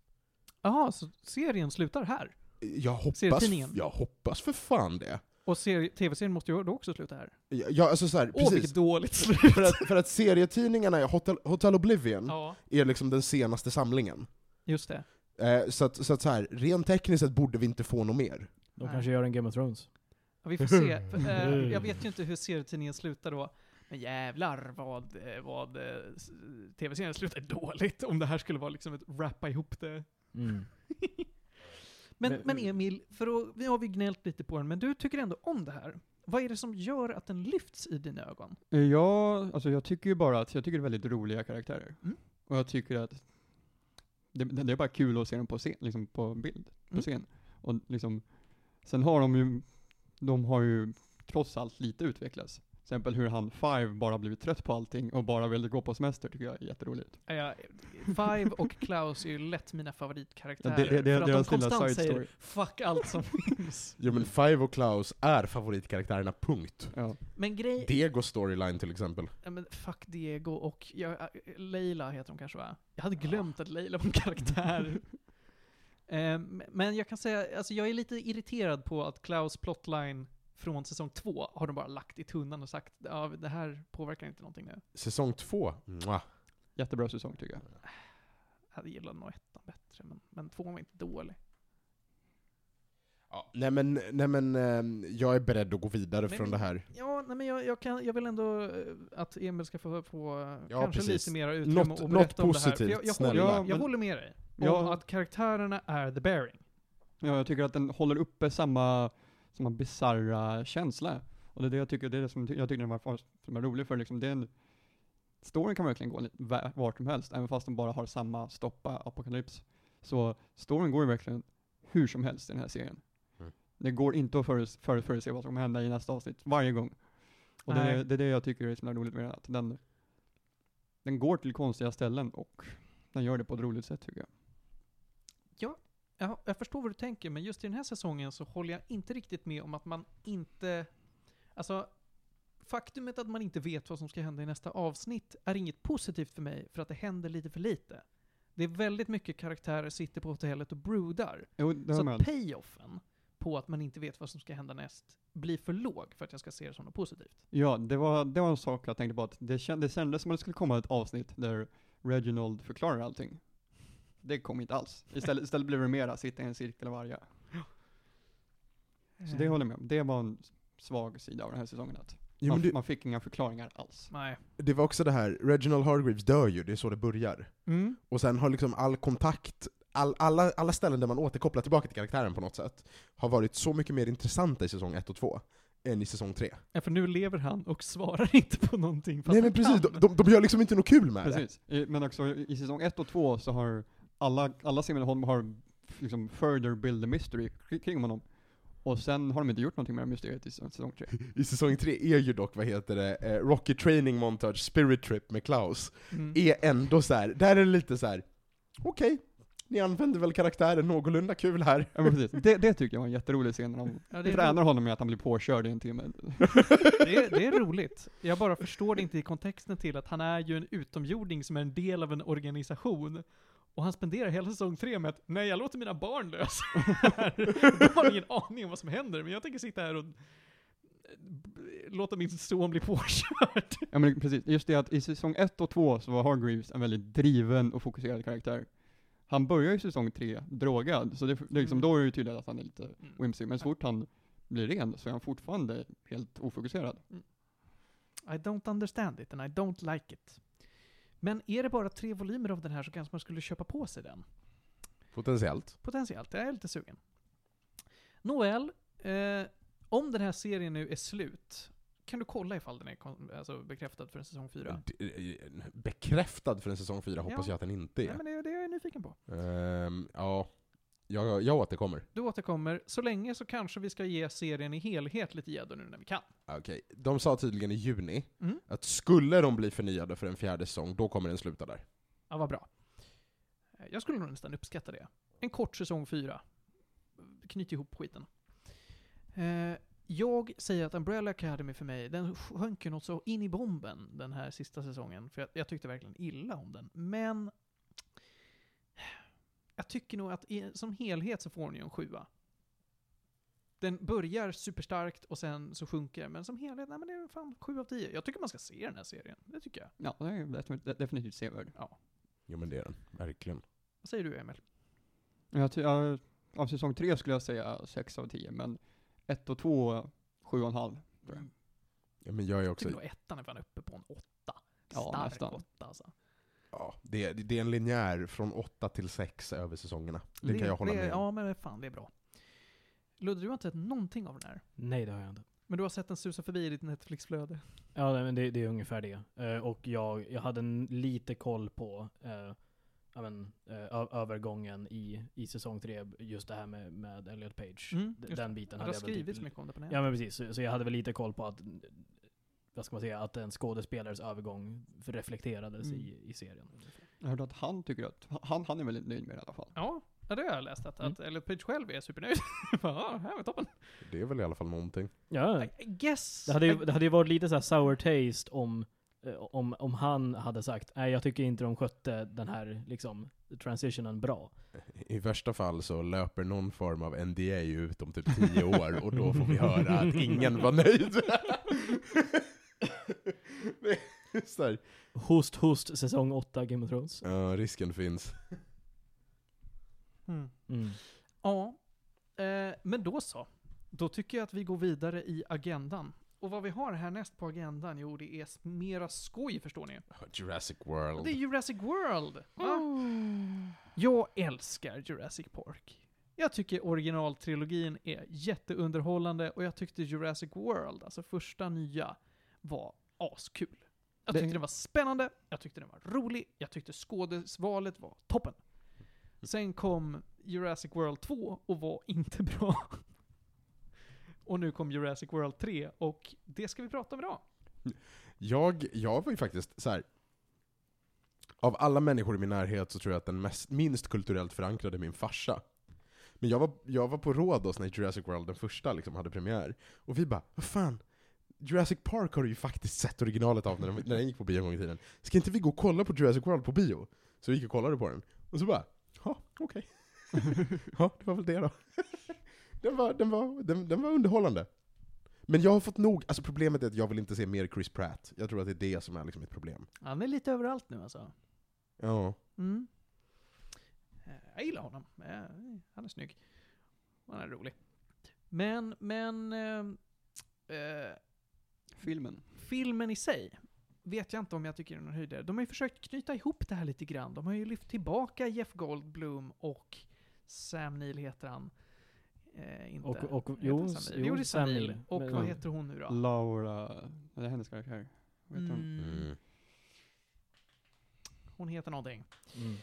C: Jaha, så serien slutar här?
A: Jag hoppas,
C: Serietidningen.
A: jag hoppas för fan det.
C: Och seri- tv-serien måste ju då också sluta här?
A: Ja, ja, alltså så här,
C: Åh,
A: precis.
C: vilket dåligt slut!
A: För att, för att serietidningarna, är Hotel, Hotel Oblivion,
C: Ja,
A: är liksom den senaste samlingen.
C: just det.
A: Eh, så att, så, att så här, rent tekniskt sett borde vi inte få något mer.
B: De
C: Nej.
B: kanske gör en Game of Thrones.
C: Ja, vi får se. För, eh, jag vet ju inte hur serietidningen slutar då. Men jävlar vad, eh, vad eh, s- tv-serien slutar dåligt om det här skulle vara liksom ett wrappa ihop det.
B: Mm.
C: Men,
B: Men-
C: men Emil, för att, vi har vi gnällt lite på den, men du tycker ändå om det här. Vad är det som gör att den lyfts i dina ögon?
D: Ja, alltså jag tycker ju bara att, jag tycker det är väldigt roliga karaktärer.
C: Mm.
D: Och jag tycker att det, det det är bara kul att se dem på scen, liksom på bild, på
C: Mm.
D: scen. Och liksom, sen har de ju, de har ju trots allt lite utvecklats. Till exempel hur han Five bara blivit trött på allting och bara ville gå på semester tycker jag är jätteroligt.
C: Eh, Ja, Five och Klaus är ju lätt mina favoritkaraktärer.
D: Ja, det- det- det-
C: för att de
D: deras lilla
C: konstant
D: side
C: säger
D: story.
C: 'fuck allt som finns'.
A: Jo men Five och Klaus är favoritkaraktärerna, punkt.
D: Ja.
C: Men grej...
A: Dego storyline till exempel.
C: Ja, men fuck Diego och... Jag, Leila heter hon kanske va? Jag hade glömt att Leila var en karaktär. Ehm, men jag kan säga, alltså jag är lite irriterad på att Klaus plotline från säsong två har de bara lagt i tunnan och sagt ja, det här påverkar inte någonting nu.
A: Säsong två, mwah.
D: Jättebra säsong tycker jag.
C: Jag hade gillat nog ettan bättre, men, men tvåan var inte dålig.
A: Ja, nej men, nej men ehm, jag är beredd att gå vidare
C: Men-
A: från det här.
C: Ja, nej, men jag, jag, kan, jag vill ändå eh, att Emil ska få, få eh,
A: Ja,
C: kanske
A: precis.
C: lite mer utrymme
A: Något-
C: och
A: något
C: berätta om det här. För
A: positivt,
C: jag, jag,
A: snälla.
C: håller,
D: Ja,
C: jag
D: men-
C: håller med dig om
D: Ja.
C: att karaktärerna är the bearing.
D: Ja, jag tycker att den håller uppe samma, samma bisarra känsla. Och det är det jag tycker, det är det som jag tycker den var, för- som är rolig för liksom, det är en, storyn kan verkligen gå li- va- vart som helst, även fast den bara har samma stoppa apokalyps. Så storyn går ju verkligen hur som helst i den här serien.
A: Mm.
D: Det går inte att förut- förut- förutse vad som kommer hända i nästa avsnitt, varje gång. Och det,
C: Nej.
D: är- det är det jag tycker är så himla roligt med den, att den, den går till konstiga ställen och den gör det på ett roligt sätt tycker jag.
C: Jag, jag förstår vad du tänker, men just i den här säsongen så håller jag inte riktigt med om att man inte... Alltså, faktumet att man inte vet vad som ska hända i nästa avsnitt är inget positivt för mig, för att det händer lite för lite. Det är väldigt mycket karaktärer sitter på hotellet och brudar.
D: Jo, det har
C: Så
D: jag med.
C: att payoffen på att man inte vet vad som ska hända näst blir för låg för att jag ska se det som något positivt.
D: Ja, det var, det var en sak jag tänkte på, att det, känd, det kändes som att det skulle komma ett avsnitt där Reginald förklarar allting. Det kom inte alls. Istället, istället blev det mera sitta i en cirkel och varga. Så det
C: Eh,
D: håller jag med om. Det var en svag sida av den här säsongen. Att
A: Jo,
D: man,
A: men det,
D: man fick inga förklaringar alls.
C: Nej.
A: det var också det här, Reginald Hargreaves dör ju, det är så det börjar.
D: Mm.
A: Och sen har liksom all kontakt, all, alla, alla ställen där man återkopplar tillbaka till karaktären på något sätt, har varit så mycket mer intressanta i säsong 1 och 2 än i säsong 3.
C: Ja, för nu lever han och svarar inte på någonting. fast
A: Nej men
C: han
A: precis,
C: kan.
A: de, de, de gör liksom inte något kul med det.
D: Precis. Eh, Men också i säsong 1 och 2 så har alla, alla Simon har liksom further build the mystery kri- kring honom. Och sen har de inte gjort någonting med det här mysteriet i säsong säsong 3.
A: I säsong 3 är ju dock, vad heter det, eh, Rocky Training Montage Spirit Trip med Klaus,
C: Mm.
A: är ändå så här. där är det lite så här. okej, ni använder väl karaktären någorlunda kul här.
D: Ja, men precis. Det, det tycker jag var en jätterolig scen när de
C: Ja, det, är
D: tränar
C: ro-
D: honom med att han blir påkörd i en timme.
C: det, är, det är roligt. Jag bara förstår det inte i kontexten till att han är ju en utomjording som är en del av en organisation. Och han spenderar hela säsong tre med att nej, jag låter mina barn lösa det här." De har ingen aning om vad som händer, men jag tänker sitta här och eh, b- låta min son bli påkörd.
D: Ja men precis, just det att i säsong 1 och 2 så var Hargreaves en väldigt driven och fokuserad karaktär. Han börjar ju säsong 3 drogad, så det, det är liksom,
C: Mm.
D: då är det ju tydligt att han är lite
C: Mm.
D: whimsy, men så fort han blir ren så är han fortfarande helt ofokuserad.
C: I don't understand it and I don't like it. Men är det bara tre volymer av den här så kanske man skulle köpa på sig den.
A: Potentiellt.
C: Potentiellt, jag är lite sugen. Nåväl, eh, om den här serien nu är slut, kan du kolla ifall den är kon- alltså, bekräftad för en säsong 4?
A: D- eh, Bekräftad för en säsong 4 hoppas
C: Ja.
A: jag att den inte är.
C: Nej, men det, det är jag nyfiken på.
A: Ehm, ja, jag, jag återkommer.
C: Du återkommer. Så länge så kanske vi ska ge serien i helhet lite gäddor nu när vi kan.
A: Ah, Okej, de sa tydligen i juni
C: Mm.
A: att skulle de bli förnyade för en fjärde säsong, då kommer den sluta där.
C: Ja, vad bra. Eh, Jag skulle nog nästan uppskatta det. En kort säsong 4. Knyt ihop skiten. Eh, jag säger att Umbrella Academy för mig, den sjönk ju något så in i bomben den här sista säsongen. För jag, jag tyckte verkligen illa om den. Men... Jag tycker nog att i, som helhet så får ni en sjua. Den börjar superstarkt och sen så sjunker den. Men som helhet, nej men det är fan 7 av 10. Jag tycker man ska se den här serien. Det tycker jag.
D: Ja, det är ju definitivt- de- definitivt sevärd.
A: Jo men det är den, verkligen.
C: Vad säger du Emil?
D: Jag, ty- jag, av säsong 3 skulle jag säga 6 av 10, men 1 och 2, 7,5. Bra.
A: Ja, men jag är
C: Jag tycker
A: också,
C: nog ettan är fan uppe på en åtta.
D: Ja,
C: Stark
D: nästan.
C: åtta alltså.
A: ja, det, är, det är en linjär från 8 till 6 över säsongerna. Det, kan jag hålla
C: det,
A: med om.
C: Ja, men fan det är bra. Ludde, du har inte sett någonting av den här.
B: Nej det har jag inte.
C: Men du har sett den susa förbi i ditt Netflix-flöde.
B: Ja nej, men det, det är ungefär det. Eh, och jag, jag hade en lite koll på eh, ja, men, eh, ö- övergången i, i säsong 3, just det här med, med Elliot Page.
C: Mm,
B: D-
C: just
B: den biten hade
C: Det har
B: jag väl
C: skrivits
B: typ,
C: mycket om det på nätet.
B: Ja men precis, så, så jag hade väl lite koll på att, vad ska man säga, att en skådespelares övergång reflekterades
D: Mm.
B: i, i serien.
D: Jag hörde att han tycker att, han, han är väldigt nöjd med det i alla fall.
C: Ja, ja, det har jag läst.
B: Mm.
C: Att, att Elliot Page själv är supernöjd. Bara, ja, här var toppen.
A: Det är väl i alla fall någonting.
B: Ja.
C: I guess.
B: Det hade, ju,
C: I-
B: det hade ju varit lite så här sour taste om, eh, om, om han hade sagt nej jag tycker inte de skötte den här liksom, transitionen bra.
A: I värsta fall så löper någon form av NDA ut om typ 10 år och då får vi höra att ingen var nöjd. Det är så här,
B: Host host säsong 8 Game of Thrones.
A: ja, risken finns.
C: Mm.
B: Mm.
C: Ja, eh, men då så. Då tycker jag att vi går vidare i agendan. Och vad vi har härnäst på agendan, jo det är mera skoj förstår ni.
A: Oh. Jurassic
C: Det är
A: World.
C: Jurassic World!
B: Oh.
C: Va?
B: Mm.
C: Jag älskar Jurassic Park. Jag tycker originaltrilogin är jätteunderhållande och jag tyckte Jurassic World, alltså första nya, var askul. Jag
D: Det-
C: tyckte den var spännande, jag tyckte den var rolig, jag tyckte skådesvalet var toppen. Mm. Sen kom Jurassic World 2 och var inte bra. Och nu kom Jurassic World 3 och det ska vi prata om idag.
A: Jag, jag var ju faktiskt så här. Av alla människor i min närhet så tror jag att den mest, minst kulturellt förankrade är min farsa. Men jag var, jag var på Rhodos när Jurassic World, den första, liksom, hade premiär. Och vi bara, vad fan? Jurassic Park har du ju faktiskt sett originalet av när den, när den gick på bio en gång i tiden. Ska inte vi gå och kolla på Jurassic World på bio? Så vi gick och kollade på den. Och så bara, ja, okej. ja, det var väl det då. Den var, den, var, den, den var underhållande. Men jag har fått nog, alltså problemet är att jag vill inte se mer Chris Pratt. Jag tror att det är det som är liksom ett problem.
C: Han är lite överallt nu alltså.
A: Ja.
C: Mm. Eh, Jag gillar honom. Eh, Han är snygg. Han är rolig. Men, men... eh, eh,
D: Filmen.
C: filmen i sig vet jag inte om jag tycker är någon höjdare. De har ju försökt knyta ihop det här lite grann. De har ju lyft tillbaka Jeff Goldblum och Sam Neill heter han. Eh, inte.
B: Och- och-
C: heter
B: jo,
C: han
B: s-
C: Sam Neill?
B: jo,
C: Jo, det är Sam
B: Sam
C: Neill.
B: Neill.
C: Och
B: Men-
C: vad
D: Ja.
C: heter hon nu då?
D: Laura, det är hennes karaktär. Vad heter hon?
C: Mm, hon heter någonting.
B: Mm.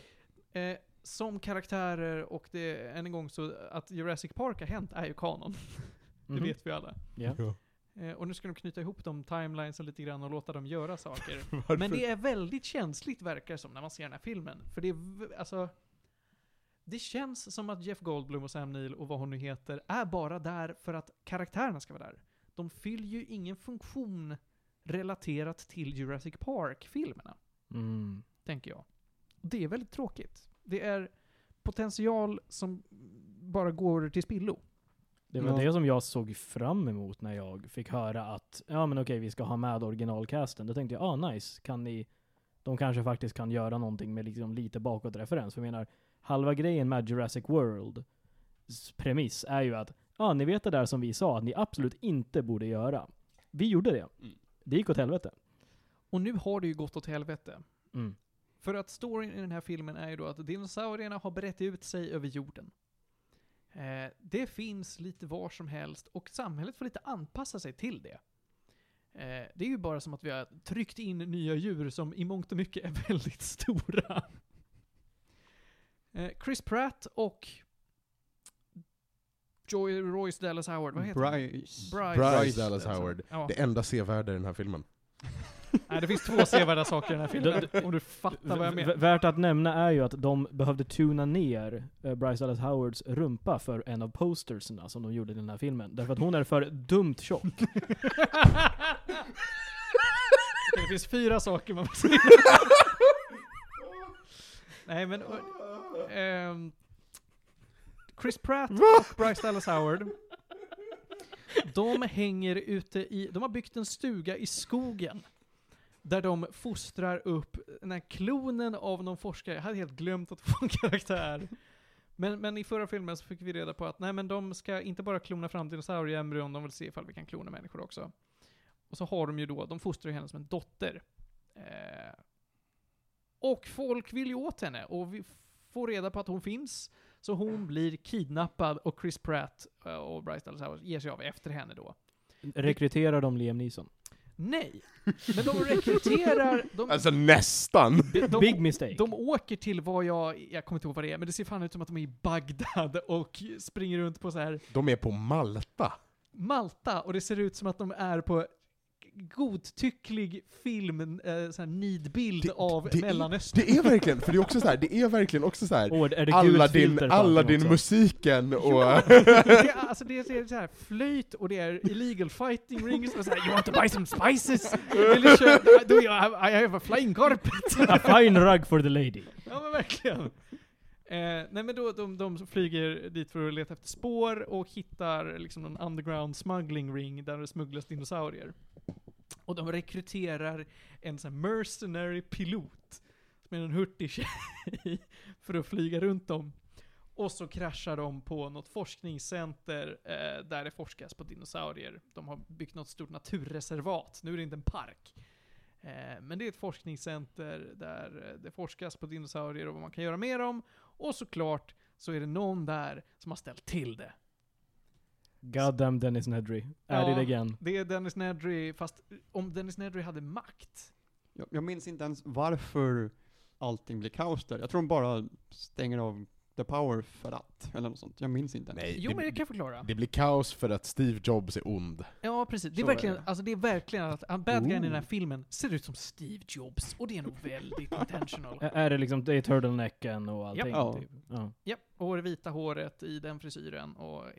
C: Eh, som karaktärer och det, än en gång så, att Jurassic Park har hänt är ju kanon. Det
B: Mhm.
C: vet vi alla.
B: Ja.
C: Eh, och nu ska de knyta ihop de timelinesen lite grann och låta dem göra saker.
A: Varför?
C: Men det är väldigt känsligt verkar det som när man ser den här filmen. För det är, v- alltså... Det känns som att Jeff Goldblum och Sam Neill och vad hon nu heter är bara där för att karaktärerna ska vara där. De fyller ju ingen funktion relaterat till Jurassic Park-filmerna,
B: Mm.
C: tänker jag. Det är väldigt tråkigt. Det är potential som bara går till spillo.
B: Det var
D: Ja.
B: det som jag såg fram emot när jag fick höra att ja men okej vi ska ha med originalcasten. Då tänkte jag ah nice, kan ni, de kanske faktiskt kan göra någonting med liksom lite bakåtreferens. För jag menar, halva grejen med Jurassic World s- premiss är ju att ja ni vet det där som vi sa att ni absolut inte borde göra. Vi gjorde det.
D: Mm.
B: Det gick åt helvete.
C: Och nu har det ju gått åt helvete.
B: Mm.
C: För att storyn i den här filmen är ju då att dinosaurierna har brett ut sig över jorden. Eh, det finns lite var som helst och samhället får lite anpassa sig till det. Eh, det är ju bara som att vi har tryckt in nya djur som i mångt och mycket är väldigt stora. Eh, Chris Pratt och Joy Royce Dallas Howard, vad heter han?
D: Bryce.
C: Bryce.
A: Bryce Dallas
C: Dallas
A: Howard.
C: Ja.
A: Det enda sevärda i den här filmen.
C: Nej, det finns två sevärda saker i den här filmen, om du fattar vad jag
B: V-
C: menar.
B: v- värt att nämna är ju att de behövde tuna ner eh, Bryce Dallas Howards rumpa för en av posterserna som de gjorde i den här filmen. Därför att hon är för dumt tjock.
C: det finns fyra saker man får säga. Nej men... och, ehm, Chris Pratt och Bryce Dallas Howard. De hänger ute i... De har byggt en stuga i skogen. Där de fostrar upp den här klonen av någon forskare. Jag hade helt glömt att få en karaktär. Men, men i förra filmen så fick vi reda på att nej men de ska inte bara klona fram dinosaurieembryon, de vill se ifall vi kan klona människor också. Och så har de ju då, de fostrar ju henne som en dotter. Eh, och folk vill ju åt henne och vi får reda på att hon finns. Så hon blir kidnappad och Chris Pratt eh, och Bryce Dallas Howard ger sig av efter henne då.
B: Rekryterar de Liam Neeson?
C: Nej! Men de rekryterar... De,
A: Alltså nästan!
C: de, de,
B: Big mistake.
C: de åker till vad jag... Jag kommer inte ihåg vad det är, men det ser fan ut som att de är i Bagdad och springer runt på så här
A: De är på Malta.
C: Malta och det ser ut som att de är på godtycklig film, eh, sån här nidbild
A: Det-
C: av
A: det är-
C: Mellanöstern.
A: Det är verkligen, för det är också så här, det är verkligen också så här.
B: Åh, är Oh, det
A: Alla
B: gult filter
A: din,
B: på
A: alla
B: allting
A: din
B: också?
A: musiken och...
C: Det är, alltså det är, det är så här flöjt och det är illegal fighting rings och så här, you want to buy some spices? Eller köp, do you have, I have a flying carpet?
B: A fine rug for the lady.
C: Ja men verkligen. Eh, nej men då, de, de flyger dit för att leta efter spår och hittar liksom en underground smuggling ring där det smugglas dinosaurier. Och de rekryterar en sån här mercenary pilot, som är en hurtig tjej, för att flyga runt dem. Och så kraschar de på något forskningscenter eh, där det forskas på dinosaurier. De har byggt något stort naturreservat, nu är det inte en park. Eh, Men det är ett forskningscenter där eh, det forskas på dinosaurier och vad man kan göra med dem. Och såklart så är det någon där som har ställt till det.
B: God damn Dennis Nedry. At
C: Ja.
B: it again.
C: Det är Dennis Nedry, fast eh, om Dennis Nedry hade makt.
D: Jag, jag minns inte ens varför allting blir kaos där. Jag tror de bara stänger av the power för att, eller något sånt. Jag minns inte. ens.
A: Nej,
C: Jo men det
A: det,
C: kan jag
D: eh,
C: förklara.
A: det blir kaos för att Steve Jobs är ond.
C: Ja precis, det är
D: Så
C: verkligen,
D: är det. Oh.
C: alltså det är verkligen att han bad guyen i den här
D: Ooh.
C: filmen ser ut som Steve Jobs och det är nog väldigt intentional.
B: Ä- Är det liksom, det är turtlenecken och allting?
D: Ja.
B: Typ. Ja.
C: Japp, och det vita håret i den frisyren och eh,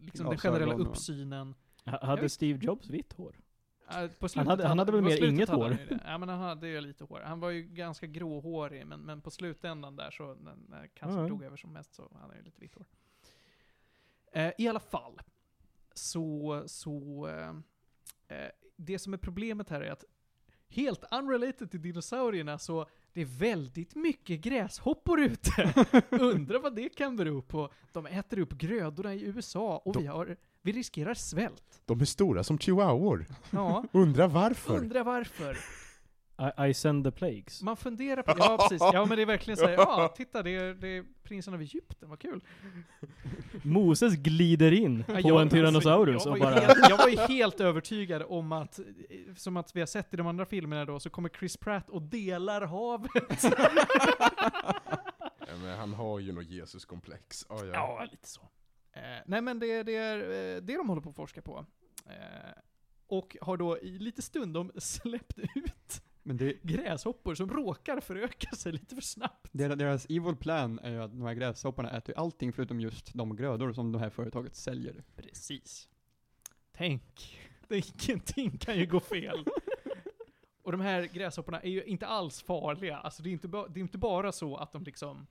C: liksom den
D: Glasögon
C: generella
D: och-
C: uppsynen.
B: H-
C: Jag
B: Hade
C: vet-
B: Steve Jobs vitt hår?
C: Ja, På slutet
B: hade- han hade väl
C: på
B: mer
C: slutet
B: inget
C: hade
B: hår?
C: han ju det. Ja, men han hade ju lite hår. Han var ju ganska gråhårig, men, men på slutändan där så, när, när cancern
B: Ja.
C: tog över som mest, så hade han ju lite vitt hår. Eh, I alla fall, så, så eh, eh, det som är problemet här är att helt unrelated till dinosaurierna så det är väldigt mycket gräshoppor ute. Undrar vad det kan bero på. De äter upp grödorna i USA och
A: De-
C: vi, har, vi riskerar svält.
A: De är stora som chihuahuor.
C: Ja,
A: Undrar varför?
C: undrar varför.
B: I, I send the plagues.
C: Man funderar på Ja, precis. Ja, men det är verkligen så här, ja, titta, det är, det är prinsen av Egypten, vad kul.
B: Moses glider in
C: Ja, alltså,
B: på
C: jag-
B: en Tyrannosaurus
C: jag,
B: och
C: var
B: bara...
C: ju helt, jag var ju helt övertygad om att, eh, som att vi har sett i de andra filmerna då, så kommer Chris Pratt och delar havet.
A: Ja, men han har ju något Jesuskomplex. Ah, ja.
C: Ja, lite så. Eh, nej men det, det är eh, det de håller på att forska på. Eh, och har då i lite stundom släppt ut
D: Men det,
C: gräshoppor som råkar föröka sig lite för snabbt.
D: Deras, deras evil plan är ju att de här gräshopparna äter ju allting förutom just de grödor som det här företaget säljer.
C: Precis. Tänk, det, ingenting kan ju gå fel. Och de här gräshopporna är ju inte alls farliga. Alltså det är inte, ba- det är inte bara så att de liksom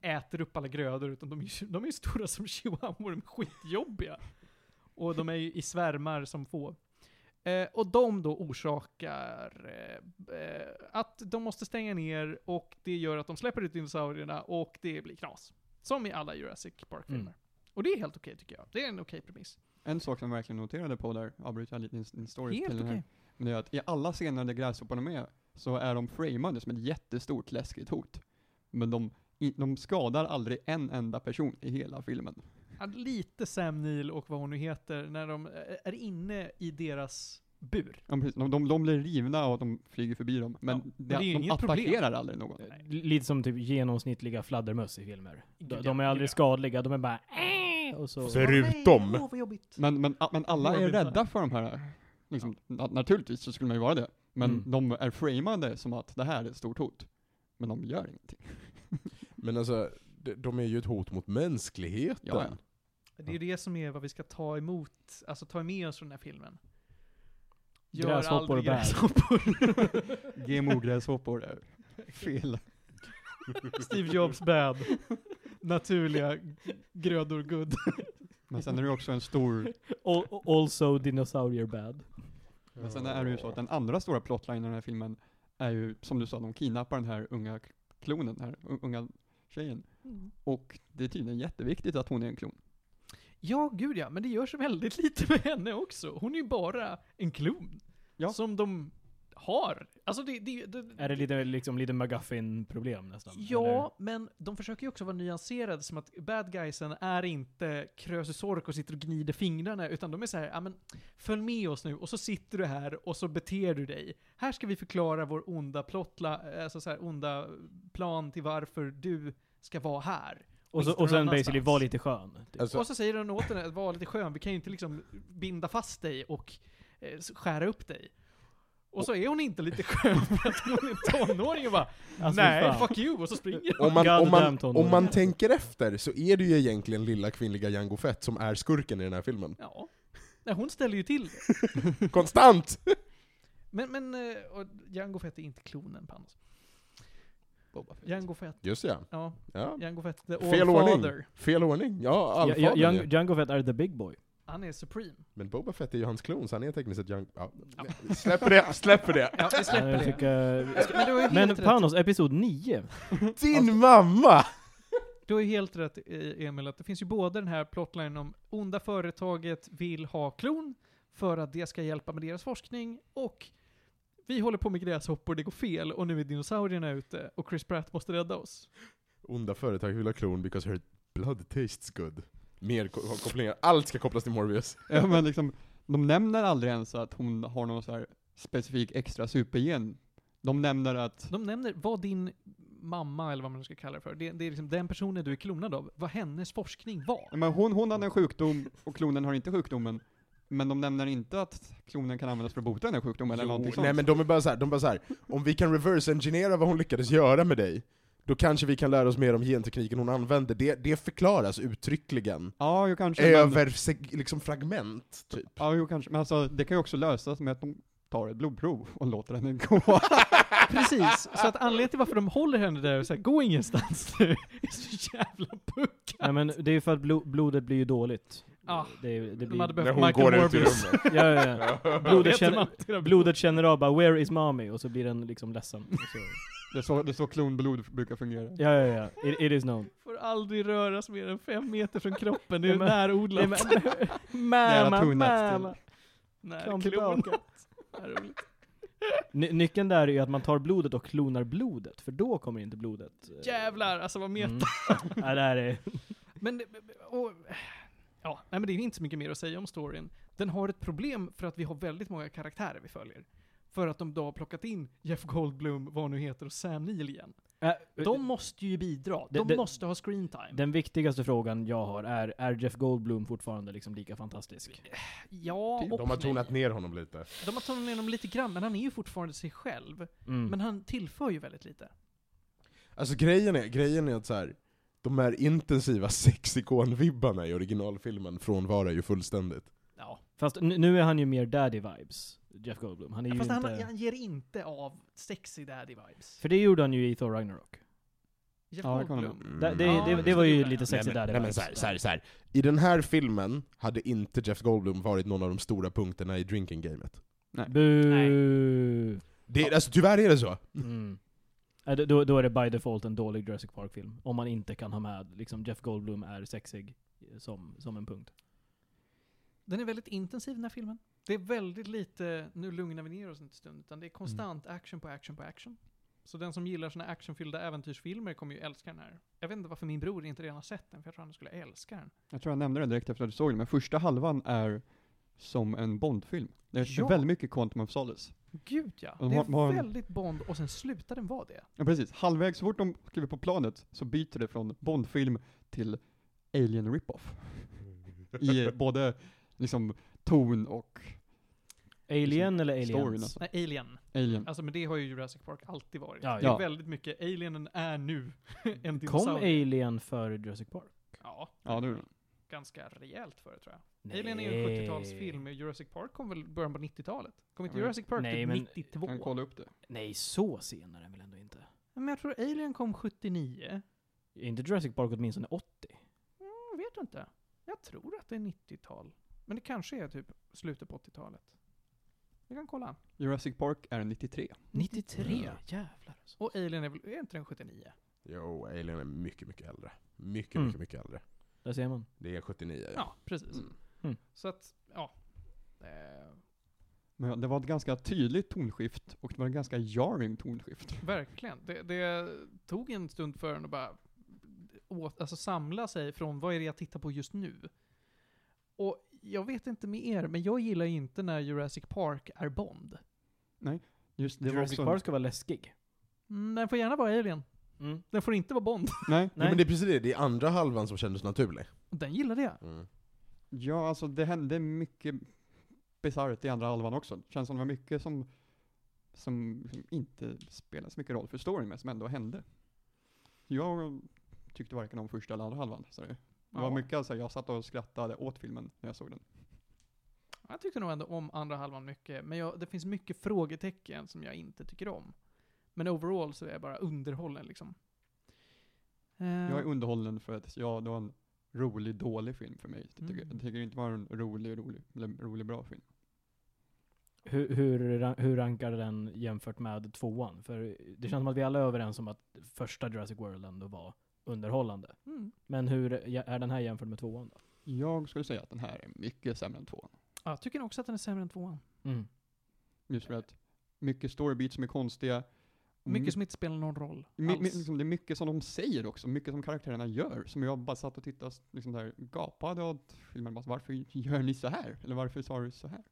C: äter upp alla grödor, utan de är ju de är ju stora som chihuahuor, de är skitjobbiga. Och de är ju i svärmar som få. Eh, och de då orsakar eh, eh, att de måste stänga ner och det gör att de släpper ut dinosaurierna och det blir knas. Som i alla Jurassic Park-filmer.
A: Mm.
C: Och det är helt okej tycker jag. Det är en okej premiss.
D: En sak som jag verkligen noterade på där, avbryter jag lite din- din story
C: Helt
D: till
C: okej.
D: den här, men det är att i alla scener där gräshopparna är med så är de framade som ett jättestort läskigt hot. Men de, i- de skadar aldrig en enda person i hela filmen.
C: Ja, Lite Sam Neill och vad hon nu heter, när de eh, är inne i deras bur.
D: De, de, de, de blir rivna och de flyger förbi dem, men
C: Ja,
D: det,
C: men det är ju
D: de
C: inget problem.
D: attackerar aldrig någon.
B: Lite som typ genomsnittliga fladdermöss i filmer. De,
C: Gud,
B: de är
C: ja,
B: aldrig
C: gud,
B: skadliga, de är bara "Äh", och så...
A: Ser- Förutom-
C: Åh, nej, Åh, vad jobbigt.
D: Men, men, a- men alla
C: Några
D: är
C: bitar.
D: rädda för de här. Liksom, na- Naturligtvis så skulle man ju vara det. Men
B: Mm.
D: de är framade som att det här är ett stort hot. Men de gör ingenting.
A: Men alltså, de, de är ju ett hot mot mänskligheten.
D: Ja, ja.
C: Det är ju det som är vad vi ska ta emot, alltså ta med oss från den här filmen.
B: Gräshoppor
C: aldrig
B: och bär.
C: gräshoppor.
D: GMO-gräshoppor är fel.
C: Steve Jobs bad. Naturliga grödor good.
D: Men sen är det ju också en stor,
B: Al- Also dinosaurier bad.
D: men sen är det ju så att den andra stora plotlinen i den här filmen är ju, som du sa, de kidnappar den här unga k- klonen, den här u- unga tjejen. Och det är tydligen jätteviktigt att hon är en klon.
C: Ja, gud ja, men det görs väldigt lite med henne också. Hon är ju bara en klon.
D: Ja.
C: Som de har. Alltså det, det, det,
B: Är det lite, liksom, lite McGuffin-problem nästan? eller?
C: Ja, men de försöker ju också vara nyanserade som att bad guysen är inte Krösus Sork och sitter och gnider fingrarna, utan de är så här, ja men följ med oss nu och så sitter du här och så beter du dig. Här ska vi förklara vår onda plottla, alltså så här, onda plan till varför du ska vara här.
B: Och, så,
C: Visst, någon
B: och sen basically,
C: annanstans.
B: var lite skön. Typ.
A: Alltså,
C: Och så säger den åt den att vara lite skön, vi kan ju inte liksom binda fast dig och eh, skära upp dig. Och så är hon inte lite skön för att hon är tonåring och bara
B: Alltså,
C: Nej,
B: fan.
C: fuck you! Och så springer hon.
A: om man, om,
B: Goddamn
A: man,
B: tonåring.
A: om man tänker efter så är det ju egentligen lilla kvinnliga Jango Fett som är skurken i den här filmen.
C: Ja. Nej, hon ställer ju till det.
A: Konstant!
C: Men, men, eh, och Jango Fett är inte klonen Panos.
D: Boba Fett.
C: Jango Fett,
A: Just ja.
C: ja.
A: ja.
C: Jango Fett, the
A: Fel ordning.
C: Allfather.
A: Fel ordning. Ja,
B: Ja,
A: allfadern
B: ja,
A: ju.
B: Jung- Django Fett är the big boy.
C: Han är supreme.
A: Men Boba Fett är ju hans klon, så han är tekniskt sett Jango... Ja. Släpper det, släpper det!
C: Ja, vi släpper
B: Jag
C: det.
B: tycker-
C: Men du har ju helt
B: Men
C: rätt.
B: Panos, episod 9.
A: Din mamma!
C: Du har ju helt rätt eh, Emil, att det finns ju både den här plotlinen om onda företaget vill ha klon för att det ska hjälpa med deras forskning och vi håller på med gräshoppor, det går fel och nu är dinosaurierna ute och Chris Pratt måste rädda oss.
A: Onda företag vill ha klon because her blood tastes good. Mer ko- kopplingar. Allt ska kopplas till Morbius.
D: Ja, men liksom, de nämner aldrig ens att hon har någon så här specifik extra supergen. De nämner att,
C: De nämner vad din mamma, eller vad man ska kalla det för, det, det är liksom den personen du är klonad av, vad hennes forskning var.
D: ja, men hon, hon hade en sjukdom och klonen har inte sjukdomen. Men de nämner inte att klonen kan användas för att bota den här sjukdomen eller någonting sånt.
A: nej men de är bara så här, de är bara så här. om vi kan reverse-engineera vad hon lyckades göra med dig, då kanske vi kan lära oss mer om gentekniken hon använde. Det, det förklaras uttryckligen.
D: Ja, jo kanske. men-
A: Över seg- liksom fragment, typ.
D: Ja, jo kanske. Men alltså, det kan ju också lösas med att de tar ett blodprov och låter henne gå.
C: Precis, så att anledningen till varför de håller henne där och säger gå ingenstans nu, är så jävla puckat.
B: Nej men det är ju för att blo- blodet blir ju dåligt.
C: Ah,
B: det, är- det
C: De
B: blir...
C: hade
A: När
C: behövt
A: hon
C: Michael
A: går ut i
C: Morbius.
A: rummet.
B: ja, ja, ja. Blodet, känner,
C: Blod.
B: blodet känner av bara 'Where is mommy?' och så blir den liksom ledsen. Och så,
D: Det är så, det är så klonblod brukar fungera.
B: ja, ja, ja. It, it is known.
C: Får aldrig röras mer än fem meter från kroppen, det är
B: Nej, men-
C: närodlat.
B: Nej,
D: Nära
B: Mamma,
D: tunnats
B: mamma!
C: Nej,
B: Kom
C: klon.
B: tillbaka.
C: Vad roligt.
B: Ny- nyckeln där är ju att man tar blodet och klonar blodet, för då kommer inte blodet... eh,
C: Jävlar, alltså vad meta.
B: Mm. Ja, det här är...
C: Men, det- och, ja, nej men det är inte så mycket mer att säga om storyn. Den har ett problem för att vi har väldigt många karaktärer vi följer. För att de då har plockat in Jeff Goldblum, vad han nu heter, och Sam Neill igen.
B: Äh,
C: De måste ju bidra. De
B: Det- det-
C: måste ha screen time.
B: Den viktigaste frågan jag har är, är Jeff Goldblum fortfarande liksom lika fantastisk?
C: ja, och
A: De har
C: nej.
A: tonat ner honom lite.
C: De har tonat ner honom lite grann, men han är ju fortfarande sig själv.
B: Mm.
C: Men han tillför ju väldigt lite.
A: Alltså grejen är, grejen är att så här, de här intensiva sexikon-vibbarna i originalfilmen frånvarar ju fullständigt.
C: Ja.
B: Fast n- nu är han ju mer daddy vibes, Jeff Goldblum. Han är ju
C: Fast
B: inte...
C: han, han ger inte av sexy daddy vibes.
B: För det gjorde han ju i Thor Ragnarok.
C: Jeff
D: Ja, det kan
C: Goldblum.
A: Mm.
B: Det, det,
C: Ja,
B: det, det
C: det
B: var ju
C: gjorde han.
B: lite sexy
A: nej, men,
B: daddy
A: nej, men
B: vibes.
A: så här, så här, så här. I den här filmen hade inte Jeff Goldblum varit någon av de stora punkterna i drinking gamet.
B: Bu.
A: Det, Alltså tyvärr är det så.
B: Mm. Äh, då- Då, då är det by default en dålig Jurassic Park-film. Om man inte kan ha med, liksom Jeff Goldblum är sexig eh, som, som en punkt.
C: Den är väldigt intensiv den här filmen. Det är väldigt lite, nu lugnar vi ner oss en stund, utan det är konstant action på action på action. Så den som gillar såna actionfyllda äventyrsfilmer kommer ju älska den här. Jag vet inte varför min bror inte redan har sett den, för jag tror han skulle älska den.
D: Jag tror jag nämnde det direkt efter att du såg den, men första halvan är som en Bondfilm. Det är
C: Ja.
D: väldigt mycket Quantum of Solace.
C: Gud ja!
D: Och
C: Det
D: har- har
C: är
D: en-
C: väldigt Bond, och sen slutar den vara det.
D: Ja precis, halvvägs, så fort de kliver på planet så byter det från Bondfilm till Alien Rip-Off. I både liksom ton och
B: Alien eller
D: storyn.
B: aliens?
D: Alltså.
C: Nej, Alien.
D: Alien.
C: Alltså men det har ju Jurassic Park alltid varit.
B: Ja,
C: det är
D: ja.
C: väldigt mycket, alienen är nu en
B: Kom
C: dinosaurie.
B: Alien före Jurassic Park?
C: ja,
D: Ja, det är det.
C: ganska rejält för det tror jag. Alien är ju en 70-talsfilm, Jurassic Park kom väl början på 90-talet? Kom inte
D: Jag vet.
C: Jurassic Park
B: Nej,
C: typ
B: men-
C: 92?
D: Kan kolla upp det.
B: Nej, så senare väl ändå inte?
C: Men jag tror Alien kom 79.
B: Är inte Jurassic Park åtminstone 80?
C: Jag vet inte. Jag tror att det är 90-tal. Men det kanske är typ slutet på 80-talet. Vi kan kolla.
D: Jurassic Park är 93.
B: 93?
A: Ja.
B: Jävlar alltså.
C: Och Alien är väl, är inte den 79?
A: Jo, Alien är mycket, mycket äldre. Mycket,
B: Mm.
A: mycket, mycket äldre.
B: Där ser man.
A: Det är 79.
C: Ja, precis.
A: Mm.
B: Mm.
C: Så att, ja. Eh,
D: Men ja, det var ett ganska tydligt tonskift och det var ett ganska jarring tonskift.
C: verkligen. Det, det tog en stund för den att bara åt, alltså samla sig från vad är det jag tittar på just nu? Och jag vet inte med er, men jag gillar inte när Jurassic Park är Bond.
D: Just det
B: Jurassic
D: var
B: Park
D: också...
B: ska vara läskig.
C: Mm, den får gärna vara Alien.
B: Mm.
C: Den får inte vara Bond.
D: Nej.
A: Nej.
B: Nej.
A: men det är precis det, det är andra halvan som kändes naturlig. Mm.
C: Den gillade jag.
D: Ja, alltså det hände mycket bisarrt i andra halvan också. Det känns som det var mycket som, som liksom inte spelade så mycket roll för storyn, men som ändå hände. Jag tyckte varken om första eller andra halvan. Så det, det var
C: Ja.
D: mycket alltså, jag satt och skrattade åt filmen när jag såg den.
C: Jag tyckte nog ändå om andra halvan mycket, men jag, det finns mycket frågetecken som jag inte tycker om. Men overall så är jag bara underhållen liksom. Eh,
D: Jag är underhållen för att ja, det var en rolig, dålig film för mig. Jag tycker,
C: Mm.
D: jag tycker inte det var en rolig, rolig, eller rolig, bra film.
B: Hur, hur, ra- hur rankar den jämfört med tvåan? För det känns som att vi alla är överens om att första Jurassic World ändå var underhållande.
C: mm.
B: Men hur ja, är den här jämfört med tvåan då?
D: Jag skulle säga att den här är mycket sämre än tvåan.
C: ja, jag tycker nog också att den är sämre än tvåan.
B: Mm.
D: Just för att mycket storybeats som är konstiga.
C: Mycket
D: Mm.
C: som inte spelar någon roll
D: My,
C: alls.
D: my, liksom, det är mycket som de säger också, mycket som karaktärerna gör, som jag bara satt och tittade och liksom där, gapade åt filmen. Bara, varför gör ni så här? Eller varför sa du så här?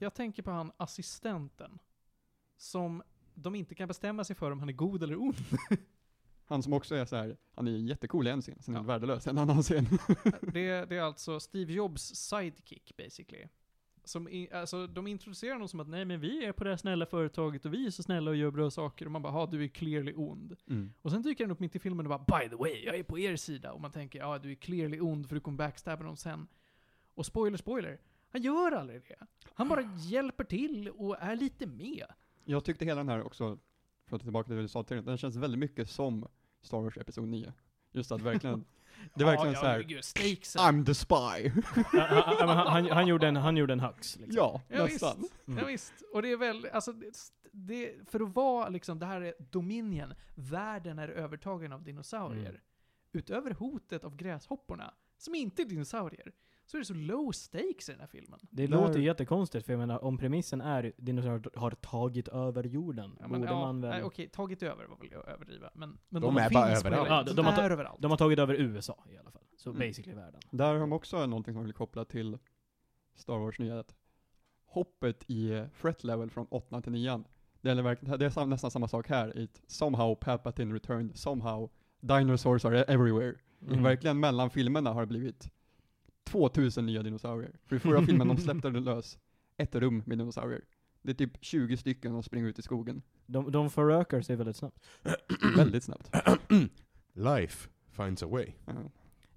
C: Jag tänker på han assistenten. Som de inte kan bestämma sig för om han är god eller ond.
D: Han som också är så här, han är jättecool i en scen, sen är han
C: Ja.
D: värdelös i en annan scen.
C: det, det är alltså Steve Jobs sidekick basically. Som i, alltså, de introducerar honom som att nej men vi är på det här snälla företaget och vi är så snälla och gör bra saker och man bara ha du är clearly ond. Och sen dyker han upp mitt i filmen och bara by the way, jag är på er sida. Och man tänker ja du är clearly ond för du kommer backstabba dem sen. Och spoiler, spoiler. Han gör aldrig det. Han bara hjälper till och är lite med.
D: Jag tyckte hela den här också, för att ta tillbaka till det du sa till den känns väldigt mycket som Star Wars Episod 9. Just att verkligen, det är verkligen så här.
C: gud, stakesen.
D: I'm the spy!
B: Ja, han, han, han, han, gjorde en, han gjorde en hux. Liksom.
D: ja,
C: Ja,
D: nästan.
C: visst.
B: Mm.
C: Ja, visst. Och det är väl, alltså, det, det, för att vara liksom, det här är Dominion, världen är övertagen av dinosaurier.
B: Mm.
C: Utöver hotet av gräshopporna, som inte är dinosaurier, så är det så low stakes i den här filmen.
B: Det
D: Där-
B: låter ju jättekonstigt, för jag menar om premissen är dinosaurier har tagit över jorden,
C: Ja, men,
B: borde
C: ja,
B: man väl...
C: nej, okej, tagit över var väl att överdriva, men, men
A: De är bara
C: finns på
A: överallt.
C: hela-
B: Ja, de-
C: de,
B: de har
C: är överallt.
B: De har tagit över USA i alla fall. Så
D: Mm.
B: basically världen.
D: Där har man också någonting som man vill koppla till Star Wars nya. att Hoppet i eh, threat level från 8 till 9. Det är, verkligen- det är sam- nästan samma sak här. i ett Somehow Palpatine returned, somehow dinosaurs are everywhere.
B: Mm.
D: Verkligen mellan filmerna har det blivit 2000 nya dinosaurier. För i förra filmen de släppte det lös ett rum med dinosaurier. Det är typ 20 stycken som springer ut i skogen.
B: De, de förökar sig väldigt snabbt.
D: Väldigt snabbt.
A: Life finds a way.
D: Ja.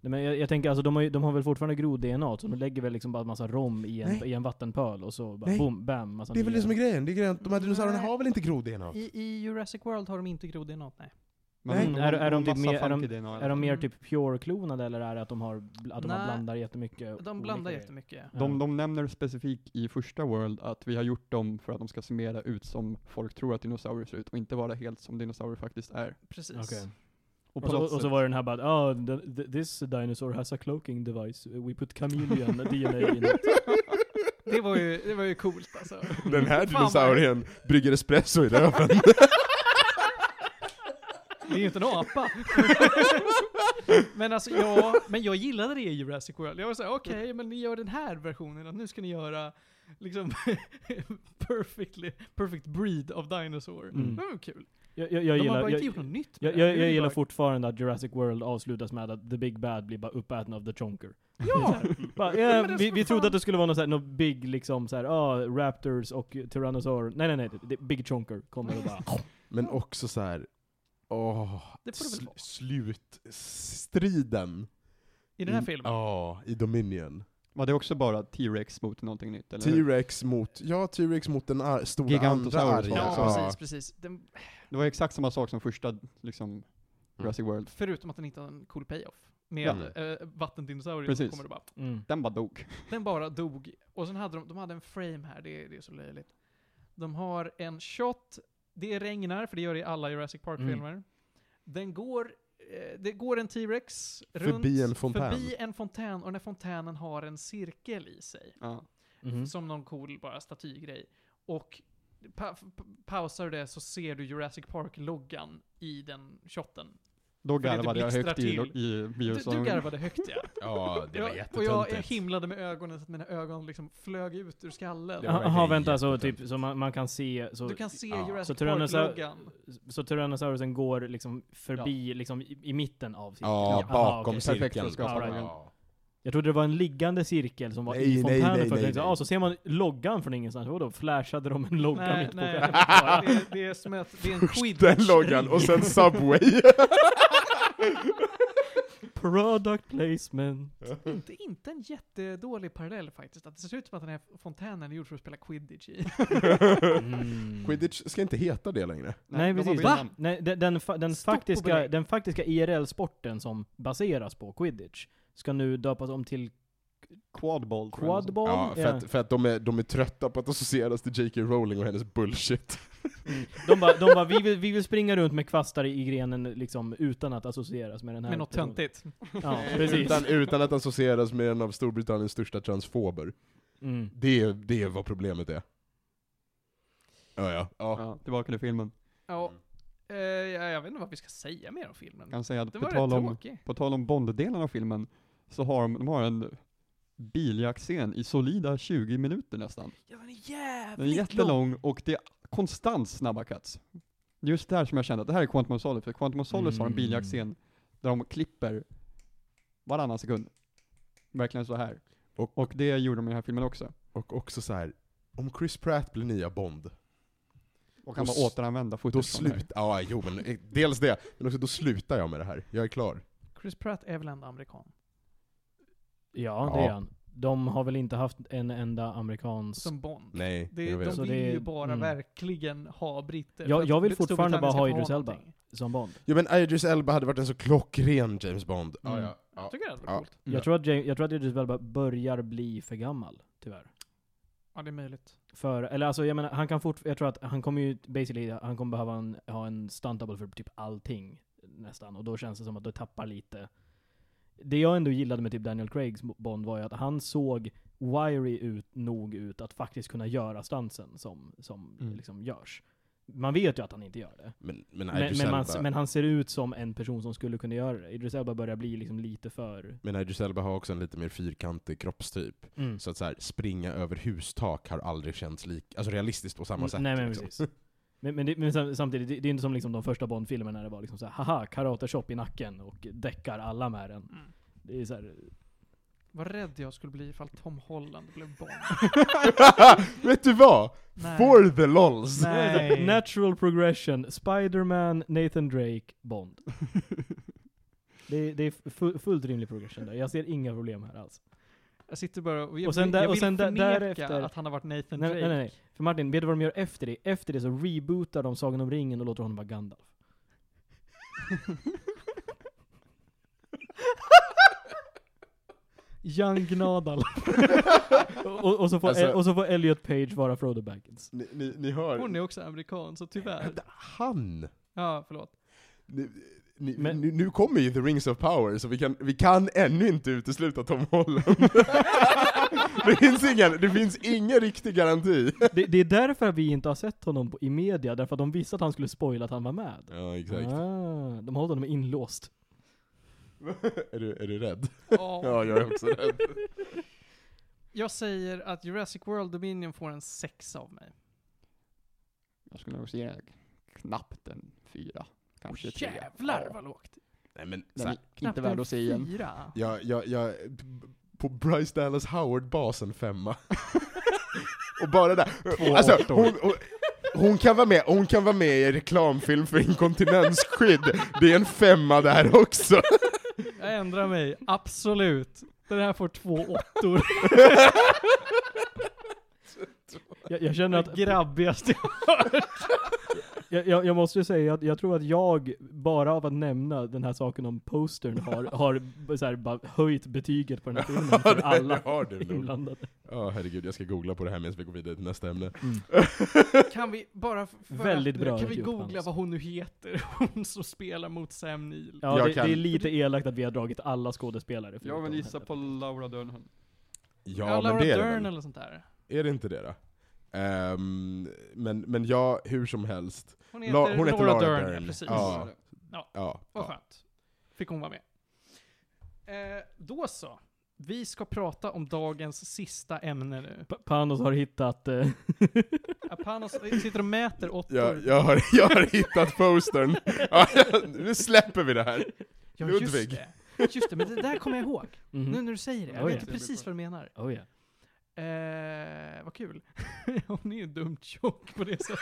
B: Nej, men jag, jag tänker alltså, de har, ju- de har väl fortfarande grod-DNA, så de lägger väl liksom bara en massa rom i en,
A: Nej.
B: i en vattenpöl och så bara
A: Nej.
B: boom, bam, massa
A: Det är väl
B: nya.
A: det som är grejen, det är grejen att de här dinosaurierna
C: Nej.
A: har väl inte grod-DNA?
C: I, I Jurassic World har de inte grod i något, nej.
D: Men
A: Nej.
D: de-
B: Är- är de typ
D: massa
B: mer- är de-
D: funky DNA.
B: Är de mer
C: Mm.
B: typ pure-klonade eller är det att de, har, bl- att de
C: Nej.
B: har blandar jättemycket?
C: De
B: olika
C: blandar
B: grejer?
C: jättemycket.
D: De,
B: Ja.
D: de nämner specifikt i första World att vi har gjort dem för att de ska se mera ut som folk tror att dinosaurier ser ut och inte vara helt som dinosaurier faktiskt är.
C: Precis.
B: Okej. Och,
D: Och något
B: så, och så
D: sätt-
B: var det den här bara oh, the, the, this dinosaur has a cloaking device, we put chameleon DNA in it.
C: Det var ju, det var ju coolt alltså.
A: Den här
C: Fan vad-
A: dinosaurien brygger espresso i röven.
C: Det är ju inte en apa. men alltså ja, men jag gillade det i Jurassic World. Jag var såhär, okej,
B: Mm.
C: men ni gör den här versionen, att nu ska ni göra liksom perfectly, perfect breed of dinosaur.
B: Mm.
C: Det var kul.
B: Jag, jag, jag
C: De har
B: gillar,
C: bara inte gjort
B: jag,
C: något nytt med
B: jag,
C: det.
B: jag,
C: Det är
B: jag
C: ju
B: gillar
C: bara-
B: fortfarande att Jurassic World avslutas med att the big bad blir bara uppäten av the chonker.
C: Ja!
B: Bara,
C: Ja,
B: eh,
C: men det är
B: vi
C: så
B: vi trodde
C: fan-
B: att det skulle vara något, så här, något big liksom såhär, ah, raptors och tyrannosaur. Nej nej nej, det- det, big chonker kommer och bara
A: Men också så här. åh,
C: Det får det väl
A: sl-
C: vara.
A: slutstriden.
C: I
B: Mm.
C: den här filmen.
A: Ja, i Dominion.
D: Var det också bara T-Rex mot någonting nytt? Eller hur?
A: T-Rex mot, ja T-Rex mot den ar- stora andra
D: Gigantosaurus var det
A: arga.
C: Ja,
D: Ja.
C: precis, precis. Den,
D: Det var exakt samma sak som första
C: Mm.
D: liksom, Jurassic World.
C: förutom att den inte har en cool payoff. Med
A: Ja.
C: eh, vattendinosaurier som
D: Precis.
C: kommer och bara
B: mm.
D: Den bara dog.
C: Den bara dog. Och sen hade de, de hade en frame här, det, är- det är så löjligt. De har en shot, det regnar, för det gör det i alla Jurassic Park-filmer.
A: Mm.
C: Den går, eh, det går en T-Rex runt,
A: Förbi en fontän.
C: förbi en fontän, och den här fontänen har en cirkel i sig.
D: Ja.
A: Mm-hmm.
B: Mhm.
C: Som någon cool bara statygrej. Och pa pa pausar du det så ser du Jurassic Park-loggan i den shotten.
D: Då
C: det
D: garvade jag
C: blixtrar
D: högt i,
C: till.
D: i
C: Du, du
D: biosalen.
C: garvade högt ja.
A: Ja, det
C: Jag- och jag, jag himlade med ögonen så att mina ögon liksom flög ut ur skallen.
A: Det var
B: Jaha
A: verkligen
B: vänta, så
A: jättetöntigt.
B: typ, så man, man kan se, så,
C: Du kan se
A: ja.
C: Jurassic
B: Så Tyrannosaur-
C: Park-loggan.
B: så Tyrannosaurusen går liksom förbi liksom i, i mitten av cirkeln?
A: Ja,
B: Aha,
A: bakom
B: okej.
D: sig. Perfekt
A: cirkeln.
D: kunskap.
A: Ja,
B: Ja,
A: ja.
B: Jag trodde det var en liggande cirkel som var
A: Nej,
B: i
A: nej,
B: fontänen
A: nej,
B: först. Jag
A: nej,
B: tänkte,
A: nej.
B: ah, så ser man loggan från ingenstans. Vadå? Flashade de en logga
C: Nej,
B: mitt på
C: nej, det,
B: skärmen?
C: är- det är som att det är en
A: Först
C: quidditch.
A: den loggan och sen Subway.
B: Product placement.
C: Inte, inte en jättedålig parallell faktiskt. Att det ser ut som att den här fontänen är gjord för att spela quidditch i.
B: Mm.
A: Quidditch ska inte heta det längre.
B: Nej,
D: de har
B: precis.
D: bytt namn.
B: Nej, den, den, fa- den,
C: Stopp och
B: faktiska,
C: belägg.
B: den faktiska IRL-sporten som baseras på quidditch ska nu döpas om till
D: Quadball. tror jag det
B: quadball.
A: Ja, för
B: Ja.
A: att, för att de, är, de är trötta på att associeras till J.K. Rowling och hennes bullshit.
B: Mm. De bara, de bara vi, vill, vi vill springa runt med kvastar i grenen liksom utan att associeras med den här.
C: Med något
B: personen.
C: töntigt.
B: Ja, precis.
A: Utan, utan att associeras med en av Storbritanniens största transfober.
B: Mm.
A: Det är, det är vad problemet är. Ja, ja. ja.
D: var. Ja, tillbaka till filmen.
C: Ja, eh, jag, jag vet inte vad vi ska säga mer om filmen.
D: Kan säga att
C: Det
D: på
C: var
D: tal
C: rätt
D: om,
C: tråkigt.
D: på tal om Bond-delen av filmen, så har de, de har en biljaktscen i solida 20 minuter nästan.
C: Ja, den är
D: Den
C: jävligt lång.
D: är jättelång och det är konstant snabba cuts. Just där som jag kände att det här är Quantum of Solace, för Quantum of Solace har en
B: Mm.
D: biljaktscen där de klipper varannan sekund. Verkligen så här.
A: Och-
D: Och, det gjorde de i den här filmen också.
A: Och också så här. om Chris Pratt blir nya Bond,
D: Och kan
A: Då
D: bara
A: s-
D: återanvända
A: då
D: footage från det här.
A: slutar... Ja, jo men eh, dels det, men också då slutar jag med det här. Jag är klar.
C: Chris Pratt är väl ändå amerikan?
B: Ja, det är
A: Ja.
B: han. de har väl inte haft en enda amerikansk...
C: som Bond.
A: Nej,
C: Det,
A: jag
C: de
A: vet.
B: Så
C: vill
B: det-
C: ju bara
B: mm.
C: verkligen ha britter.
B: Jag-
C: för att
B: jag vill
C: Storbritannien
B: fortfarande bara
C: ska
B: ha
C: få
B: Idris Elba.
C: någonting.
B: som Bond.
A: Jo men Idris Elba hade varit en så klockren James Bond. Ja,
B: Mm.
A: ja, ja.
C: Jag tycker det hade varit
A: Ja.
C: coolt.
B: Jag, tror att Ja- jag tror att Idris Elba börjar bli för gammal, tyvärr.
C: Ja, det är möjligt.
B: För, eller alltså jag menar, han kan fort, jag tror att han kommer ju basically, han kommer behöva en, ha en stunt double för typ allting nästan. Och då känns det som att det tappar lite. Det jag ändå gillade med typ Daniel Craigs Bond var ju att han såg wiry ut, nog ut att faktiskt kunna göra stansen som, som
D: Mm.
B: liksom görs. Man vet ju att han inte gör det.
A: Men, men
B: Men,
A: Idris
B: men, man,
A: Elba, men,
B: men han ser ut som en person som skulle kunna göra det. Idris Elba börjar bli liksom lite för...
A: Idris Elba har också en lite mer fyrkantig kroppstyp.
B: Mm.
A: Så att så här, springa över hustak har aldrig känts lik, alltså realistiskt på samma
B: Mm,
A: sätt.
B: Nej men
A: liksom.
B: precis. Men, men, det, men sam- samtidigt, det, det är inte som liksom de första Bond-filmerna när det var liksom så här, haha, karate-chop i nacken och däckar alla med den.
C: Mm.
B: Det är så här,
C: Vad rädd jag skulle bli ifall Tom Holland blev Bond.
A: vet du vad?
C: Nej.
A: For the lols!
C: Nej.
B: natural progression, Spider-Man, Nathan Drake, Bond. Det, det är fu- fullt rimlig progression där. Jag ser inga problem här alls.
C: Jag sitter bara och jag,
B: Och sen
C: vill-
B: där-
C: jag
B: och
C: vill
B: sen där-
C: förneka
B: därefter-
C: att han har varit Nathan
B: Nej,
C: Drake.
B: nej, nej. För Martin, vet du vad de gör efter det? Efter det så rebootar de Sagan om ringen och låter honom vara Gandalf. Young Gnadal. och, och, så får,
A: Alltså-
B: och så får Elliot Page vara Frodo Baggins.
A: Ni, ni, ni hör...
C: Hon är också amerikan, så tyvärr.
A: Han!
C: Ja, förlåt.
A: Ni, ni,
B: Men-
A: nu, nu kommer ju The Rings of Power, så vi kan, vi kan ännu inte utesluta Tom Holland. det, finns ingen, det finns ingen riktig garanti.
B: Det, det är därför vi inte har sett honom på, i media, därför att de visste att han skulle spoila att han var med.
A: Ja,
B: Ah, de har hållit honom inlåst.
A: är, du, är du rädd?
C: Ja.
A: Ja, jag är också rädd.
C: Jag säger att Jurassic World Dominion får en sex av mig.
D: Jag skulle nog ge knappt en fyra.
B: Oh,
D: Kanske tre.
C: Jävlar
D: Ja.
C: vad lågt.
A: Nej men,
D: Den
A: så här,
D: är inte värd att se igen.
C: Fyra.
A: jag, jag, jag, på Bryce Dallas Howard-basen femma. och bara där.
D: Två
A: alltså,
D: arton.
A: hon, hon, hon, kan vara med, hon kan vara med i reklamfilm för inkontinensskydd. Det är en femma där också.
C: Jag ändrar mig, absolut. Den här får två åttor.
B: Jag, jag känner att...
C: Det grabbigaste jag hört.
B: Jag, jag, jag måste ju säga att jag tror att jag, bara av att nämna den här saken om postern, har, har b- så här, bara höjt betyget på den här filmen för
A: det
B: alla
A: har du nog.
B: inblandade.
A: Ja, herregud, jag ska googla på det här medan vi går vidare till nästa ämne.
C: Kan vi bara... f- för
B: Väldigt
C: att-
B: bra
C: Kan vi
B: ljud på
C: googla
B: hans.
C: vad hon nu heter? Hon som spelar mot Sam Neill.
B: Ja,
A: Jag
B: det,
A: kan-
B: det är lite elakt att vi har dragit alla skådespelare.
D: Jag
B: förutom
D: vill gissa
B: henne.
D: på Laura Dern.
A: Ja,
C: Laura
A: men det är det
C: Dern
A: väl.
C: eller sånt där.
A: Är det inte det då? Ehm, men, men ja, hur som helst.
C: Hon
A: La-
C: heter,
A: hon heter
C: Laura,
A: Laura
C: Dern,
A: Dern.
C: Ja, precis.
A: Ja. Ja,
C: Vad
A: ja.
C: skönt. Fick hon vara med. Eh, då så. Vi ska prata om dagens sista ämne nu.
B: Pa- Panos har hittat... eh,
C: Apanos sitter och mäter åttor.
A: Jag, jag, har, jag har hittat postern. Ja, jag, nu släpper vi det här.
C: Ja,
A: Ludvig. Mm.
C: Just det. just det, men det där kommer jag ihåg.
B: mhm.
C: Nu när du säger det. Jag
B: Oj.
C: vet precis vad du menar.
B: Oh, yeah.
C: Eh, vad kul. Hon är ju dumt tjock på det sättet.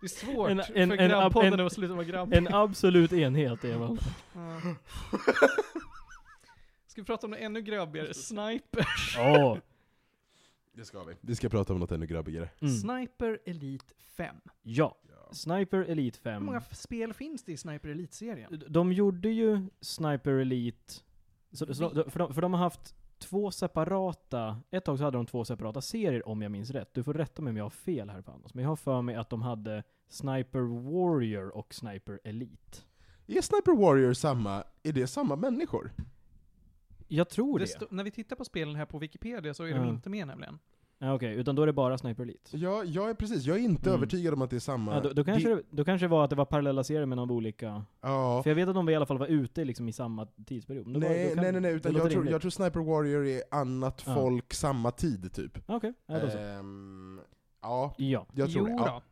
C: Det är svårt
B: En- en-
C: för
B: en-
C: grabbpodden
B: en-
C: att sluta vara grabb.
B: En absolut enhet är man.
C: Ja. Ska vi prata om något ännu grabbigare? Snipers.
B: Ja.
A: Det ska vi. Vi ska prata om något ännu grabbigare.
B: Mm.
C: Sniper Elite 5.
B: Ja. Mm. Sniper Elite 5.
C: Hur många f- spel finns det i Sniper Elite-serien?
B: De gjorde ju Sniper Elite, så, så, de- för, de, för de har haft två separata, ett tag så hade de två separata serier om jag minns rätt. Du får rätta mig om jag har fel här Panos, men jag har för mig att de hade Sniper Warrior och Sniper Elite.
A: Är Sniper Warrior samma, är det samma människor?
B: Jag tror
C: Det
B: det.
C: stå- när vi tittar på spelen här på Wikipedia så är
B: Ja.
C: de inte med nämligen.
B: ja, Okej, utan då är det bara Sniper Elite.
A: Ja, jag är precis, jag är inte
B: Mm.
A: övertygad om att det är samma.
B: Ja, då, då, kanske det, då kanske det var att det var parallella serier men av olika...
A: ja.
B: För jag vet att de i alla fall var ute liksom i samma tidsperiod. Men då var,
A: Nej,
B: då kan-
A: nej, nej, nej,
B: det
A: utan
B: låter
A: jag tror,
B: rimligt.
A: jag tror Sniper Warrior är annat
B: Ja.
A: folk, samma tid typ.
B: Ah, Okej, ja, då så.
A: Ehm, ja,
B: Ja.
A: jag tror
C: jo
A: det.
C: Då.
A: Ja.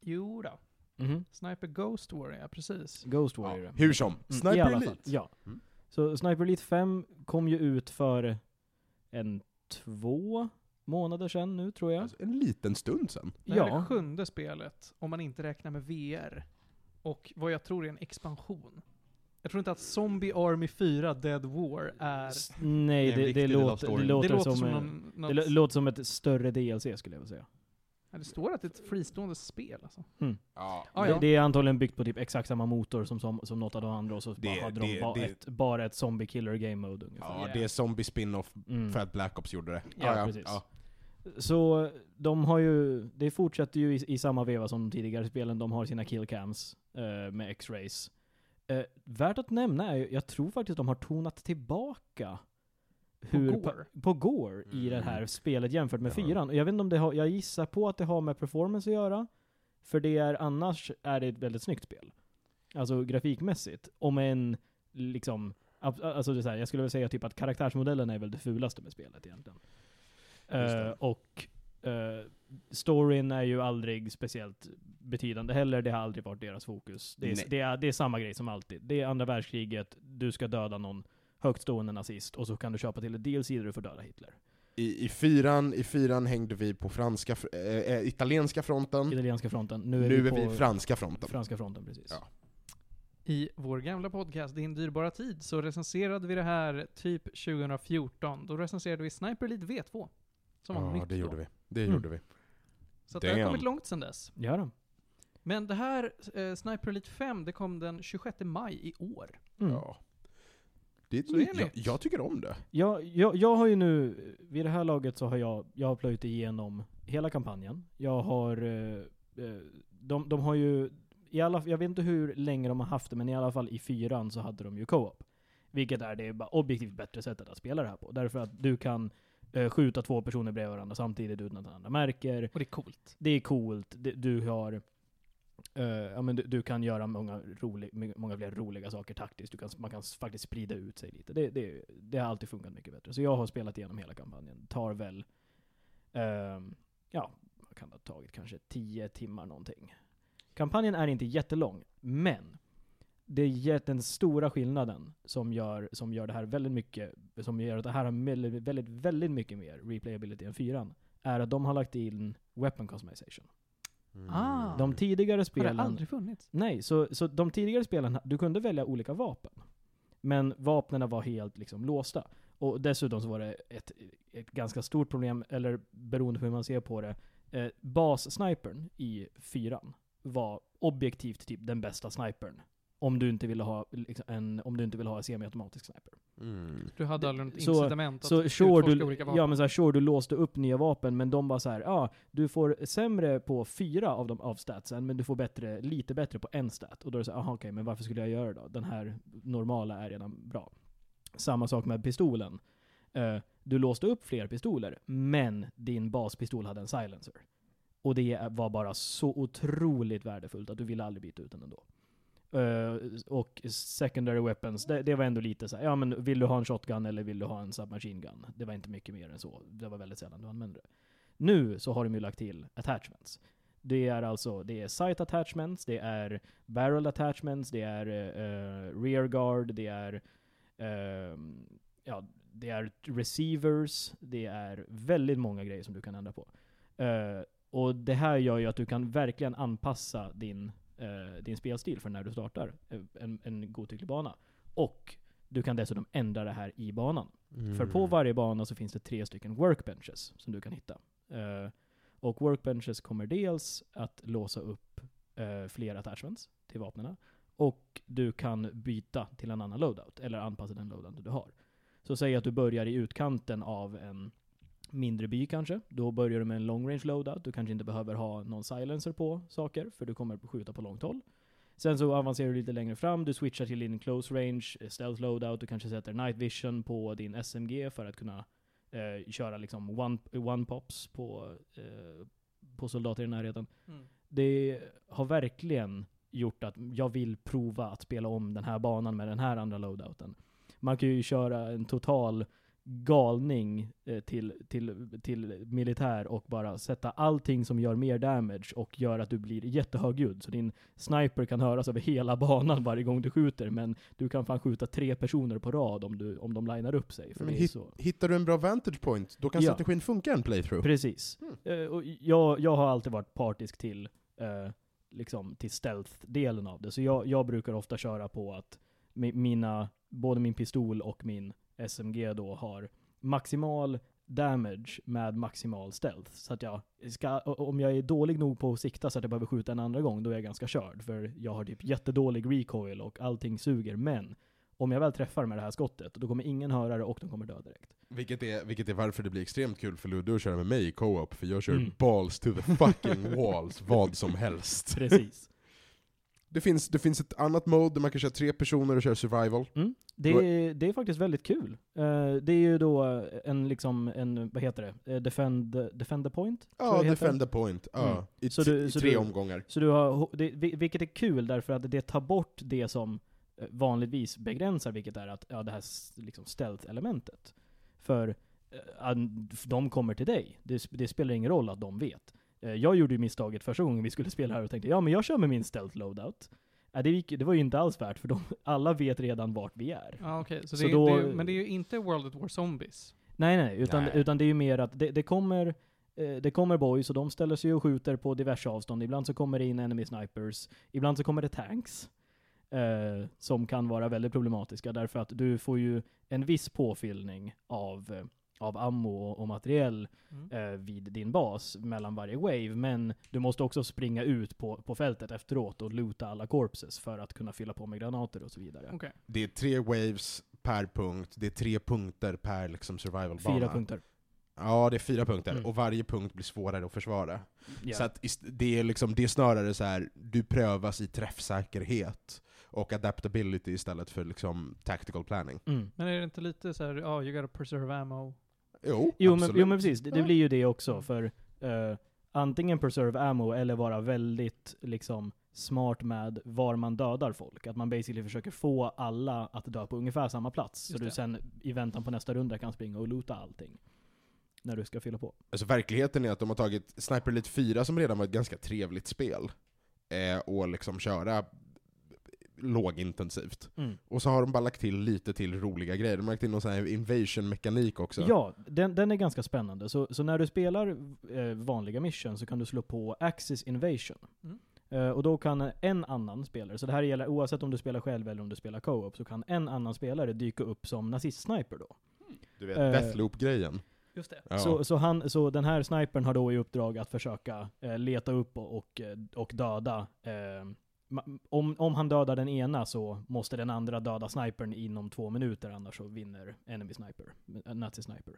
C: Jo då.
B: Mhm.
C: Sniper Ghost Warrior, ja, precis.
B: Ghost
A: Ja,
B: Warrior.
A: hur som,
B: Mm,
A: Sniper
B: i alla
A: Elite.
B: Fall. Ja.
A: Mm.
B: Så Sniper Elite 5 kom ju ut för en två månader sedan nu tror jag.
A: Alltså, en liten stund sen.
C: Det här är
B: ja.
C: det sjunde spelet, om man inte räknar med VR. Och vad jag tror är en expansion. Jag tror inte att Zombie Army 4 Dead War är...
B: S- Nej,
D: Det är
B: det, det,
D: en viktig del av
B: låter, det
D: storyn.
B: låter
C: det låter
B: som,
C: som,
B: eh,
C: någon, något,
B: det lå- låter som ett större DLC skulle jag vilja säga.
C: ja, det står att det är ett fristående spel alltså.
A: Ja.
C: Ah,
B: det,
C: ja.
B: det är antagligen byggt på typ exakt samma motor som, som, som något av de andra och så
A: Det-
B: bara hade de
A: det-
B: bara,
A: det-
B: ett, bara ett zombie killer game mode ungefär.
A: Ja, det är zombie spin-off
B: Mm.
A: för att Black Ops gjorde det.
B: Ja, precis. Så de har ju, det fortsätter ju i, i samma veva som de tidigare spelen, de har sina killcams eh, med X-rays. Eh, värt att nämna är ju, jag tror faktiskt de har tonat tillbaka hur,
C: Gore?
B: pa- på Gore i
A: Mm.
B: det här spelet jämfört med
A: Ja.
B: fyran. Och jag vet inte om det har, jag gissar på att det har med performance att göra. För det är, annars är det ett väldigt snyggt spel. Alltså grafikmässigt. Om en, liksom, ab- alltså det är så här, jag skulle väl säga typ att karaktärsmodellen är väl det fulaste med spelet egentligen.
A: Just det.
B: Eh, och eh, storyn är ju aldrig speciellt betydande heller, det har aldrig varit deras fokus. Det
A: Nej.
B: är, det är, det är samma grej som alltid. Det är andra världskriget, du ska döda någon högtstående nazist och så kan du köpa till ett DLC där du får döda Hitler.
A: I, i, fyran, I fyran hängde vi på franska, fr- eh, eh, italienska fronten,
B: Italienska fronten, nu
A: nu
B: är vi på
A: franska fronten.
B: franska fronten precis.
A: Ja.
C: I vår gamla podcast Din dyrbara tid så recenserade vi det här typ 2014. Då recenserade vi Sniper Elite V2. Som var
A: ja,
C: nytt
A: det gjorde
C: då.
A: vi. Det
B: Mm.
A: gjorde vi.
C: Så att det har
A: Damn.
C: kommit långt sedan dess.
B: Gör de?
C: Men det här eh, Sniper Elite 5, det kom den 26 maj i år.
B: Mm.
A: Ja. Det är ett
C: Så det är
A: nytt-
C: nytt.
A: jag, jag tycker om det.
B: Jag, jag, jag har ju nu, vid det här laget så har jag, jag har plöjt igenom hela kampanjen. Jag har, eh, eh, de, de har ju, i alla, jag vet inte hur länge de har haft det, men i alla fall i fyran så hade de ju co-op. Vilket är det bara objektivt bättre sättet att spela det här på. Därför att du kan eh, skjuta två personer bredvid varandra samtidigt utan att den andra märker
C: Och det är coolt.
B: det är coolt, det, du har eh, ja, men du, du kan göra många, rolig, my- många fler roliga saker taktiskt. Du kan, man kan s- faktiskt sprida ut sig lite. Det, det, det har alltid funkat mycket bättre. Så jag har spelat igenom hela kampanjen. Tar väl, ehm, ja, vad kan det ha tagit? Kanske 10 timmar någonting. Kampanjen är inte jättelång, men det är jätte- den stora skillnaden som gör, som gör det här väldigt mycket, som gör att det här har väldigt, väldigt, väldigt mycket mer replayability än fyran, är att de har lagt in weapon customization.
C: Ah.
B: De tidigare
C: Har
B: spelen...
C: det aldrig funnits?
B: Nej, så, så de tidigare spelen, du kunde välja olika vapen. Men vapnen var helt liksom låsta. Och dessutom så var det ett, ett ganska stort problem, eller beroende på hur man ser på det, eh, bassnipern i fyran var objektivt typ den bästa snipern. Om du inte ville ha liksom, en, om du inte ville ha en semiautomatisk sniper.
A: Mm.
C: Du hade aldrig något
B: Så-
C: incitament att
B: Så sure,
C: utforska
B: du,
C: olika vapen?
B: ja, men så här, sure, du låste upp nya vapen, men de bara så här, ja, du får sämre på fyra av, de, av statsen, men du får bättre, lite bättre på en stat. Och då är det så här, aha, okej, men varför skulle jag göra det då? Den här normala är redan bra. Samma sak med pistolen. Eh, du låste upp fler pistoler, men din baspistol hade en silencer. Och det är- var bara så otroligt värdefullt att du ville aldrig byta ut den ändå. Eh, och secondary weapons, det, det var ändå lite så här, ja men vill du ha en shotgun eller vill du ha en submachine gun? Det var inte mycket mer än så. Det var väldigt sällan du använde det. Nu så har de ju lagt till attachments. Det är alltså, det är sight attachments, det är barrel attachments, det är eh, rear guard, det är ehm, ja, det är receivers, det är väldigt många grejer som du kan ändra på. Eh, och det här gör ju att du kan verkligen anpassa din, eh, din spelstil för när du startar eh, en, en godtycklig bana. Och du kan dessutom ändra det här i banan. För på
A: Mm.
B: varje bana så finns det tre stycken workbenches som du kan hitta. Eh, och workbenches kommer dels att låsa upp eh, fler attachments till vapnen. Och du kan byta till en annan loadout, eller anpassa den loadout du har. Så säg att du börjar i utkanten av en mindre by kanske. Då börjar du med en long range loadout. Du kanske inte behöver ha någon silencer på saker, för du kommer skjuta på långt håll. Sen så avancerar du lite längre fram, du switchar till din close range, eh, stealth loadout, du kanske sätter night vision på din SMG för att kunna eh, köra liksom one, one pops på, eh, på soldater i närheten.
C: Mm.
B: Det har verkligen gjort att jag vill prova att spela om den här banan med den här andra loadouten. Man kan ju köra en total galning eh, till, till, till militär och bara sätta allting som gör mer damage och gör att du blir jättehögljudd. Så din sniper kan höras över hela banan varje gång du skjuter, men du kan fan skjuta tre personer på rad om, du, om de linar upp sig. För
A: Men
B: det är så.
A: Hittar du en bra vantage point, då kan
B: Ja.
A: strategin funka en playthrough.
B: Precis. Eh, och jag, jag har alltid varit partisk till, eh, liksom, till stealth-delen av det, så jag, jag brukar ofta köra på att mi- mina, både min pistol och min SMG då har maximal damage med maximal stealth. Så att jag ska, o- om jag är dålig nog på att sikta så att jag behöver skjuta en andra gång, då är jag ganska körd. För jag har typ jättedålig recoil och allting suger. Men om jag väl träffar med det här skottet, då kommer ingen höra det och de kommer dö direkt.
A: Vilket är, vilket är varför det blir extremt kul för Ludde att köra med mig i co-op, för jag kör
B: Mm.
A: balls to the fucking walls, vad som helst.
B: Precis.
A: Det finns, det finns ett annat mode där man kan köra tre personer och köra survival.
B: Mm. Det,
A: Då-
B: är, det är faktiskt väldigt kul. Eh, det är ju då en, liksom, en vad heter det, Eh, defend, defend the point? tror jag
A: Ja,
B: det heter.
A: defend the point. Ja,
B: Mm.
A: I,
B: Så
A: t-
B: du-
A: i
B: så
A: tre
B: du-
A: omgångar.
B: Så du har, ho- det, vi- vilket är kul därför att det tar bort det som eh, vanligtvis begränsar, vilket är att, ja, det här s- liksom stealth-elementet. För eh, att de kommer till dig. Det, sp- det spelar ingen roll att de vet. Eh, Jag gjorde ju misstaget första gången vi skulle spela här och tänkte ja men jag kör med min stealth loadout. Eh, Det, gick, det var ju inte alls värt för de, alla vet redan vart vi är.
C: Ja, okej. Så
B: Så
C: det, är-
B: då-
C: det, är- men det är ju inte World at War Zombies.
B: Nej, nej, utan,
A: Nej.
B: utan det är ju mer att det, det kommer eh, det kommer boys och de ställer sig och skjuter på diverse avstånd. Ibland så kommer det in enemy snipers. Ibland så kommer det tanks. Eh, som kan vara väldigt problematiska därför att du får ju en viss påfyllning av, eh, av ammo och, och materiell
C: Mm.
B: eh, vid din bas mellan varje wave. Men du måste också springa ut på, på fältet efteråt och loota alla corpses för att kunna fylla på med granater och så vidare.
C: Okej.
A: Det är tre waves per punkt, det är tre punkter per liksom survival-bana.
B: Fyra punkter.
A: Ja, det är fyra punkter,
B: Mm.
A: och varje punkt blir svårare att försvara.
B: Ja.
A: Så att ist- det är, liksom, det är snarare så här, du prövas i träffsäkerhet och adaptability istället för liksom tactical planning.
B: mm.
C: Men är det inte lite så här, ja, you gotta preserve ammo?
A: Jo,
B: Jo men,
A: absolut.
B: jo men precis, det, det
A: Ja.
B: blir ju det
C: Mm.
B: också för eh, antingen preserve ammo eller vara väldigt liksom smart med var man dödar folk. Att man basically försöker få alla att dö på ungefär samma plats. så
C: Just
B: du
C: det.
B: sen i väntan på nästa runda kan springa och loota allting. När du ska fylla på.
A: Alltså verkligheten är att de har tagit Sniper Elite 4 som redan var ett ganska trevligt spel, eh, och liksom köra lågintensivt. Och så har de bara lagt till lite till roliga grejer. De har lagt in någon sån här invasion-mekanik också.
B: Ja, den, den är ganska spännande. Så, så när du spelar eh, vanliga mission så kan du slå på Axis Invasion.
C: Mm.
B: Eh, och då kan en annan spelare, så det här gäller oavsett om du spelar själv eller om du spelar co-op, så kan en annan spelare dyka upp som nazist-sniper då.
A: Du vet,
B: Eh.
A: Deathloop-grejen.
C: Just det.
A: Ja.
B: Så, så, han, så den här snipern har då i uppdrag att försöka eh, leta upp och, och, eh, och döda. Eh, ma- om, om han dödar den ena så måste den andra döda snipern inom två minuter, annars så vinner enemy sniper, eh, nazi sniper.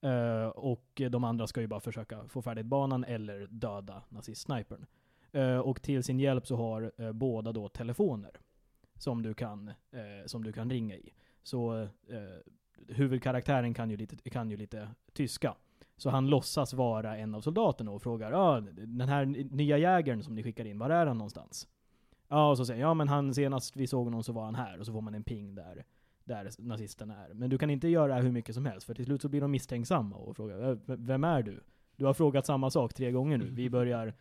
B: Eh, och de andra ska ju bara försöka få färdigt banan eller döda nazist-snipern. Eh, och till sin hjälp så har eh, båda då telefoner som du kan, eh, som du kan ringa i. Så eh, huvudkaraktären kan ju, lite, kan ju lite tyska. Så han låtsas vara en av soldaterna och frågar ah, den här n- nya jägern som ni skickar in, var är han någonstans? Ja, och så säger jag, ja men han senast vi såg honom så var han här, och så får man en ping där, där nazisten är. Men du kan inte göra hur mycket som helst, för till slut så blir de misstänksamma och frågar, "V- vem är du? Du har frågat samma sak tre gånger nu, vi börjar,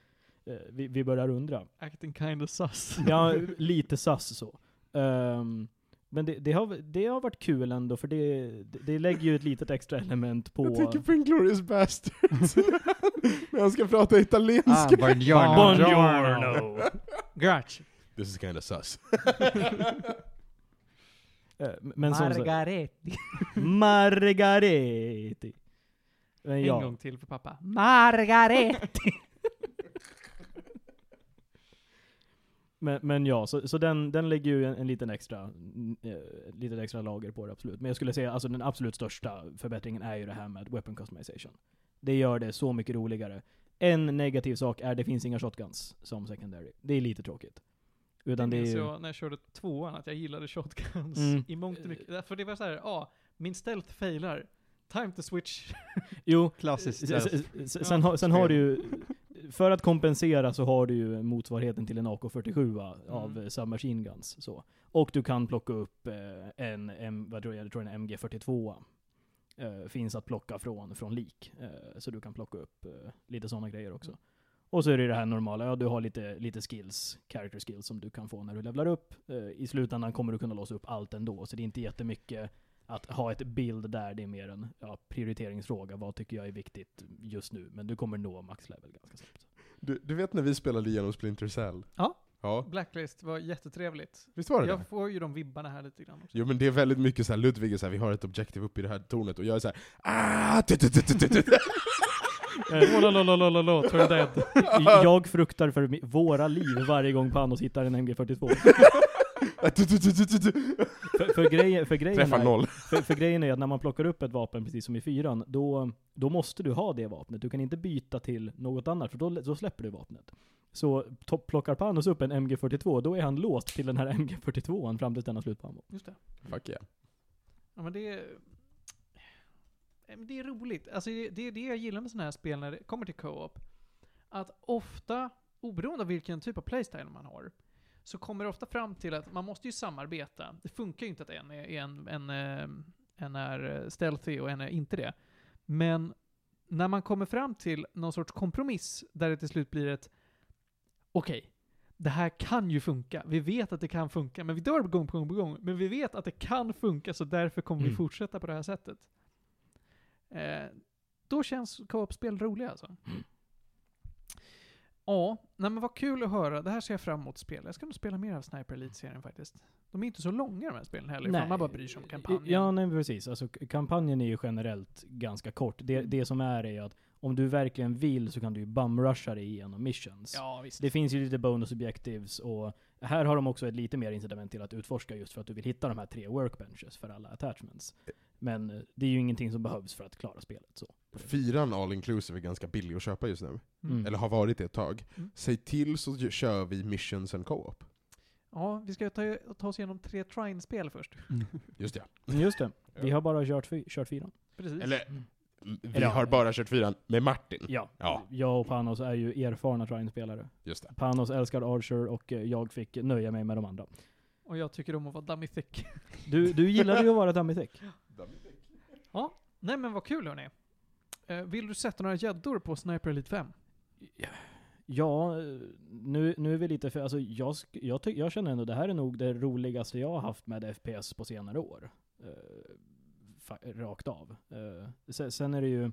B: eh, vi, vi börjar undra.
C: Acting kind of sus.
B: Ja, lite sass så. Ehm, men det, det, har, det har varit kul ändå, för det, det, det lägger ju ett litet extra element på...
A: Jag tänker på Inglourious Bastards. När han ska prata italienska.
D: Ah, buongiorno.
B: Buongiorno!
C: Gratch.
A: This is kinda sus.
B: Eh, Men som sagt, Margareti. Men
C: En
B: ja,
C: gång till för pappa.
E: Margareti.
B: men, men ja så, så den, den lägger ju en, en liten extra, mm, eh, litet extra lager på det absolut. Men jag skulle säga alltså den absolut största förbättringen är ju det här med weapon customization. Det gör det så mycket roligare. En negativ sak är det finns inga shotguns som secondary. Det är lite tråkigt. Utan det är
C: minns
B: ju,
C: jag när jag körde tvåan att jag gillade shotguns
B: Mm.
C: i mångt och mycket. För det var så här, ja, ah, min stealth failar. Time to switch.
B: jo,
D: Klassiskt. eh,
B: S- s- s- Sen, har- sen har du ju, för att kompensera så har du ju motsvarigheten till en AK47 av
C: Mm.
B: mm. Submachine Guns. Så. Och du kan plocka upp eh, en, en, vad tror jag, jag tror en MG42. Eh, finns att plocka från, från lik. Eh, så du kan plocka upp eh, lite sådana grejer också. Och så är det ju det här normala, ja du har lite, lite skills, character skills som du kan få när du levlar upp. Eh, I slutändan kommer du kunna låsa upp allt ändå, så det är inte jättemycket att ha ett bild där, det är mer en ja, prioriteringsfråga. Vad tycker jag är viktigt just nu? Men du kommer nå max level ganska snabbt.
A: Du, du vet när vi spelade igenom Splinter Cell?
C: Ja.
A: Ja,
C: Blacklist var jättetrevligt.
A: visst var det det?
C: Jag får ju de vibbarna här lite grann.
A: Jo men det är väldigt mycket så här, Ludvig är så här, vi har ett objektiv uppe i det här tornet, och jag är så här, ah, tut, tut, tut, tut, tut.
B: Eh, lolololololo, turn dead. Jag fruktar för mi- våra liv varje gång Panos hittar en MG42.
A: Ah, tut, tut, tut, tut, tut.
B: För, för, grejen, för, grejen
A: Träffa
B: är,
A: noll.
B: för, för grejen är att när man plockar upp ett vapen, precis som i fyran, då, då måste du ha det vapnet. Du kan inte byta till något annat, för då, då släpper du vapnet. Så to- plockar Panos upp en MG42, då är han låst till den här MG42 fram tills den har slut på ammo.
C: Just det.
A: Fuck yeah.
C: Ja, men det är... Eh, men Det är roligt. Alltså det det är det jag gillar med sådana här spel när det kommer till co-op. Att ofta, oberoende av vilken typ av playstyle man har, så kommer det ofta fram till att man måste ju samarbeta. Det funkar ju inte att en är, är en, en, eh, en är eh, stealthy och en är inte det. Men när man kommer fram till någon sorts kompromiss där det till slut blir ett okej, det här kan ju funka. Vi vet att det kan funka, men vi dör gång på gång på gång. Men vi vet att det kan funka, så därför kommer vi
A: Mm.
C: fortsätta på det här sättet. Eh, då känns co-op-spel roliga alltså.
B: Mm.
C: Ja, nej men vad kul att höra. Det här ser jag fram emot att spela. Jag ska nog spela mer av Sniper Elite-serien faktiskt. De är inte så långa de här spelen heller, ifall liksom. man bara bryr sig om kampanjen.
B: Ja, nej precis. Alltså, k- kampanjen är ju generellt ganska kort. Det,
C: Mm.
B: det som är är ju att om du verkligen vill så kan du ju bumrusha dig igenom missions.
C: ja visst.
B: Det finns ju lite bonus objectives och här har de också ett lite mer incitament till att utforska just för att du vill hitta de här tre workbenches för alla attachments. Men eh, det är ju ingenting som behövs för att klara spelet så.
A: Fyran all inclusive är ganska billig att köpa just nu.
B: Mm.
A: Eller har varit det ett tag.
C: Mm.
A: Säg till så ju- kör vi missions and co-op.
C: Ja, vi ska ta, ta oss igenom tre Trine-spel först.
A: Just det.
B: Just det. Vi har bara kört, fy- kört fyran.
C: Precis.
A: Eller, vi
B: Mm. Eller-
A: har bara kört fyran med Martin.
B: Ja.
A: Ja.
B: Jag och Panos är ju erfarna Trine-spelare.
A: Just det.
B: Panos älskar Archer och eh, jag fick nöja mig med de andra.
C: Och jag tycker om att vara dummy thick.
B: Du, du gillade ju att vara Damitech.
C: Nej men vad kul hörni. Eh, vill du sätta några gäddor på Sniper Elite 5?
B: Ja, eh, nu, nu är vi lite för... Alltså jag, sk- jag, ty, jag känner ändå det här är nog det roligaste jag har haft med FPS på senare år. Eh, fa, rakt av. Eh, sen, sen är det ju...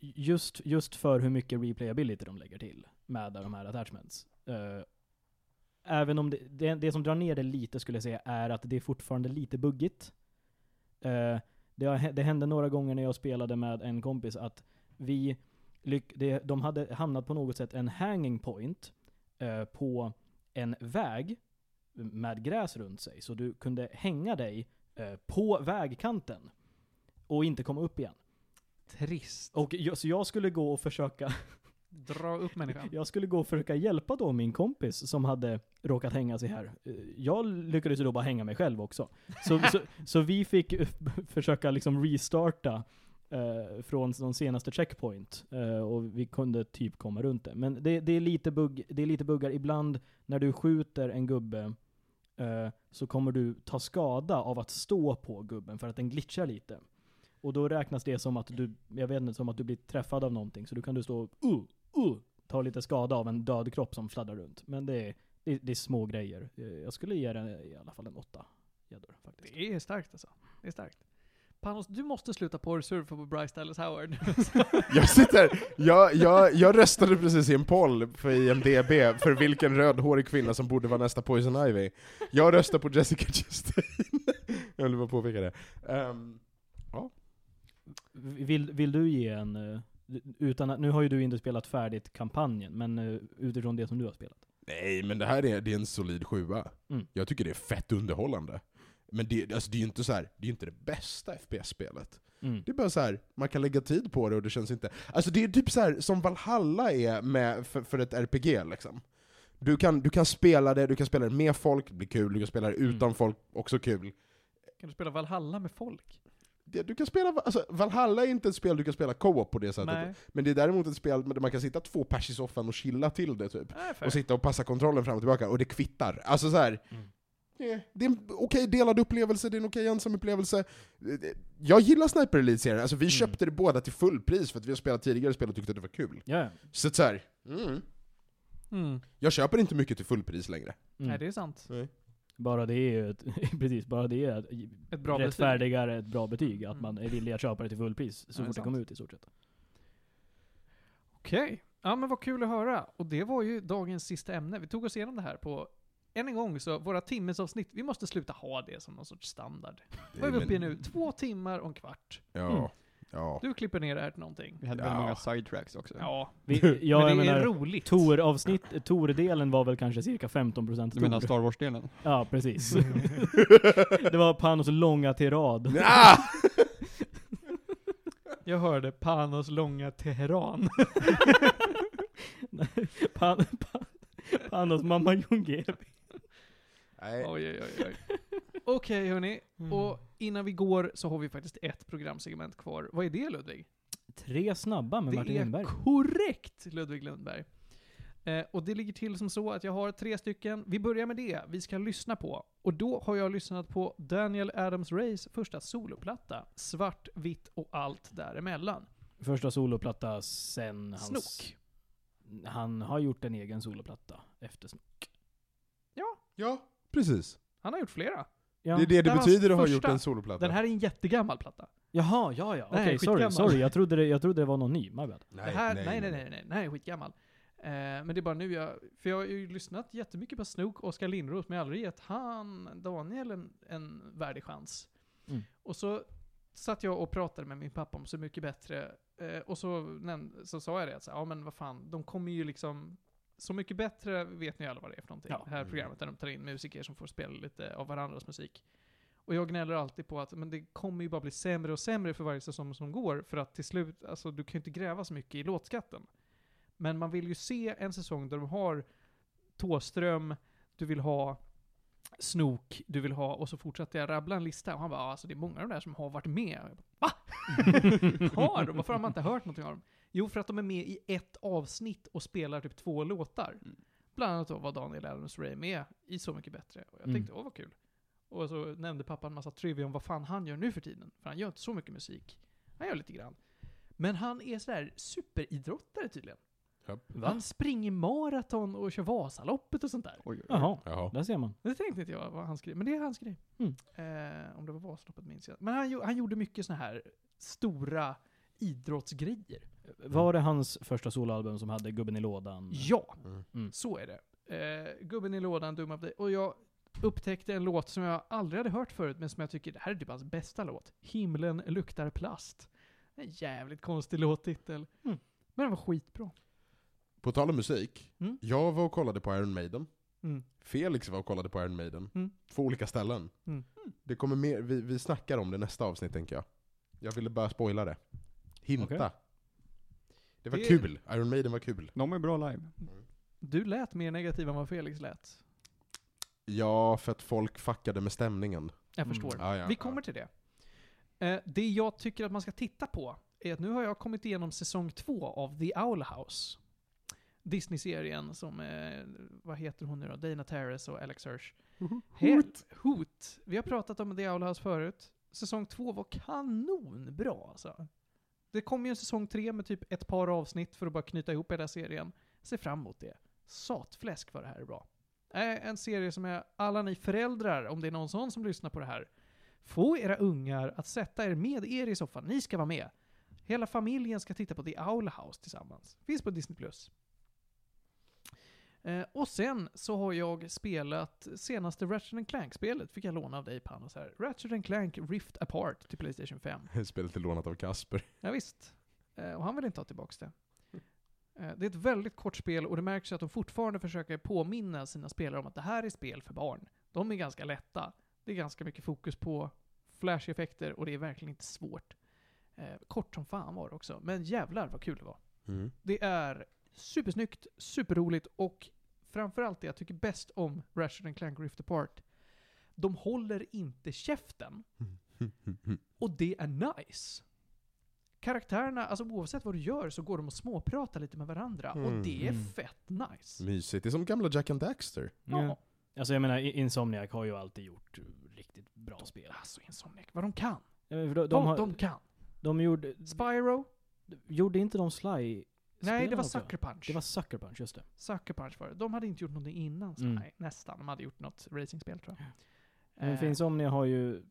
B: Just, just för hur mycket replayability de lägger till med de här attachments. Eh, även om det, det, det som drar ner det lite skulle jag säga är att det är fortfarande lite buggigt. Eh, det, har, hä- det hände några gånger när jag spelade med en kompis att vi lyck- det, de hade hamnat på något sätt en hanging point eh, på en väg med gräs runt sig. Så du kunde hänga dig eh, på vägkanten och inte komma upp igen.
C: Trist.
B: Och jag, så jag skulle gå och försöka
C: Dra upp människan.
B: jag skulle gå och försöka hjälpa då min kompis som hade råkat hänga sig här. Eh, Jag lyckades ju då bara hänga mig själv också. Så, så, så vi fick eh, försöka liksom restarta eh, från de senaste checkpoint. Eh, och vi kunde typ komma runt det. Men det, det, är lite bugg, det är lite buggar. Ibland när du skjuter en gubbe eh, så kommer du ta skada av att stå på gubben för att den glitchar lite. Och då räknas det som att du, jag vet inte, som att du blir träffad av någonting. Så du kan du stå uh, uh, tar lite skada av en död kropp som fladdrar runt. Men det är, det är, det är små grejer. Eh, Jag skulle ge den i alla fall en åtta gäddor faktiskt.
C: Det är starkt alltså. Det är starkt. Panos, du måste sluta porrsurfa på Bryce Dallas Howard.
A: Jag sitter, jag, jag, jag röstade precis i en poll för IMDB för vilken rödhårig kvinna som borde vara nästa Poison Ivy. Jag röstar på Jessica Chastain. jag ville bara påpeka det. Ehm,
B: Vill, vill du ge en, eh, utan att, nu har ju du inte spelat färdigt kampanjen, men eh, utifrån det som du har spelat.
A: nej, men det här är, det är en solid sjua.
B: Mm.
A: Jag tycker det är fett underhållande. Men det, alltså det är ju inte, så här, det, är ju inte det bästa FPS-spelet.
B: Mm.
A: Det är bara så här, man kan lägga tid på det och det känns inte... Alltså det är typ så här som Valhalla är med för, för ett RPG liksom. Du kan, du kan spela det, du kan spela det med folk, det blir kul, du kan spela det utan
B: Mm.
A: folk, också kul.
C: kan du spela Valhalla med folk?
A: Det- Du kan spela, alltså, Valhalla är inte ett spel du kan spela co-op på det sättet.
C: Nej.
A: Men det är däremot ett spel där man kan sitta två pers i soffan och chilla till det typ.
C: Nej, fair.
A: Och sitta och passa kontrollen fram och tillbaka, och det kvittar. Alltså så här.
B: Mm.
A: eh, Det är en okej delad upplevelse, det är en okej ensam upplevelse. Eh, det- Jag gillar Sniper Elite-serien, alltså vi
B: Mm.
A: köpte det båda till fullpris för att vi har spelat tidigare spel och tyckte att det var kul.
B: Ja, ja.
A: Så att så här, mm.
C: Mm.
A: jag köper inte mycket till fullpris längre.
B: Mm.
C: Nej, det är sant.
B: Bara det är ju ett, precis, bara det är
C: Ett bra
B: bra
C: betyg.
B: rättfärdigare ett bra betyg. Att
C: Mm.
B: man är villig att köpa det till fullpris så
C: Ja, det
B: fort
C: är
B: det
C: sant.
B: kommer ut i stort sett.
C: Okej. Ja men vad kul att höra. Och det var ju dagens sista ämne. Vi tog oss igenom det här på än en gång så, våra timmesavsnitt, vi måste sluta ha det som någon sorts standard. Vad är vi uppe i nu? Två timmar och en kvart.
A: Ja,
B: Mm.
A: ja.
C: Du klipper ner det här till någonting.
D: Vi hade
A: Ja.
D: väldigt många sidetracks också.
C: Ja,
B: Vi, ja, jag
C: men det är
B: menar,
C: roligt.
B: Tor-avsnitt, Tor-delen var väl kanske cirka 15%
D: Du menar
B: Tor.
D: Star Wars-delen?
B: Ja, precis.
C: Mm.
B: det var Panos långa tirad.
A: Ah!
C: Jag hörde Panos långa Teheran.
B: Pan, pan, Panos mamma Ljungberg.
A: Nej.
C: Oj, oj, oj, oj. Okej hörni, och innan vi går så har vi faktiskt ett programsegment kvar. Vad är det Ludvig?
B: Tre snabba med Martin
C: det är
B: Lindberg.
C: korrekt Ludvig Lundberg. Eh, och det ligger till som så att jag har tre stycken. Vi börjar med det vi ska lyssna på. Och då har jag lyssnat på Daniel Adams Rays första soloplatta, Svart, vitt och allt däremellan.
B: Första soloplatta sen hans...
C: Snok.
B: Han har gjort en egen soloplatta efter Snok.
A: Ja, precis.
C: Han har gjort flera.
B: Ja.
A: Det är det
C: Det
A: det
C: var hans
A: betyder att ha
C: första.
A: gjort en soloplatta.
C: Den här är en jättegammal platta.
B: Jaha, ja ja.
C: Nej,
B: Okej, sorry,
C: skitgammal.
B: sorry. Jag trodde, det, jag trodde det var någon ny. My bad.
A: nej,
C: Nej, det här, nej, nej, nej, nej, nej, den här är skitgammal. Eh, men det är bara nu jag, för jag har ju lyssnat jättemycket på Snook och Oskar Lindros, men jag har aldrig gett han, Daniel, en, en värdig chans.
B: Mm.
C: Och så satt jag och pratade med min pappa om Så Mycket Bättre, eh, och så, näm- så sa jag det att så, här, ja men vad fan, de kommer ju liksom, Så Mycket Bättre vet ni alla vad det är för någonting.
B: Ja.
C: Det här
A: Mm.
C: programmet där de tar in musiker som får spela lite av varandras musik. Och jag gnäller alltid på att men det kommer ju bara bli sämre och sämre för varje säsong som går, för att till slut, alltså du kan ju inte gräva så mycket i låtskatten. Men man vill ju se en säsong där de har Tåström, du vill ha Snok, du vill ha, och så fortsatte jag rabbla en lista, och han bara "Ja, alltså det är många av de där som har varit med. Och jag bara, Va? har de? Varför har man inte hört någonting av dem? Jo, för att de är med i ett avsnitt och spelar typ två låtar.
D: Mm.
C: Bland annat då var Daniel Adams Ray med i Så Mycket Bättre. Och jag
B: Mm.
C: tänkte, åh vad kul. Och så nämnde pappa en massa trivia om vad fan han gör nu för tiden. För han gör inte så mycket musik. Han gör lite grann. Men han är sådär superidrottare tydligen.
A: Japp.
C: Han springer maraton och kör Vasaloppet och sånt där.
D: Oj, oj, oj.
B: Jaha,
A: Jaha.
B: där ser man.
C: Det tänkte inte jag var hans grej, men det är hans grej.
B: Mm.
C: Eh, om det var Vasaloppet minns jag. Men han, gjo- han gjorde mycket såna här stora idrottsgrejer.
B: Mm. Eh, Var det hans första soloalbum som hade Gubben i lådan?
C: Ja,
A: Mm.
B: Mm.
C: så är det. Eh, gubben i lådan, dumma dig. Och jag upptäckte en låt som jag aldrig hade hört förut, men som jag tycker det här är typ hans bästa låt. Himlen luktar plast. En jävligt konstig låttitel.
B: Mm.
C: Men den var skitbra.
A: På tal om musik,
C: Mm.
A: jag var och kollade på Iron Maiden.
C: Mm.
A: Felix var och kollade på Iron Maiden.
C: Mm.
A: Två olika ställen.
C: Mm.
A: Det kommer mer, vi, vi snackar om det nästa avsnitt tänker jag. Jag ville bara spoila det. Hinta.
B: Okej.
A: Det var
C: Det-
A: kul. Iron Maiden var kul.
D: De är bra live.
C: Du lät mer negativ än vad Felix lät.
A: Ja, för att folk fuckade med stämningen.
C: Jag
B: Mm.
C: förstår.
A: Ja, ja,
C: Vi
A: ja.
C: kommer till det. Eh, det jag tycker att man ska titta på är att nu har jag kommit igenom säsong två av The Owl House. Disney-serien som, eh, vad heter hon nu då? Dana Terrace och Alex Hirsch. Helt hot. Vi har pratat om The Owl House förut. Säsong två var kanonbra alltså. Det kommer ju en säsong tre med typ ett par avsnitt för att bara knyta ihop hela serien. Se fram emot det. Satfläsk vad det här är bra. Eh, En serie som är alla ni föräldrar, om det är någon sån som lyssnar på det här, få era ungar att sätta er med er i soffan. Ni ska vara med. Hela familjen ska titta på The Owl House tillsammans. Finns på Disney+. Plus. Eh, och sen så har jag spelat senaste Ratchet Clank-spelet, fick jag låna av dig Panos här. Ratchet Clank Rift Apart till Playstation 5.
A: Spelet är lånat av Kasper.
C: Ja, visst. Eh, och han vill inte ha tillbaks det. Eh, det är ett väldigt kort spel och det märks ju att de fortfarande försöker påminna sina spelare om att det här är spel för barn. De är ganska lätta. Det är ganska mycket fokus på flash-effekter och det är verkligen inte svårt. Eh, kort som fan var det också, men jävlar vad kul det var.
A: Mm.
C: Det är supersnyggt, superroligt och framförallt det jag tycker bäst om Ratchet Clank Rift Apart. De håller inte käften. Och det är nice. Karaktärerna, alltså oavsett vad du gör så går de och småpratar lite med varandra.
A: Mm.
C: Och det är
B: Mm.
C: fett nice.
A: Mysigt. Det är som gamla Jack and Daxter.
C: Ja.
B: Alltså jag menar, I- Insomniac har ju alltid gjort riktigt bra spel.
C: Alltså Insomniac, vad de kan.
B: Ja, men för De,
C: vad
B: de, har,
C: de kan.
B: de gjorde...
C: Spyro?
B: Gjorde inte de Sly?
C: Nej, det
B: spelen
C: var
B: också?
C: Sucker Punch.
B: Det var Sucker Punch, just det.
C: Sucker Punch var det. De hade inte gjort någonting innan. Så
B: Mm.
C: nej, nästan. De hade gjort något racingspel tror jag.
B: Men
C: Eh,
B: för Insomnia har ju eh,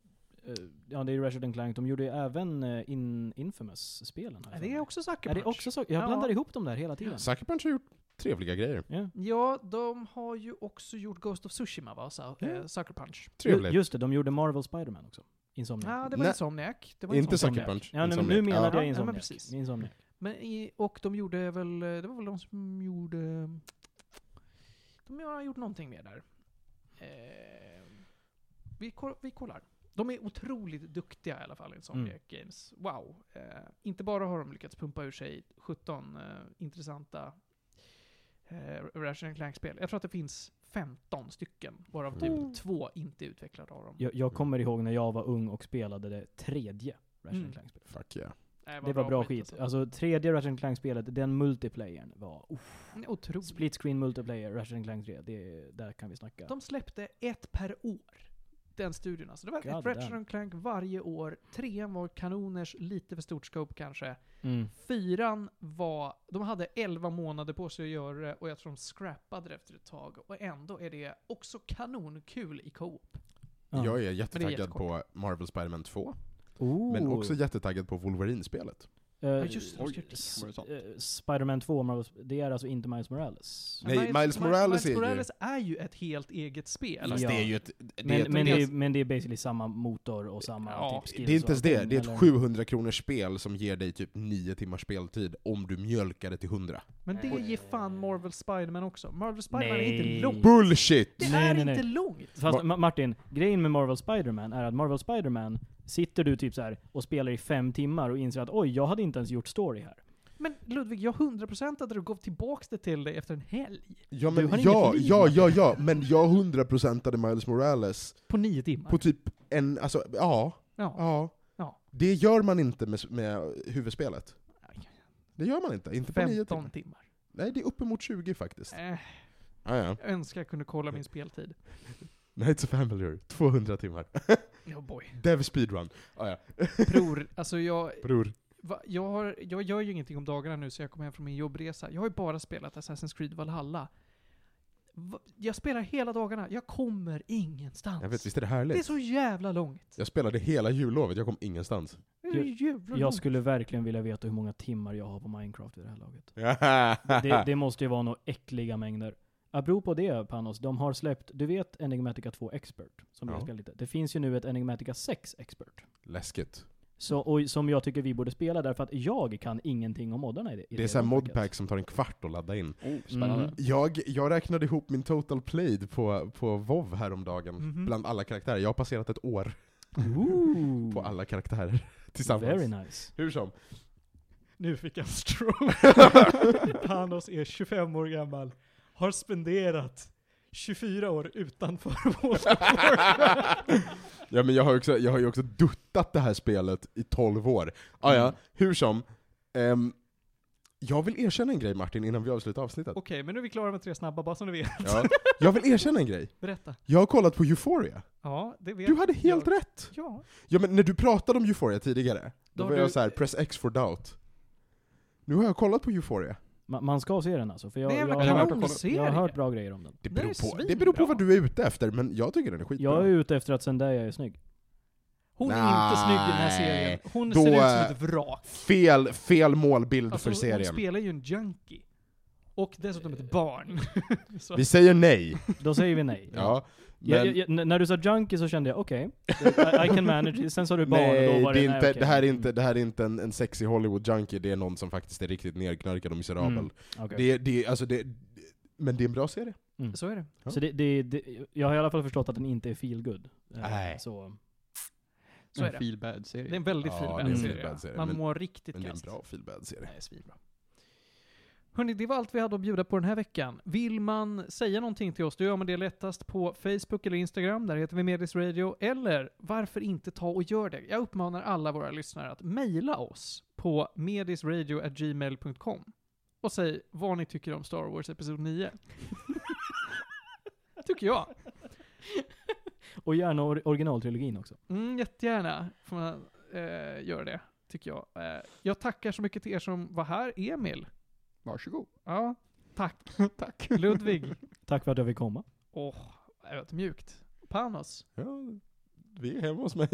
B: ja det är Ratchet and Clank, de gjorde ju även eh, in, Infamous-spelen. här
C: Är
B: för
C: Eh, det
B: mig.
C: också Sucker
B: Är
C: Punch?
B: det också så? Jag blandar
C: Ja.
B: ihop dem där hela tiden.
A: Sucker Punch har gjort trevliga grejer.
B: Ja.
C: Ja, de har ju också gjort Ghost of Tsushima va? Så,
B: Ja.
C: eh, Sucker Punch.
A: Trevligt.
B: Ju- Just det, de gjorde Marvel Spider-Man också. Insomniac.
C: Ja, det var
A: Mm. Nej.
C: Insomniac. Det var
A: inte
C: Insomniac.
A: Sucker Punch.
B: Ja, nej, men
A: Insomniac.
B: nu menade
A: Ja.
B: jag
C: Ja,
B: Insomniac.
C: men precis.
B: Insomniac.
C: Men i, och de gjorde väl, eh, det var väl de som gjorde... De har gjort någonting mer där. Eh, vi, ko- vi kollar. De är otroligt duktiga i alla fall,
B: Mm.
C: Insomniac Games. Wow. Eh, inte bara har de lyckats pumpa ur sig 17 eh, intressanta eh, Ratchet Clank-spel. Jag tror att det finns 15 stycken, varav typ
A: Mm.
C: två inte är utvecklade av dem.
B: Jag, jag kommer ihåg när jag var ung och spelade det tredje Ratchet
C: Mm.
B: Clank-spelet.
A: Fuck yeah.
C: Nej,
B: Det var bra skit.
C: alltså.
B: Alltså tredje Ratchet Clank-spelet, den multiplayern var... Oh,
C: Mm, Otroligt.
B: split screen multiplayer, Ratchet Clank 3, det, där kan vi snacka.
C: De släppte ett per år. Den studion alltså. Det var
B: God
C: ett Ratchet
B: damn.
C: and Clank varje år. Trean var kanoners, lite för stort scope kanske.
B: Mm.
C: Fyran var... De hade 11 månader på sig att göra det och jag tror de scrappade det efter ett tag. Och ändå är det också kanonkul i co-op.
A: Jag
B: Ja.
A: är
C: Men det är
A: jättetaggad på Marvel Spider-Man 2,
B: Oh.
A: men också jättetaggad på Wolverine-spelet.
B: Eh,
C: just det,
D: Oj,
C: de ska-
D: det var ju sånt.
B: eh, Spider-Man 2, Marvel- det är alltså inte Miles Morales?
A: Nej, Miles Morales är ju-
C: Miles Morales är ju ett helt eget spel.
B: Fast Ja. det är ju
A: ett... Det
B: Men, men, det är,
C: dels-
B: men det är basically samma motor och samma typ
C: Ja,
A: Det
B: skills
A: är inte ens
B: och
A: det,
B: allting,
A: det är ett
B: eller?
A: 700 kronors spel som ger dig typ 9 timmars speltid om du mjölkar det till 100.
C: Men det ger fan Marvel Spider-Man också. Marvel Spider-Man är
B: Nej.
C: inte långt.
A: Bullshit!
C: Mm. Det
B: Nej,
C: är
B: nej, nej.
C: inte långt.
B: Fast
A: Var-
B: Ma- Martin, grejen med Marvel Spider-Man är att Marvel Spider-Man sitter du typ så här och spelar i fem timmar och inser att oj, jag hade inte ens gjort story här.
C: Men Ludvig, jag 100% att du gav tillbaka det till dig efter en helg.
A: Ja,
B: Du har
A: men,
B: inget
A: ja,
B: liv.
A: ja, ja, ja, men jag 100%ade Miles Morales
C: På nio timmar.
A: på typ en, alltså, ja,
C: ja.
A: ja.
C: Ja.
A: Det gör man inte med, med huvudspelet. Det gör man inte, inte på 9
C: 15
A: timmar.
C: timmar.
A: Nej, det är uppemot 20 faktiskt.
C: Eh,
A: Ah, ja.
C: jag önskar jag kunde kolla min speltid.
A: Nights of Familiar, 200 timmar.
C: Ja boy.
A: Dev speedrun. Ah, ja.
C: Bror, alltså jag,
A: Bror.
C: va, jag, har, jag gör ju ingenting om dagarna nu så jag kommer hem från min jobbresa. Jag har ju bara spelat Assassin's Creed Valhalla. Va, jag spelar hela dagarna, jag kommer ingenstans.
A: Jag vet, visst är det
C: det är
A: härligt?
C: så jävla långt.
A: Jag spelade hela jullovet, jag kom ingenstans.
C: Det är så jävla
B: Jag
C: långt.
B: skulle verkligen vilja veta hur många timmar jag har på Minecraft vid det här laget. Det, det måste ju vara några äckliga mängder. Apropå det Panos, de har släppt, du vet Enigmatica 2 Expert? Som vi
A: Ja.
B: har spelat lite. Det finns ju nu ett Enigmatica 6 Expert.
A: Läskigt.
B: Så, och, som jag tycker vi borde spela därför att jag kan ingenting om moddarna i det. i
A: Det är såhär
B: rollspelet.
A: modpack som tar en kvart att ladda in.
D: Oh, spännande.
B: Mm.
A: Jag, jag räknade ihop min total played på, på WoW häromdagen,
C: Mhm.
A: bland alla karaktärer. Jag har passerat ett år
B: Ooh.
A: på alla karaktärer tillsammans.
B: Mm. Very nice.
A: Hur som.
C: Nu fick jag en stroke. Panos är 25 år gammal. Har spenderat 24 år utanför vårt
A: ja men jag har, ju också, jag har ju också duttat det här spelet i 12 år. Ah, ja,
B: Mm.
A: hur som. Ehm, jag vill erkänna en grej Martin, innan vi avslutar avsnittet.
C: Okej, men nu är vi klara med tre snabba, bara som du vet.
A: Ja. Jag vill erkänna en grej.
C: Berätta.
A: Jag har kollat på Euphoria.
C: Ja, det vet
A: Du hade helt
C: jag.
A: rätt!
C: Ja.
A: Ja men när du pratade om Euphoria tidigare,
C: Då
A: då,
C: har
A: var
C: du-
A: jag så här: press X for doubt. Nu har jag kollat på Euphoria.
B: Ma- man ska se den alltså, för jag,
C: det är
B: jag,
C: en
D: jag
C: jävla
D: har-
C: kanonserie.
B: jag har hört bra grejer om den.
A: Det
C: Den är
A: beror, på,
C: svinbra.
A: det beror på vad du är ute efter, men jag tycker den är skitbra.
B: Jag är ute efter att Zendaya är snygg.
C: Hon är inte snygg i den här serien.
A: Nej.
C: Hon
A: Då,
C: ser ut
A: eh,
C: som ett vrak.
A: Fel, fel målbild
C: Alltså,
A: för
C: hon
A: serien.
C: spelar ju en junkie. Och dessutom ett barn. Så-
A: Vi säger nej.
B: Då säger vi nej.
A: Ja,
B: Jag-
A: men,
B: jag, jag, n- när du sa junkie så kände jag okej, I, I can manage. Sen sa du barn och
A: nej,
B: då var
A: det,
B: det,
A: är inte,
B: okej. Mm.
A: det här är inte, det här är inte en, en sexig Hollywood-junkie, det är någon som faktiskt är riktigt nerknarkad och miserabel.
B: Mm, okej.
A: Det, det, alltså det, men det är en bra serie.
C: Så är det.
B: Så det, det, det, jag har i alla fall förstått att den inte är feel good. Eh,
A: Nej.
B: Så,
C: Så är det.
D: feel bad
C: Det är
D: serie
C: en väldigt
A: Ja,
C: fin
A: det är en
C: serie.
A: feelbad serie,
C: Man
A: men-
C: mår riktigt
A: Men det är en
C: kast.
A: bra feelbad-serie.
C: Nej, svinbra. Hörni, det var allt vi hade att bjuda på den här veckan. Vill man säga någonting till oss, då gör man det lättast på Facebook eller Instagram, där heter vi Medis Radio, eller varför inte ta och gör det? Jag uppmanar alla våra lyssnare att mejla oss på medisradio.gmail.com och säg vad ni tycker om Star Wars Episod 9. tycker jag.
B: och gärna or, originaltrilogin också.
C: Mm, jättegärna får man eh, göra det, tycker jag. Eh, jag tackar så mycket till er som var här. Emil.
D: Varsågod.
C: Ja, tack.
D: Tack.
C: Ludvig.
B: Tack för att jag fick komma.
C: Åh, oh, ödmjukt. Panos.
A: Ja, vi är hemma hos mig.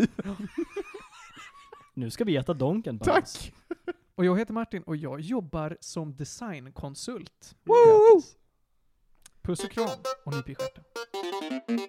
B: Nu ska vi äta Donken Bams.
A: Tack!
C: Och jag heter Martin och jag jobbar som designkonsult.
D: Woo!
C: Puss och kram och nyp i stjärten.